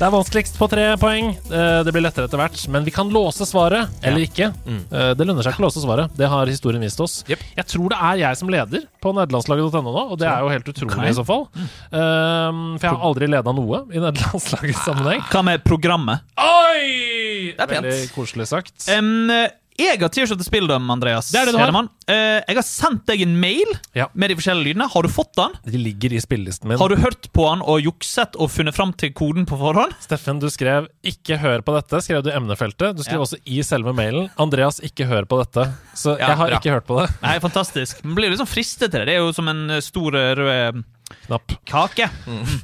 Det er vanskeligst på tre poeng. Eh, Det blir lettere etter hvert. Men vi kan låse svaret, eller ikke. Eh, Det lønner seg ikke å låse svaret. Det har historien vist oss. Jep. Jeg tror det er jeg som leder på nederlandslaget.no nå, og det er jo helt utrolig Ok. i så fall. Um, for jeg har aldri leda noe i nederlandslagets sammenheng. Hva med programmet? Oi! er pent. Veldig koselig sagt. Em, eh, jeg har Tears of the Spilldom, Andreas. Det er det du har. Hedemann. Eh, jeg har sendt deg en mail Ja. med de forskjellige lydene. Har du fått den? De ligger i spillelisten min. Har du hørt på den og jukset og funnet fram til koden på forhånd? Steffen, du skrev 'ikke hør på dette', skrev du i emnefeltet. Du Ja. skrev også i selve mailen 'Andreas, ikke hør på dette'. Så Ja, jeg har bra. ikke hørt på det. Nei, fantastisk. Man blir liksom fristet til det. Det er jo som en eh, stor eh, rød Knapp. kake. Mm.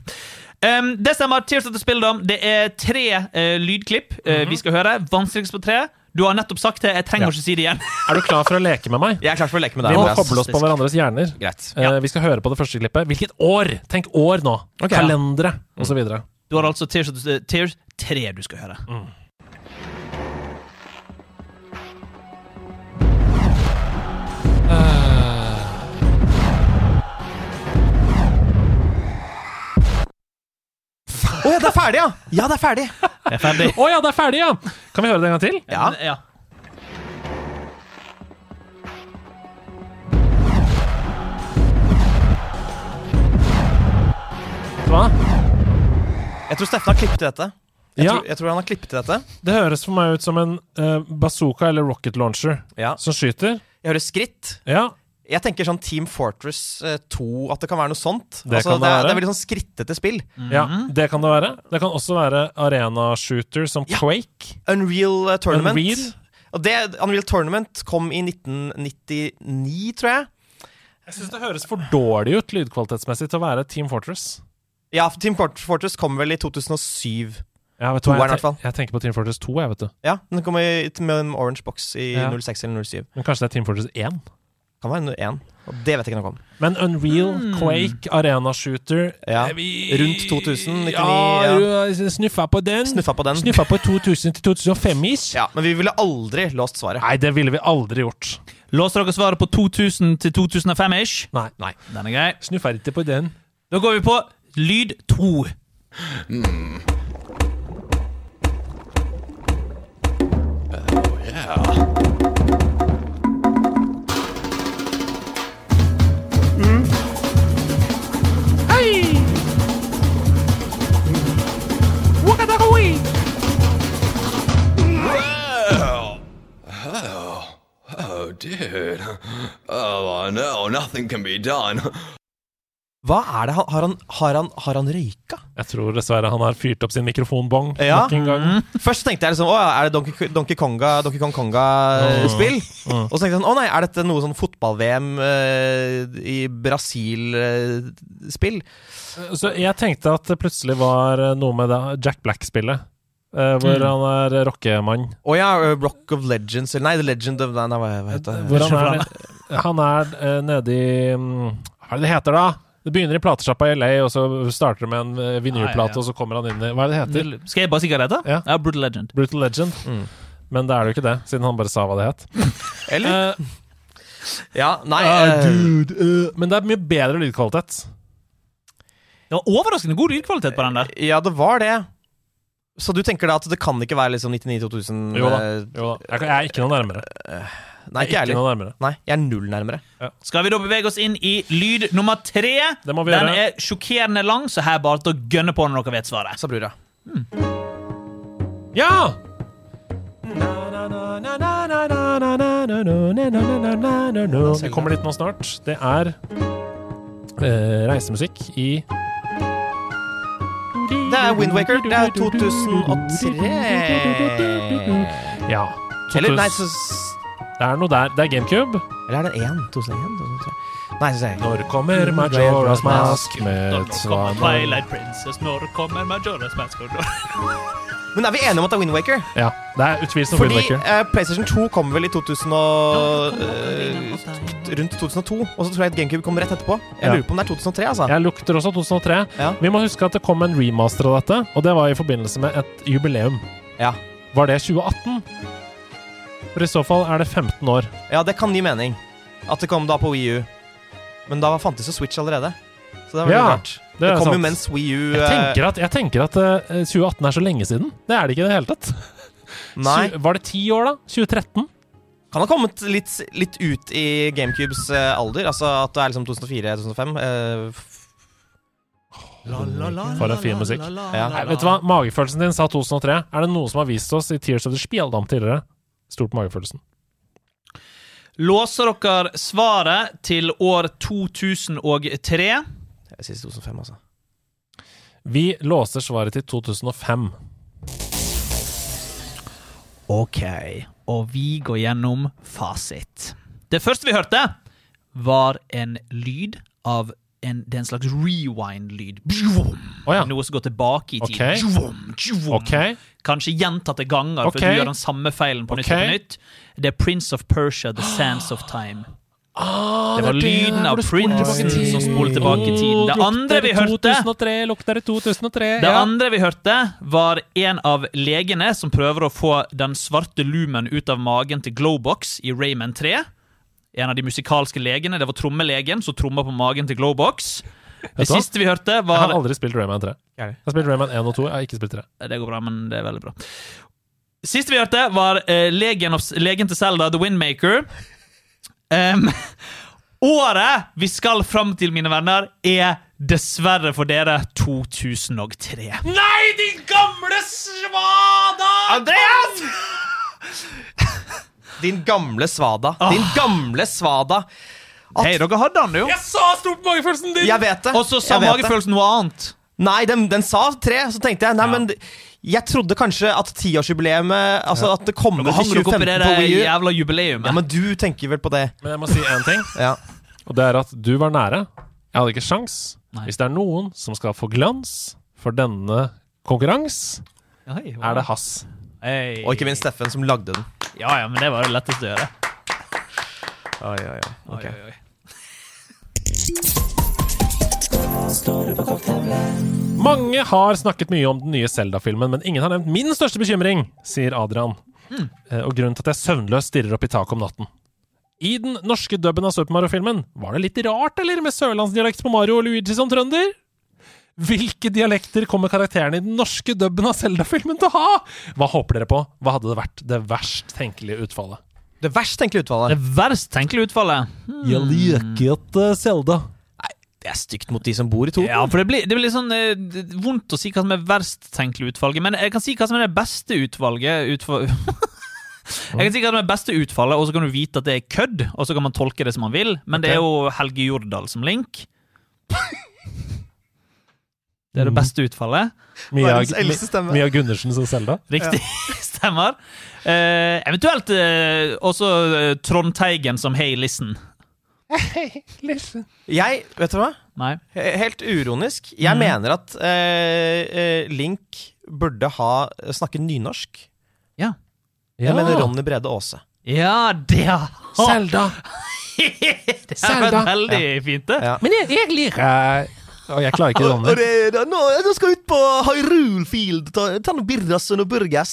Um, det stemmer. Tears of the Spilldom. Det er tre eh, lydklipp eh, vi skal høre. Vanskeligst på tre. Du har nettopp sagt det. Jeg trenger Mhm. Ja. ikke si det igjen. Er du klar for å leke med meg? Jeg er klar for å leke med Vi deg. må Andreas. koble oss på hverandres hjerner. Greit. Eh, vi skal høre på det første klippet. Hvilket år? Tenk år nå. Ok. Mm. Kalendere og så videre Du har altså Tears, of the- Tears 3 du skal høre. Mm. Å ja, det er ferdig, ja! Ja, det er ferdig. Jeg er ferdig. Å ja, det er ferdig, ja! Kan vi høre det en gang til? Ja. ja. Hva? Jeg tror Steffen har klippet til dette. Jeg, Ja. tror, jeg tror han har klippet til dette. Det høres for meg ut som en eh, bazooka eller rocket launcher Ja. som skyter. Jeg hører skritt. Ja, Jeg tenker sånn Team Fortress eh, 2, at det kan være noe sånt. Det altså, kan det, det er, være. det er veldig sånn skrittete spill. ja det kan det være. Det kan også være arena shooter som Quake. Unreal eh, Tournament. Unreal. Og det, Unreal Tournament kom i 1999, tror jeg. Jeg syns det høres for dårlig ut lydkvalitetsmessig til å være Team Fortress. Ja, Team Fort- Fortress kom vel i 2007. Ja, vet du Toeren hva, i jeg, hvert fall. ten- jeg tenker på Team Fortress 2, jeg, vet du. Ja, Den kom i, med en orange box i Ja. 06 eller 07. Men kanskje det er Team Fortress 1? Kan være no- en. Og det vet jeg ikke noe om. Men Unreal, Quake, Arena Shooter Ja. eh, vi- Rundt 2000, 99, Ja, snuffa på den. Snuffa på den. Snuffa på 2000 til 2005-ish. Ja, Men vi ville aldri låst svaret. Nei, det ville vi aldri gjort. Låser dere svaret på 2000 til 2005-ish? Nei. Den er grei. Snuffa ikke på den. Da går vi på lyd 2. Oh, dude. Oh, I know. Nothing can be done. Hva er det han Har han, har han, har han røyka? Jeg tror dessverre han har fyrt opp sin mikrofonbong Ja. nok en gang. Først tenkte jeg liksom, å, er det Donkey, Donkey Konga Donkey Kong Konga-spill? Og så tenkte jeg sånn, å nei, er dette noe sånn fotball-VM eh, i eh, Brasil-spill? Så jeg tenkte at det plutselig var eh, noe med det Jack Black-spillet. eh, hvor Mm. han er eh, rockemann. Å ja, eh, Rock of Legends eller Nei, The Legend of Nei, nei, hva, hva heter det? Hvor han er, han er eh, nede i mm, Hva er det det heter, da? Det begynner i platesjappa i LA, og så starter det med en eh, Ja, ja, ja. vinylplate, og så kommer han inn i Hva er det det heter? Skal jeg bare si hva det heter? Ja. Brutal Legend. Brutal Legend. Mm. Men det er det jo ikke det, siden han bare sa hva det het. Eller? Eh, Ja, nei ah, eh, dude, eh, men det er mye bedre lydkvalitet. Det var overraskende god lydkvalitet på den der. Ja, det var det. Så du tenker da at det kan ikke være liksom 99-2000? Jo da. eh, Jo da. Jeg, kan- jeg er ikke noe nærmere. Nei, ikke Ikke ærlig. noe nærmere. Nei, jeg er null nærmere. Skal vi da bevege oss inn i lyd nummer tre? Det må vi den gjøre. er sjokkerende lang, så her bare til å gønne på når dere vet svaret. Sa brura. Ja! Vi kommer dit nå snart. Det er eh, reisemusikk i Det er Wind Waker. Det er 2003 Ja. Eller nei, 2000. så Det er noe der. Det er GameCube. Eller er det én? 2001? 2003? Nei, så sier jeg Når kommer Mm, Majora's Mask med Når kommer Twilight Princess? Når kommer Majora's Mask? Men er vi enige om at det er Wind Waker? Ja, det er utvilsomt Fordi Wind Waker. eh, PlayStation 2 kom vel i 2000 og, eh, rundt 2002, og så tror jeg at GameCube kom rett etterpå. Jeg Ja. lurer på om det er 2003, altså. Jeg lukter også 2003. Ja. Vi må huske at det kom en remaster av dette, og det var i forbindelse med et jubileum. Ja. Var det 2018? For i så fall er det 15 år. Ja, det kan gi mening. At det kom da på Wii U. Men da fantes jo Switch allerede. Så det er veldig Ja, rart. Det, Det er kom jo sant. mens Wii U Jeg eh, tenker at, jeg tenker at eh, 2018 er så lenge siden. Det er det ikke i det hele tatt. Nei. Tju- Var det ti år, da? 2013? Kan ha kommet litt, litt ut i GameCubes eh, alder. Altså at det er liksom 2004-2005. For en fin musikk. ja. Nei, vet du hva? Magefølelsen din sa 2003. Er det noe som har vist oss i Tears of the Spieldam tidligere? Stort på magefølelsen. Låser dere svaret til år 2003? Jeg sier 2005, altså. Vi låser svaret til 2005. OK, og vi går gjennom fasit. Det første vi hørte, var en lyd av en, det er en slags rewind-lyd. Bjvom! Å ja. Noe som går tilbake i tid. Ok. Bjvom, bjvom. OK. Kanskje gjentatte ganger, for Ok. du gjør den samme feilen på nytt. og Ok. på nytt. Det er Prince of Persia, The Sands of Time. Ah, Det var lyden av Prinsen som spoler tilbake i tiden. Det andre vi hørte 2003, lukter det 2003? det andre vi hørte, var en av legene som prøver å få den svarte lumen ut av magen til Glowbox i Rayman 3. En av de musikalske legene. Det var trommelegen som tromma på magen til Glowbox. Det du hva? siste vi hørte, Jeg har var aldri spilt Rayman 3. Er det? Jeg har spilt Rayman 1 og 2, jeg har ikke spilt 3. Det går bra, men det er veldig bra. Siste vi hørte, var eh, legen, of, legen til Selda, The Windmaker. Em, året vi skal fram til, mine venner, er dessverre for dere 2003. Nei, din gamle svada! Andreas! Din gamle svada. Ah. Din gamle svada. Hei, dere hadde han jo! Jeg sa stort på magefølelsen din! Jeg vet det. Og så sa Jeg vet det. magefølelsen noe annet. Nei, den, den sa tre, så tenkte jeg Nei, men jeg trodde kanskje at tiårsjubileet Altså at det kommer Og hang til dere opp i 2015 det på der Wii U. Ja, jævla jubileumet. men du tenker vel på det. Men jeg må si én ting, Ja. og det er at du var nære. Jeg hadde ikke sjans. Nei. Hvis det er noen som skal få glans for denne konkurrans, Oi, wow. er det Hass. Hei. Og ikke minst Steffen, som lagde den. Ja, ja, men det var det letteste å gjøre. Oi, oi, oi. Ok. Oi, oi, oi. Mange har snakket mye om den nye Zelda-filmen, men ingen har nevnt min største bekymring, sier Adrian. Hmm. Eh, Og grunnen til at jeg søvnløst stirrer opp i taket om natten. I den norske dubben av Super Mario-filmen var det litt rart, eller, med sørlandsdialekt på Mario og Luigi som trønder? Hvilke dialekter kommer karakterene i den norske dubben av Zelda-filmen til å ha? Hva håper dere på? Hva hadde det vært det verst tenkelige utfallet? Det verst tenkelige utfallet. Det verst tenkelige utfallet. Jeg Hmm. liker ikke Zelda. Det er stygt mot de som bor i Toten. Ja, for det blir, det blir sånn eh, d- vondt å si hva som er verst tenkelig utvalget, men jeg kan si hva som er det beste utvalget utfall... Jeg kan si hva som er det beste utfallet, og så kan du vite at det er kødd, og så kan man tolke det som man vil, men det er jo Helge Jordal som link. Det er det beste utfallet. Mia, Verdens eldste stemme. Mia Gundersen som Zelda? Riktig. Stemmer. Eh, eventuelt eh, også eh, Trond Teigen som Hey Listen. Jeg, vet du hva? Nei. He- Helt uironisk. Jeg mener at eh, eh, Link burde ha snakke nynorsk. Ja. Jeg mener Ronny Brede Aase. Ja, det Zelda! Det er Zelda. veldig fint, det. Ja. Men jeg, jeg liker Og jeg klarer ikke Sånn, Ronny. nå, jeg skal ut på Hyrule Field ta, ta noen birras og noen burgers.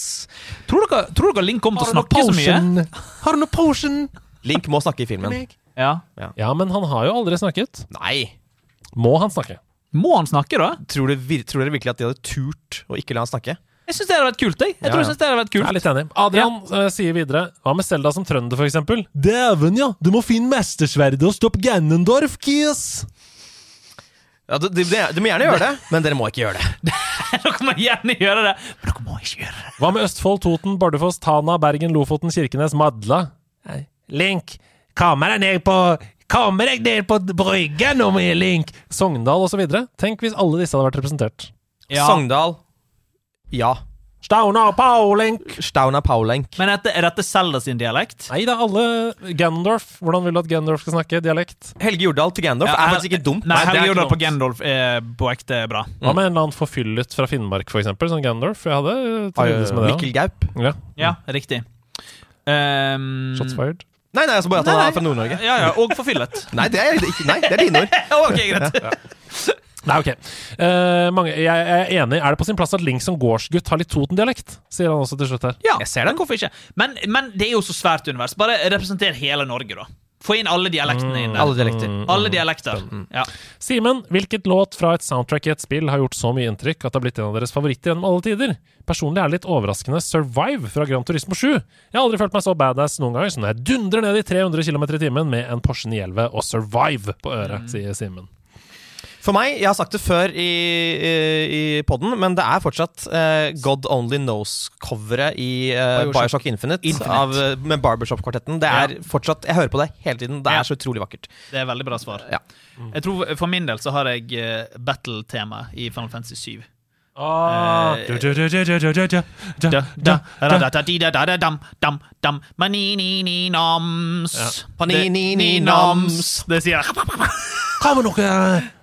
Tror dere, tror dere Link kommer til å snakke så mye? Har du noe potion? Link må snakke i filmen. Ja. Ja, men han har jo aldri snakket. Nei! Må han snakke? Må han snakke, da? Tror dere, vir- tror dere virkelig at de hadde turt å ikke la han snakke? Jeg syns det hadde vært kult. Jeg, jeg tror jeg ja. synes det hadde vært Jeg kult er litt enig. Adrian eh, sier videre Hva med Selda som trønder, for eksempel? Dæven, ja! Du må finne mestersverdet og stoppe Ganondorf, kiss! Ja, de, de, de må gjerne gjøre det, men dere må ikke gjøre det. Dere må gjerne gjøre det, men dere må ikke gjøre det. Hva med Østfold, Toten, Bardufoss, Tana, Bergen, Lofoten, Kirkenes, Madla? Nei. Link, kommer deg ned på Kommer deg ned på brygga nå, med Link! Sogndal osv. Tenk hvis alle disse hadde vært representert. Ja. Sogndal. Ja. Staunar, Paulink! Stauna Paulenk. Men er dette, er dette Zelda sin dialekt? Nei, det er alle Ganondorf. Hvordan vil du at Ganondorf skal snakke? Dialekt? Helge Jordal til Gandalf Ja, er Hel- faktisk ikke dumt. Nei, Nei, det er Helge ikke Jordal på dumt. Gendolf er på ekte bra. Hva med en eller annen forfyllet fra Finnmark, for eksempel, som Gandorf? Jeg hadde eh, trivdes med det. Mikkel Gaup. ja. Ja. Ja, Mm, riktig. Um, Shots fired. Nei, nei, altså bare at han er fra Nord-Norge. Ja, ja, og forfyllet. Nei, det er ikke, nei, det er dine ord. ok, greit. Nei, ok. Eh, mange, jeg, jeg er enig. Er det på sin plass at Link som gårdsgutt har litt Toten-dialekt? Sier han også til slutt her. Ja, jeg ser den. Hvorfor ikke? Men, men det er jo så svært univers. Bare representer hele Norge, da. Få inn alle dialektene inn der. Alle dialekter. Alle dialekter. Ja. Simen, hvilket låt fra et soundtrack i et spill har gjort så mye inntrykk at det har blitt en av deres favoritter gjennom alle tider? Personlig er det litt overraskende Survive fra Gran Turismo 7. Jeg har aldri følt meg så badass noen gang som når jeg dundrer ned i 300 km i timen med en Porsche 911 og Survive på øret, sier Simen. For meg, jeg har sagt det før i, i, i podden, men det er fortsatt eh, God Only Knows-coveret i eh, Bioshock Infinite, Av, eh, med Barbershop-kvartetten. Det er Ja. fortsatt, Jeg hører på det hele tiden. Det Ja. er så utrolig vakkert. Det er veldig bra svar. Ja. Jeg tror For min del så har jeg eh, battle-tema i Final Fantasy 7. Ah. Eh, Du, du, du, du, du, du, du. Da, da, da, da, da, di, da, da, da, dam, dam, dam. Manini-ni-noms. Panini-ni-noms. Det sier jeg. Hva med noe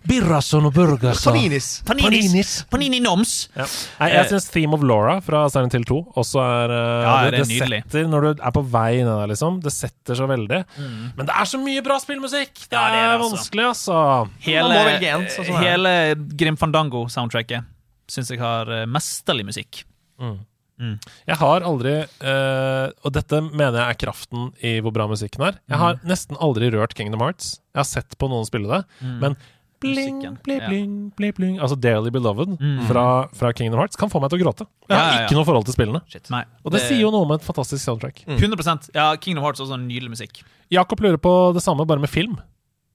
Birrason og burgers? da? Paninis. Paninis. Panini-noms. Ja. Nei, jeg syns Theme of Laura fra Silent Hill 2 også er eh, Eh. Ja, det er nydelig. setter, Når du er på vei ned der, liksom. Det setter så veldig. Men det er så mye bra spillmusikk! Det er, Mm. Ja, det er det, altså. vanskelig, altså. Man må velge en, Hele, sånn som det er. hele Grim Fandango-soundtracket syns jeg har eh, mesterlig musikk. Jeg har aldri eh, Og dette mener jeg er kraften i hvor bra musikken er. Jeg Mm. har nesten aldri rørt Kingdom Hearts. Jeg har sett på noen spille det, men bling, bling, Mm. Musikken, bling, ja. Mm. bling, bling Altså Daily Beloved fra, fra Kingdom Hearts kan få meg til å gråte. Jeg har Ja, ja, ja. ikke noe forhold til spillene. Nei, Og det, sier jo noe om et fantastisk soundtrack. 100 Ja, Kingdom Hearts er også nydelig musikk. Jakob lurer på det samme, bare med film.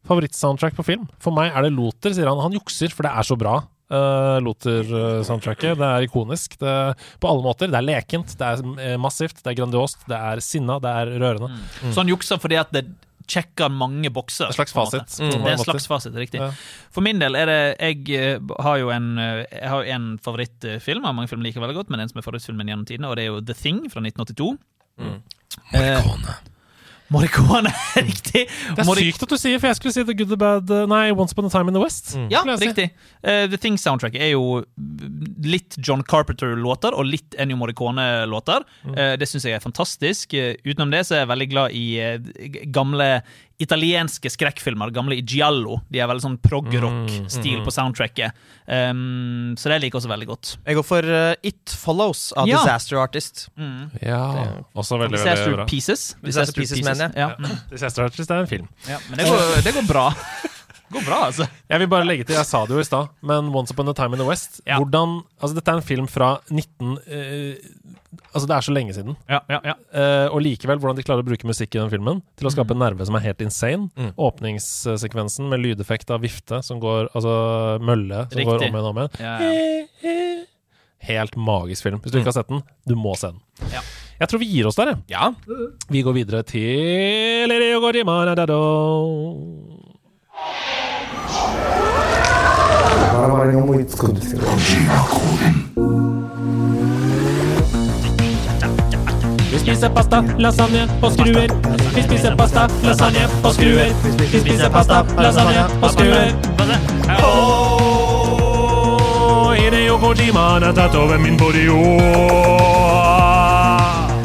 Favorittsoundtrack på film. For meg er det Luther, sier han. Han jukser, for det er så bra. Uh, Luther-soundtracket. Det er ikonisk det, på alle måter. Det er lekent, det er eh, massivt, det er grandiost, det er sinna, det er rørende. Så han jukser fordi at det sjekker mange bokser. En slags på måte. fasit, på Mm. Det er en mange slags fasit, riktig. Ja. For min del er det Jeg eh, har jo en, eh, jeg har jo en favorittfilm, jeg har mange filmer jeg liker veldig godt, men en som er favorittfilmen gjennom tidene, og det er jo The Thing fra 1982. Mm. Morricone. Morricone, riktig. Det er sykt at du sier, for jeg skulle si The Good The Bad eh, Nei, Once Upon a Time in the West. Ja, Mm. skulle jeg si. riktig. Eh, The Thing-soundtracket er jo litt John Carpenter-låter og litt Ennio Morricone-låter. Eh, det syns jeg er fantastisk. Eh, utenom det så er jeg veldig glad i eh, g- gamle italienske skrekkfilmer. Gamle i Giallo. De er veldig sånn prog-rock-stil på soundtracket. Um, så det liker jeg også veldig godt. Jeg går for eh, It Follows av Ja. Disaster Artist. Mm. Ja. Også veldig, veldig Disaster bra. Pieces. Disaster Pieces, mener jeg. Ja. Mm. Disaster Artist er en film. ja, men det går, det går bra. Det går bra, altså. Jeg vil bare legge til, jeg sa det jo i stad, men Once Upon a Time in the West Ja. hvordan, altså Dette er en film fra 19... eh, altså, det er så lenge siden. Ja, ja, ja. Eh, og likevel hvordan de klarer å bruke musikk i den filmen til å skape Mm. en nerve som er helt insane. Åpningssekvensen med lydeffekt av vifte som går Altså mølle som går Riktig. om igjen og om igjen. Ja, ja. Helt magisk film. Hvis du ikke har sett den, du må se den. Ja. Jeg tror vi gir oss der, jeg. Ja. Vi går videre til Leo Gorima Radado. Vi spiser pasta, lasagne og skruer. Vi spiser pasta, lasagne og skruer. Vi spiser pasta, lasagne og skruer. Åh, Hideo Kojima han har tatt over min body. Åh.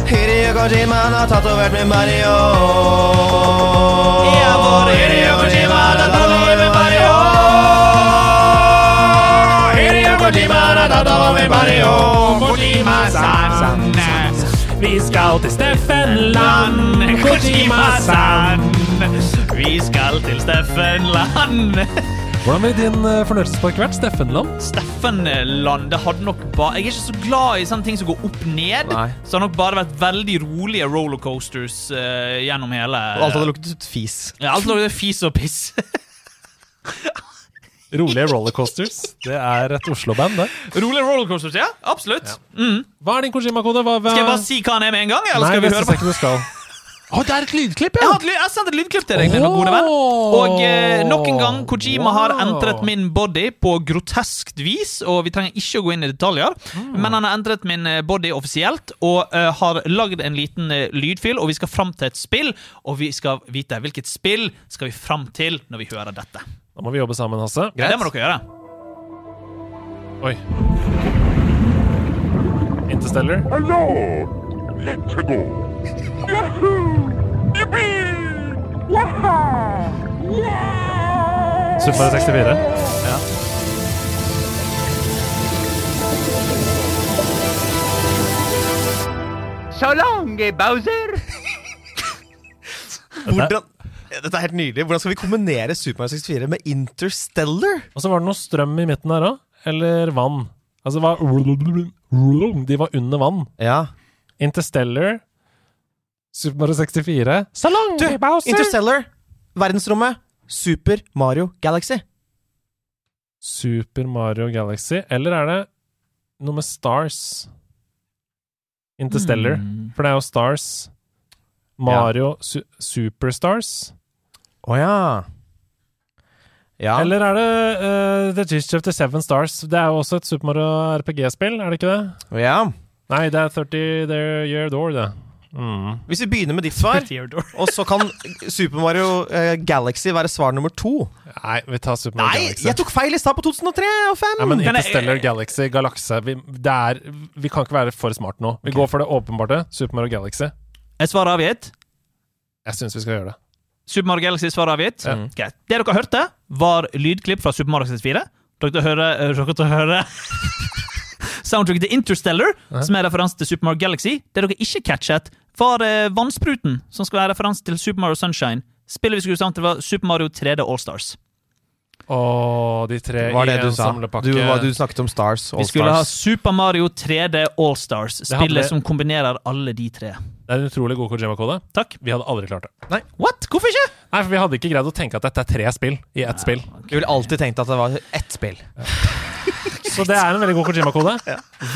Hideo Kojima han har tatovert min Mario. Ja, vår Hideo Kojima han har tatovert min Mario. Hideo Kojima han har tatovert min Mario. Kojima-san. Vi skal til Steffenland, Kojima-san. Vi skal til Steffenland. Hvordan ville din eh, fornøyelsespark vært? Steffenland? Steffenland det hadde nok bare Jeg er ikke så glad i sånne ting som går opp ned. Nei. Så det har nok bare vært veldig rolige rollercoasters eh, gjennom hele Og alt hadde luktet ut fis. ja, alt lå fis og piss. Rolige rollercoasters. Det er et Oslo-band, det. rolige rollercoasters, ja. Absolutt. Mm. Hva er din Kojima-kode? Hva, hva... Skal jeg bare si hva han er med en gang? Eller Nei, skal vi det høre syns på? jeg ikke du skal. Å, det er et lydklipp, Jeg har, et ly- jeg har sendt et lydklipp til deg, min Åh! gode venn. Og eh, nok en gang, Kojima har Wow. entret min body på groteskt vis, og vi trenger ikke å gå inn i detaljer, men han har entret min eh, body offisielt og eh, har lagd en liten eh, lydfil, og vi skal fram til et spill, og vi skal vite hvilket spill skal vi fram til når vi hører dette. Da må vi jobbe sammen, Hasse. Det må dere gjøre. Oi. Interstellar. Hello! Let's go! Yahoo! Yippee! Waha! Yeah! Super 64. så lang, Bowser! Hvordan, dette er helt nydelig. Hvordan skal vi kombinere Super Mario 64 med Interstellar? Og så var det noe strøm i midten der òg. Eller vann. Altså, det var De var under vann. Ja. Interstellar. Super Mario 64. Salong! Du, Interstellar, verdensrommet, Super Mario Galaxy. Super Mario Galaxy. Eller er det noe med Stars? Interstellar. For det er jo Stars. Mario su Superstars. Å ja. Ja. Eller er det eh, The Gist of the Seven Stars? Det er jo også et Super Mario RPG-spill, er det ikke det? Å ja. Nei, det er 30 There Year Door, det. Hmm. Hvis vi begynner med ditt svar, og så kan Super Mario eh, Galaxy være svar nummer to. Nei, vi tar Super Mario Nei, Galaxy. jeg tok feil i stad på 2003 og 2005! Nei, men Kan jeg- Interstellar Galaxy, Galakse vi, det er, vi kan ikke være for smart nå. Vi går for det åpenbarte. Super Mario Galaxy. Er svaret avgitt? Jeg syns vi skal gjøre det. Super Mario Galaxy er svaret avgitt? Greit. Det dere hørte, var lydklipp fra Super Mario 64. Dere hører, eh, dere hører soundtracket til Interstellar, som er referanse til Super Mario Galaxy. Det dere ikke catchet, var eh, Vannspruten, som skal være referanse til Super Mario Sunshine. Spillet vi skulle sammen til, var Super Mario 3D Allstars. Å, de tre var det i du en sa? samlepakke. Du, hva- du snakket om Stars. All Vi skulle ha stars. Super Mario 3D Allstars, Det hadde- spillet som kombinerer alle de tre. Det er en utrolig god Kojima-kode. Takk. Vi hadde aldri klart det. What? Hvorfor ikke? Nei, for vi hadde ikke greid å tenke at dette er tre spill i ett spill. Du ville alltid tenkt at det var ett spill. Så det er en veldig god Kojima-kode.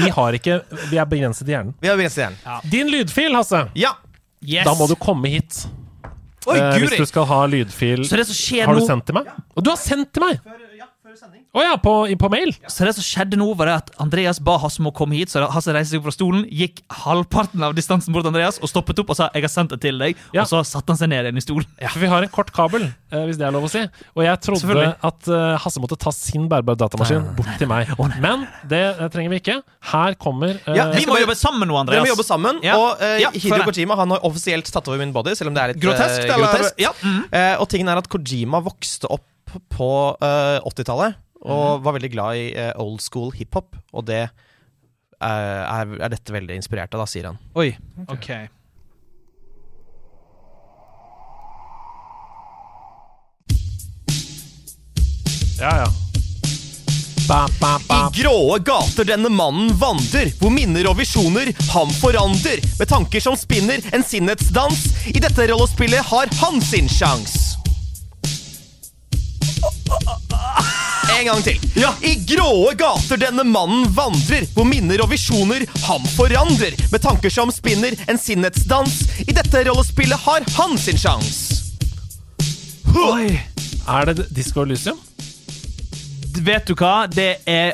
Vi har ikke Vi er begrenset i hjernen. Vi har begynt igjen. Ja. Din lydfil, Hasse! Yes. Da må du komme hit. Oi, Eh, hvis guri! du skal ha lydfil Så det som skjer Har du nå- sendt til meg? Og du har sendt til meg! Å ja, på, i- på mail? Så det som skjedde nå, var det at Andreas ba Hasse om å komme hit. Så Hasse reiste seg opp fra stolen, gikk halvparten av distansen bort til Andreas og stoppet opp og sa 'jeg har sendt det til deg', Ja. og så satte han seg ned igjen i stolen. Ja, for vi har en kort kabel, eh, hvis det er lov å si. Og jeg trodde Selvfølgelig. at eh, Hasse måtte ta sin bærbare datamaskin bort til meg. Men det eh, trenger vi ikke. Her kommer eh, Ja, Vi skal må bare- jobbe sammen nå, Dere Andreas. må jobbe sammen. Ja. Og eh, Ja, Hideo føler jeg. Kojima han har offisielt tatt over min body, selv om det er litt eh, Groteskt, eller? grotesk. Ja, Eh, og tingen er at Kojima vokste opp på eh, 80-tallet og var veldig glad i eh, old school hiphop, og det eh, er, er dette veldig inspirert av, da, sier han. Oi. Ok. Ja, ja. Ba, ba, ba. I gråe gater denne mannen vandrer, hvor minner og visjoner ham forandrer. Med tanker som spinner en sinnetsdans. I dette rollespillet har han sin sjans. En gang til. I gråe gater denne mannen vandrer, hvor minner og visjoner ham forandrer. Med tanker som spinner en sinnetsdans. I dette rollespillet har han sin sjans. Oi. Er det Disco Elysium? Vet du hva? Det er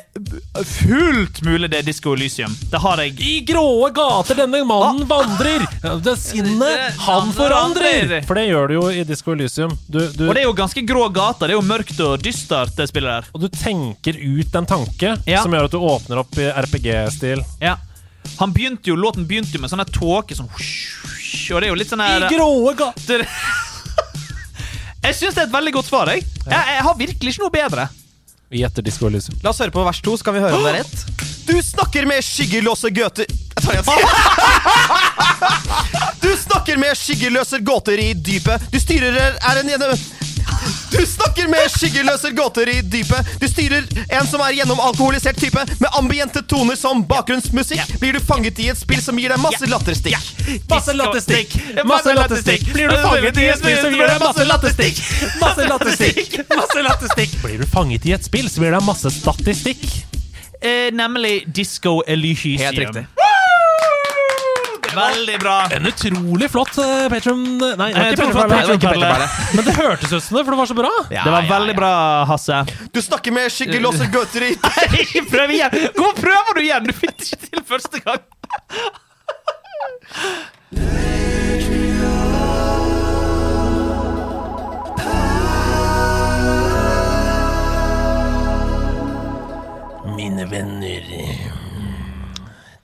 fullt mulig det er Disko Elysium. Det har jeg. I gråe gater denne mannen vandrer. Det sinnet han forandrer. For det gjør du jo i Disco Elysium. Du, du, Og det er jo ganske grå gater. Det er jo mørkt og dystert, det spillet der. og du tenker ut en tanke Ja. som gjør at du åpner opp i RPG-stil. Ja. Han begynte jo, Låten begynte jo med sånn her tåke som Og det er jo litt sånn her gråe gater Det- Jeg syns det er et veldig godt svar. Jeg. Jeg, jeg har virkelig ikke noe bedre. Vi gjetter Disco Elysium. La oss høre på vers to, så kan vi høre om det er rett. Du snakker med skyggelåse gøter Jeg tar igjen. Du snakker med skyggeløse gåter i dypet. Du styrer er en gjennom... Du snakker med skyggeløse gåter i dypet. Du styrer en som er gjennomalkoholisert type. Med ambiente toner som bakgrunnsmusikk blir du fanget i et spill som gir deg masse latterstikk. Masse latterstikk! Masse latterstikk! Blir du fanget i et spill, så gir det masse latterstikk! Masse latterstikk! Masse latterstikk! Blir du fanget i et spill, så gir det masse statistikk. Eh, nemlig Disco Elysium. Helt riktig. Veldig bra. En utrolig flott uh, Patron... Nei, det Eh, var ikke Patreon- Patron, Patreon- Perle. Men det hørtes ut som det, for det var så bra. Det var veldig bra, Hasse. Du snakker med skyggeløse gåter i Ikke prøv igjen! Hvorfor prøver du igjen? Du fikk det ikke til første gang. Mine venner,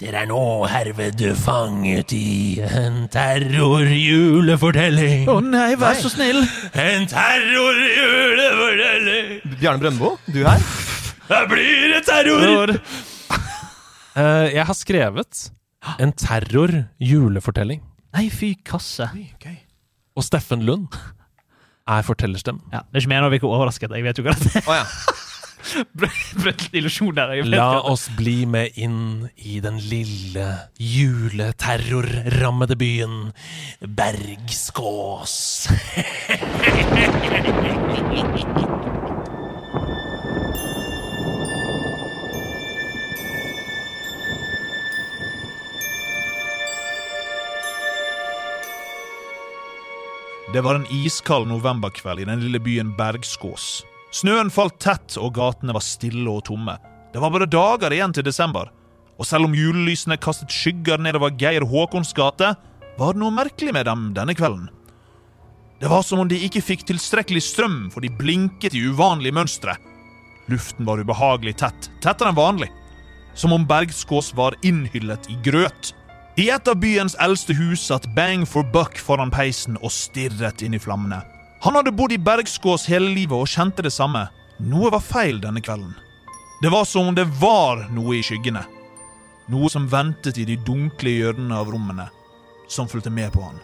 dere er nå herved fanget i en terrorjulefortelling. Å nei, vær så snill. En terrorjulefortelling. Bjarne Brøndbo, du her? Det blir en terror! Eh, jeg har skrevet En terror-julefortelling. Nei, fy kasse. Og Steffen Lund er fortellerstemmen. Ja, det er ikke meningen å virke overrasket. Jeg vet jo hva det er. Å ja. Brøt illusjon der. Jeg vet La ikke. oss bli med inn i den lille juleterrorrammede byen Bergskås. Det var en iskald novemberkveld i den lille byen Bergskås. Snøen falt tett, og gatene var stille og tomme. Det var bare dager igjen til desember. Og selv om julelysene kastet skygger nedover Geir Håkons gate, var det noe merkelig med dem denne kvelden. Det var som om de ikke fikk tilstrekkelig strøm, for de blinket i uvanlige mønstre. Luften var ubehagelig tett, tettere enn vanlig. Som om Bergskås var innhyllet i grøt. I et av byens eldste hus satt Bang for Buck foran peisen og stirret inn i flammene. Han hadde bodd i Bergskås hele livet og kjente det samme. Noe var feil denne kvelden. Det var som om det var noe i skyggene. Noe som ventet i de dunkle hjørnene av rommene, som fulgte med på han.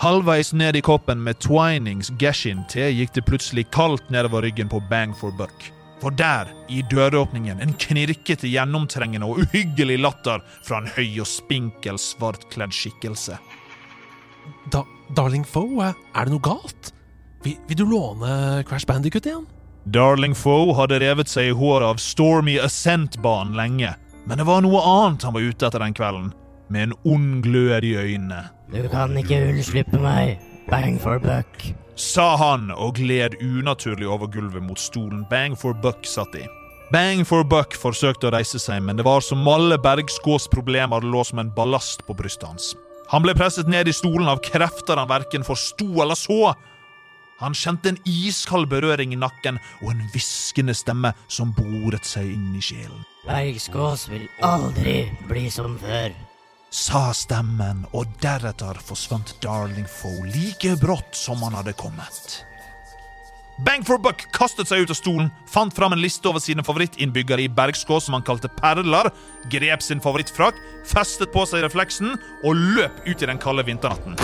Halvveis ned i koppen med Twinings Geshin-te gikk det plutselig kaldt nedover ryggen på Bang for Buck. For der, i døråpningen, en knirkete, gjennomtrengende og uhyggelig latter fra en høy og spinkel, svartkledd skikkelse. Da, darling Foe, er det noe galt? Vil, vil du låne Crash Bandicut igjen? Darling Foe hadde revet seg i håret av Stormy Ascent-banen lenge, men det var noe annet han var ute etter den kvelden, med en ond glød i øynene, Du kan ikke unnslippe meg. Bang for buck. sa han og gled unaturlig over gulvet mot stolen Bang for Buck satt i. Bang for Buck forsøkte å reise seg, men det var som alle Bergskås problemer lå som en ballast på brystet hans. Han ble presset ned i stolen av krefter han verken forsto eller så. Han kjente en iskald berøring i nakken og en hviskende stemme som boret seg inn i sjelen. Bergskås vil aldri bli som før. sa stemmen, og deretter forsvant Darling Foe like brått som han hadde kommet. Bang for Buck kastet seg ut av stolen, fant fram en liste over sine favorittinnbyggere i Bergskås som han kalte perler, grep sin favorittfrakk, festet på seg refleksen og løp ut i den kalde vinternatten.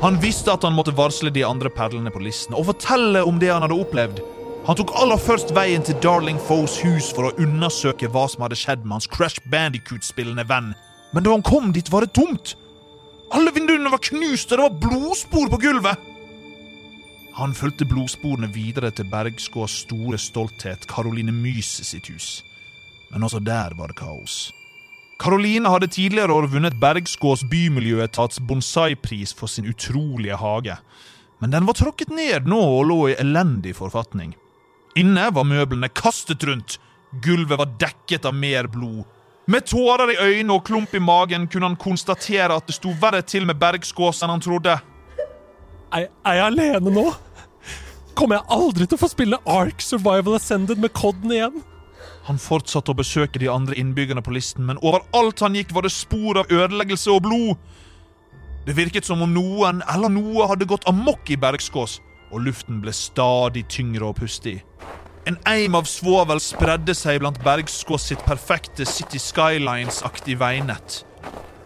Han visste at han måtte varsle de andre perlene på listen og fortelle om det han hadde opplevd. Han tok aller først veien til Darling Foes hus for å undersøke hva som hadde skjedd med hans Crash Bandicoot-spillende venn. Men da han kom dit, var det tomt. Alle vinduene var knust, og det var blodspor på gulvet. Han fulgte blodsporene videre til Bergskås store stolthet, Caroline Mys sitt hus. Men også der var det kaos. Karoline hadde tidligere år vunnet Bergskås bymiljøetats bonsaipris for sin utrolige hage, men den var tråkket ned nå og lå i elendig forfatning. Inne var møblene kastet rundt, gulvet var dekket av mer blod. Med tårer i øynene og klump i magen kunne han konstatere at det sto verre til med Bergskås enn han trodde. Er, er jeg alene nå? Kommer jeg aldri til å få spille Ark Survival Ascended med Codden igjen? Han fortsatte å besøke de andre innbyggerne på listen, men overalt han gikk var det spor av ødeleggelse og blod. Det virket som om noen eller noe hadde gått amok i Bergskås, og luften ble stadig tyngre å puste i. En eim av svovel spredde seg blant Bergskås sitt perfekte City Skylines-aktig veinett.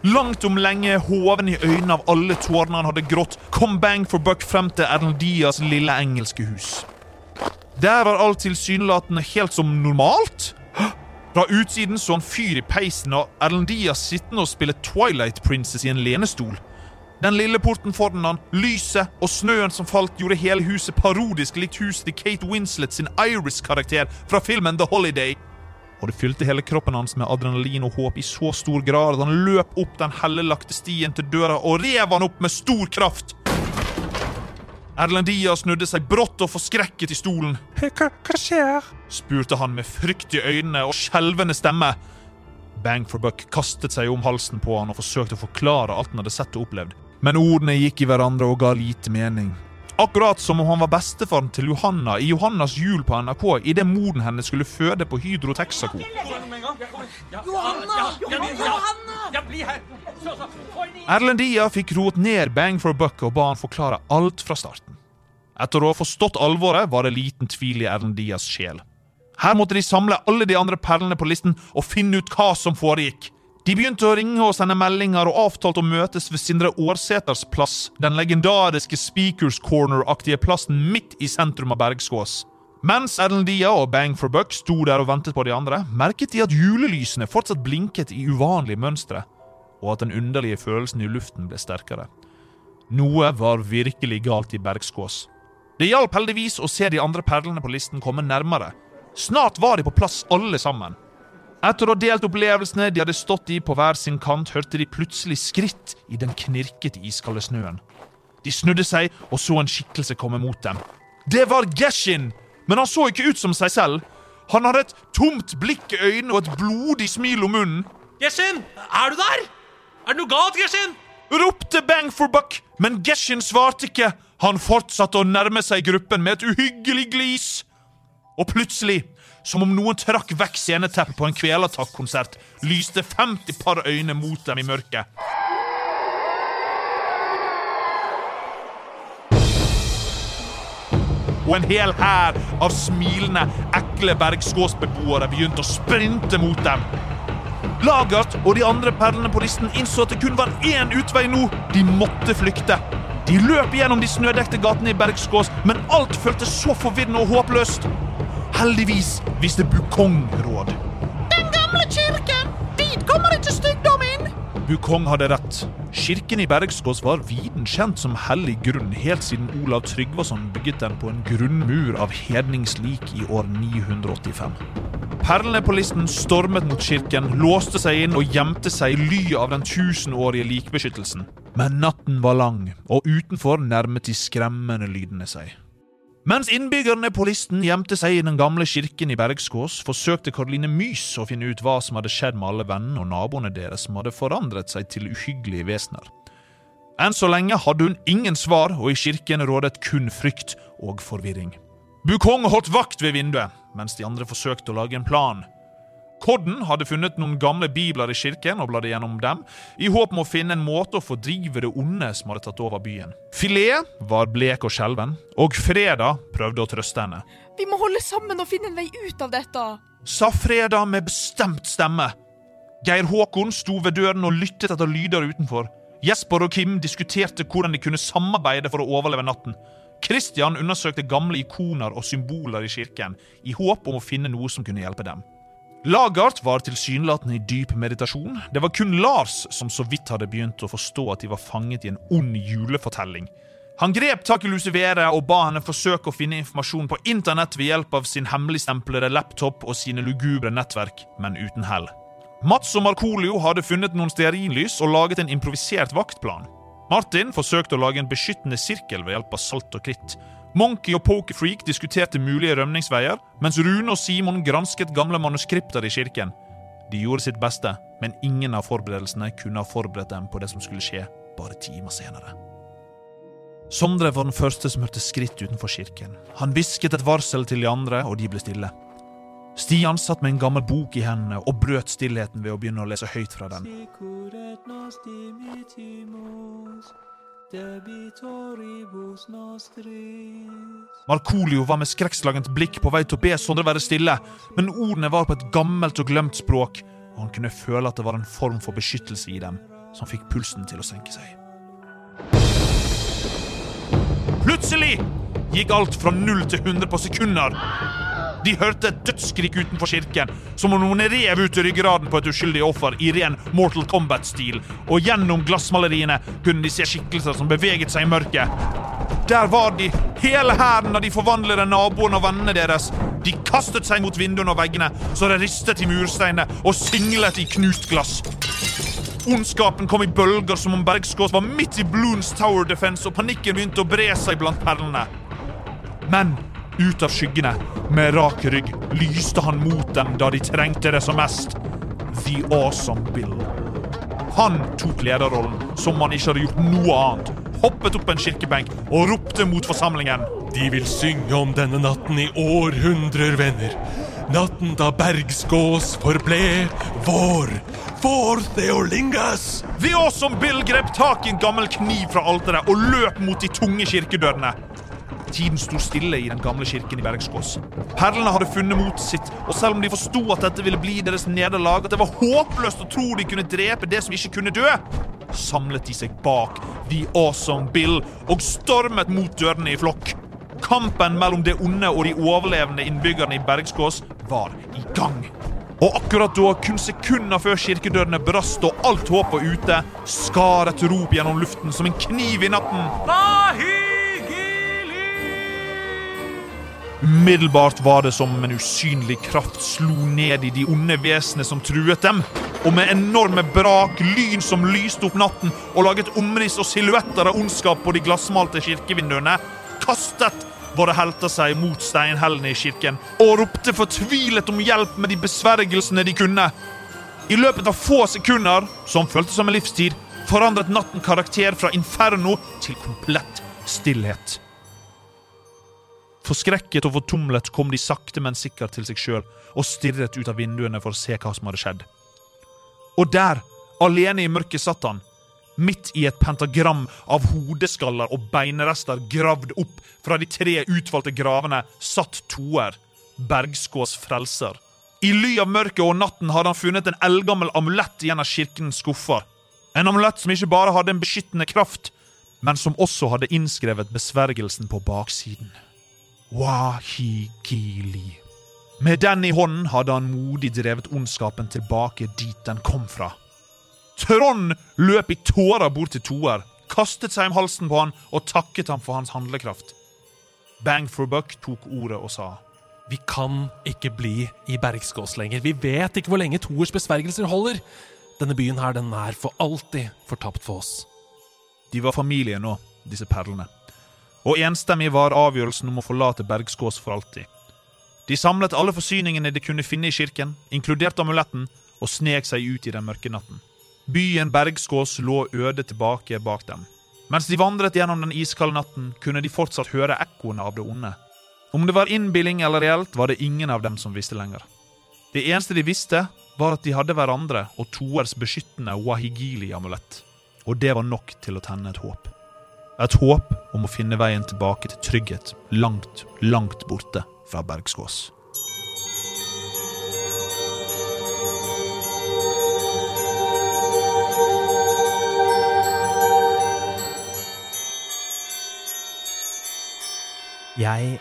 Langt om lenge, hoven i øynene av alle tårene han hadde grått, kom Bang for Buck frem til Erlendias lille engelske hus. Der var alt tilsynelatende helt som normalt. Fra utsiden så han fyr i peisen og Erlendia sittende og spille Twilight Princess i en lenestol. Den lille porten foran han, lyset og snøen som falt, gjorde hele huset parodisk likt huset til Kate Winslet sin Iris-karakter fra filmen The Holiday. Og det fylte hele kroppen hans med adrenalin og håp i så stor grad at han løp opp den hellelagte stien til døra og rev han opp med stor kraft. Erlendia snudde seg brått og forskrekket i stolen Hva, hva skjer? spurte han med frykt i øynene og skjelvende stemme. Bang for Buck kastet seg om halsen på han og forsøkte å forklare alt han hadde sett og opplevd. Men ordene gikk i hverandre og ga lite mening. Akkurat som om han var bestefaren til Johanna i Johannas jul på NRK idet moren hennes skulle føde på Hydro Texaco. Erlendia fikk roet ned Bang for Buck og ba han forklare alt fra starten. Etter å ha forstått alvoret var det liten tvil i Erlendias sjel. Her måtte de samle alle de andre perlene på listen og finne ut hva som foregikk. De begynte å ringe og sende meldinger og avtalte å møtes ved Sindre Årseters plass, den legendariske Speakers Corner-aktige plassen midt i sentrum av Bergskås. Mens Erlend Dia og Bang for Buck sto der og ventet på de andre, merket de at julelysene fortsatt blinket i uvanlige mønstre, og at den underlige følelsen i luften ble sterkere. Noe var virkelig galt i Bergskås. Det hjalp heldigvis å se de andre perlene på listen komme nærmere. Snart var de på plass alle sammen. Etter å ha delt opplevelsene de hadde stått i på hver sin kant, hørte de plutselig skritt i den knirkete iskalde snøen. De snudde seg og så en skikkelse komme mot dem. Det var Geshin! Men han så ikke ut som seg selv. Han hadde et tomt blikk i øynene og et blodig smil om munnen. Geshin, er du der? Er det noe galt, Geshin? ropte Bang for Buck, men Geshin svarte ikke. Han fortsatte å nærme seg gruppen med et uhyggelig glis. Og plutselig, som om noen trakk vekk sceneteppet på en Kvelertak-konsert, lyste 50 par øyne mot dem i mørket. Og en hel hær av smilende, ekle bergskåsbeboere begynte å sprinte mot dem. Lagert og de andre perlene på listen innså at det kun var én utvei nå. De måtte flykte. De løp gjennom de snødekte gatene i Bergskås, men alt føltes så forvirrende og håpløst. Heldigvis viste Bukong råd. Den gamle kirken! Dit kommer ikke styggdom inn! Bukong hadde rett. Kirken i Bergskås var viden kjent som hellig grunn helt siden Olav Tryggvason bygget den på en grunnmur av hedningslik i år 985. Perlene på listen stormet mot kirken, låste seg inn og gjemte seg i ly av den tusenårige likbeskyttelsen. Men natten var lang, og utenfor nærmet de skremmende lydene seg. Mens innbyggerne på listen gjemte seg i den gamle kirken i Bergskås, forsøkte Karoline Mys å finne ut hva som hadde skjedd med alle vennene og naboene deres som hadde forandret seg til uhyggelige vesener. Enn så lenge hadde hun ingen svar, og i kirken rådet kun frykt og forvirring. Bukong holdt vakt ved vinduet, mens de andre forsøkte å lage en plan. Kodden hadde funnet noen gamle bibler i kirken og bladde gjennom dem, i håp om å finne en måte å fordrive det onde som hadde tatt over byen. Filet var blek og skjelven, og Freda prøvde å trøste henne. Vi må holde sammen og finne en vei ut av dette. Sa Freda med bestemt stemme. Geir Håkon sto ved døren og lyttet etter lyder utenfor. Jesper og Kim diskuterte hvordan de kunne samarbeide for å overleve natten. Christian undersøkte gamle ikoner og symboler i kirken, i håp om å finne noe som kunne hjelpe dem. Lagart var tilsynelatende i dyp meditasjon. Det var kun Lars som så vidt hadde begynt å forstå at de var fanget i en ond julefortelling. Han grep tak i Lucivere og ba henne forsøke å finne informasjon på internett ved hjelp av sin hemmeligstemplede laptop og sine lugubre nettverk, men uten hell. Mats og Markolio hadde funnet noen stearinlys og laget en improvisert vaktplan. Martin forsøkte å lage en beskyttende sirkel ved hjelp av salt og kritt. Monkey og Pokerfreak diskuterte mulige rømningsveier, mens Rune og Simon gransket gamle manuskripter i kirken. De gjorde sitt beste, men ingen av forberedelsene kunne ha forberedt dem på det som skulle skje bare timer senere. Sondre var den første som hørte skritt utenfor kirken. Han hvisket et varsel til de andre, og de ble stille. Stian satt med en gammel bok i hendene og brøt stillheten ved å begynne å lese høyt fra den. Markolio var med skrekkslagent blikk på vei til å be Sondre være stille, men ordene var på et gammelt og glemt språk, og han kunne føle at det var en form for beskyttelse i dem som fikk pulsen til å senke seg. Plutselig gikk alt fra null til 100 på sekunder. De hørte et dødsskrik utenfor kirken, som om noen rev ut ryggraden på et uskyldig offer i ren Mortal Kombat-stil, og gjennom glassmaleriene kunne de se skikkelser som beveget seg i mørket. Der var de, hele hæren av de forvandlede naboene og vennene deres. De kastet seg mot vinduene og veggene, så det ristet i mursteinene og singlet i knust glass. Ondskapen kom i bølger som om Bergskås var midt i Bloons Tower Defense, og panikken begynte å bre seg blant perlene. Men ut av skyggene, med rak rygg, lyste han mot dem da de trengte det som mest. The Awesome Bill. Han tok lederrollen som han ikke hadde gjort noe annet. Hoppet opp en kirkebenk og ropte mot forsamlingen. De vil synge om denne natten i århundrer, venner. Natten da Bergskås forble vår. Vår Theolingas! The Awesome Bill grep tak i en gammel kniv fra alteret og løp mot de tunge kirkedørene. Tiden sto stille i den gamle kirken i Bergskås. Perlene hadde funnet motet sitt, og selv om de forsto at dette ville bli deres nederlag, at det var håpløst å tro de kunne drepe det som ikke kunne dø, samlet de seg bak The Awesome Bill og stormet mot dørene i flokk. Kampen mellom det onde og de overlevende innbyggerne i Bergskås var i gang. Og akkurat da, kun sekunder før kirkedørene brast og alt håp var ute, skar et rop gjennom luften som en kniv i natten. Umiddelbart var det som en usynlig kraft slo ned i de onde vesenene som truet dem. Og med enorme brak, lyn som lyste opp natten og laget omriss og silhuetter av ondskap på de glassmalte kirkevinduene, kastet Våre helter seg mot steinhellene i kirken og ropte fortvilet om hjelp med de besvergelsene de kunne. I løpet av få sekunder, som føltes som en livstid, forandret natten karakter fra inferno til komplett stillhet. Forskrekket og fortumlet kom de sakte, men sikkert til seg sjøl og stirret ut av vinduene for å se hva som hadde skjedd. Og der, alene i mørket, satt han. Midt i et pentagram av hodeskaller og beinrester gravd opp fra de tre utvalgte gravene satt toer, Bergskås frelser. I ly av mørket og natten hadde han funnet en eldgammel amulett i en av kirkens skuffer. En amulett som ikke bare hadde en beskyttende kraft, men som også hadde innskrevet besvergelsen på baksiden. Wahigili. Med den i hånden hadde han modig drevet ondskapen tilbake dit den kom fra. Trond løp i tårer bort til toer, kastet seg om halsen på han og takket ham for hans handlekraft. Bang for buck tok ordet og sa Vi kan ikke bli i Bergskås lenger. Vi vet ikke hvor lenge toers besvergelser holder. Denne byen her, den er for alltid fortapt for oss. De var familie nå, disse perlene. Og enstemmig var avgjørelsen om å forlate Bergskås for alltid. De samlet alle forsyningene de kunne finne i kirken, inkludert amuletten, og snek seg ut i den mørke natten. Byen Bergskås lå øde tilbake bak dem. Mens de vandret gjennom den iskalde natten, kunne de fortsatt høre ekkoene av det onde. Om det var innbilling eller reelt, var det ingen av dem som visste lenger. Det eneste de visste, var at de hadde hverandre og toers beskyttende wahigili-amulett. Og det var nok til å tenne et håp. Et håp om å finne veien tilbake til trygghet langt, langt borte fra Bergskås. Jeg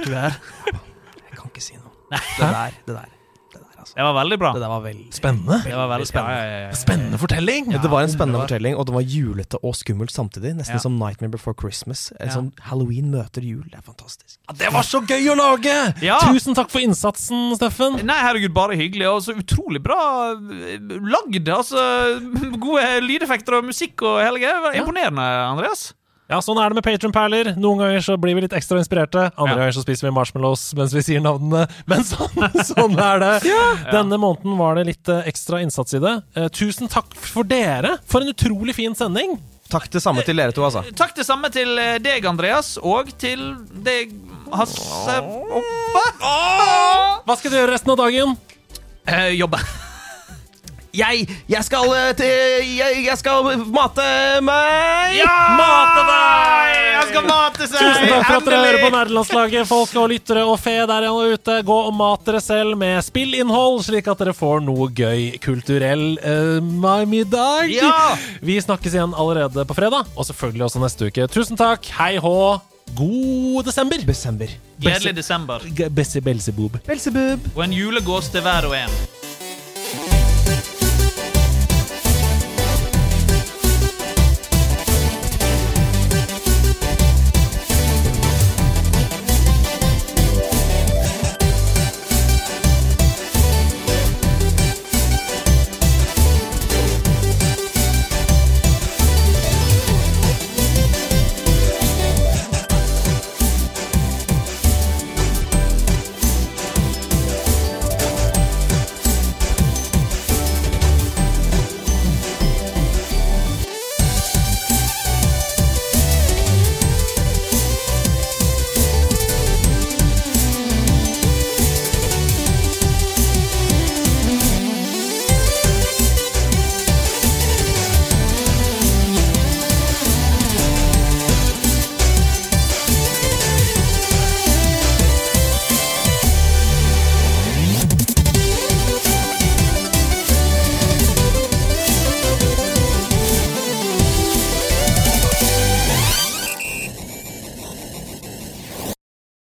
Du er Jeg kan ikke si noe. Det der, det der. Det, der, altså. det var veldig bra. det der var veldig Spennende. Det var veldig spennende. Ja, ja, ja, Spennende fortelling! Ja, det var en spennende fortelling, og den var julete og skummelt samtidig. Nesten Ja. som Nightmare Before Christmas. Eller Ja. som Halloween møter jul. Det er fantastisk. Det var så gøy å lage! Ja. Tusen takk for innsatsen, Steffen. Nei, herregud, bare hyggelig. Og så utrolig bra eh, lagd. Altså, gode lydeffekter og musikk og hele greia. Det var Imponerende, Andreas. Ja, Sånn er det med Patron-perler. Noen ganger så blir vi litt ekstra inspirerte. Andre Ja. ganger så spiser vi marshmallows mens vi sier navnene. Men sånn, sånn er det. Denne måneden var det litt eh, ekstra innsats i det. Eh, tusen takk for dere! For en utrolig fin sending! Takk det samme til dere to, altså. Takk det samme til eh, deg, Andreas, og til deg, Hasse og Hva? Hva skal du gjøre resten av dagen? Eh, jobbe. Jeg, jeg skal eh, til jeg, jeg skal mate meg! Mate deg! Jeg skal mate seg! Tusen takk for at dere Endelig! hører på Nerdelandslaget, folk og lyttere og fe der ute. Gå og mat dere selv med spillinnhold, slik at dere får noe gøy kulturell eh, mai- middag. Ja! Vi snakkes igjen allerede på fredag, og selvfølgelig også neste uke. Tusen takk, hei hå, god desember! Desember. Gledelig desember Bessie Belzebub. Belsebub. og en julegås til hver og en.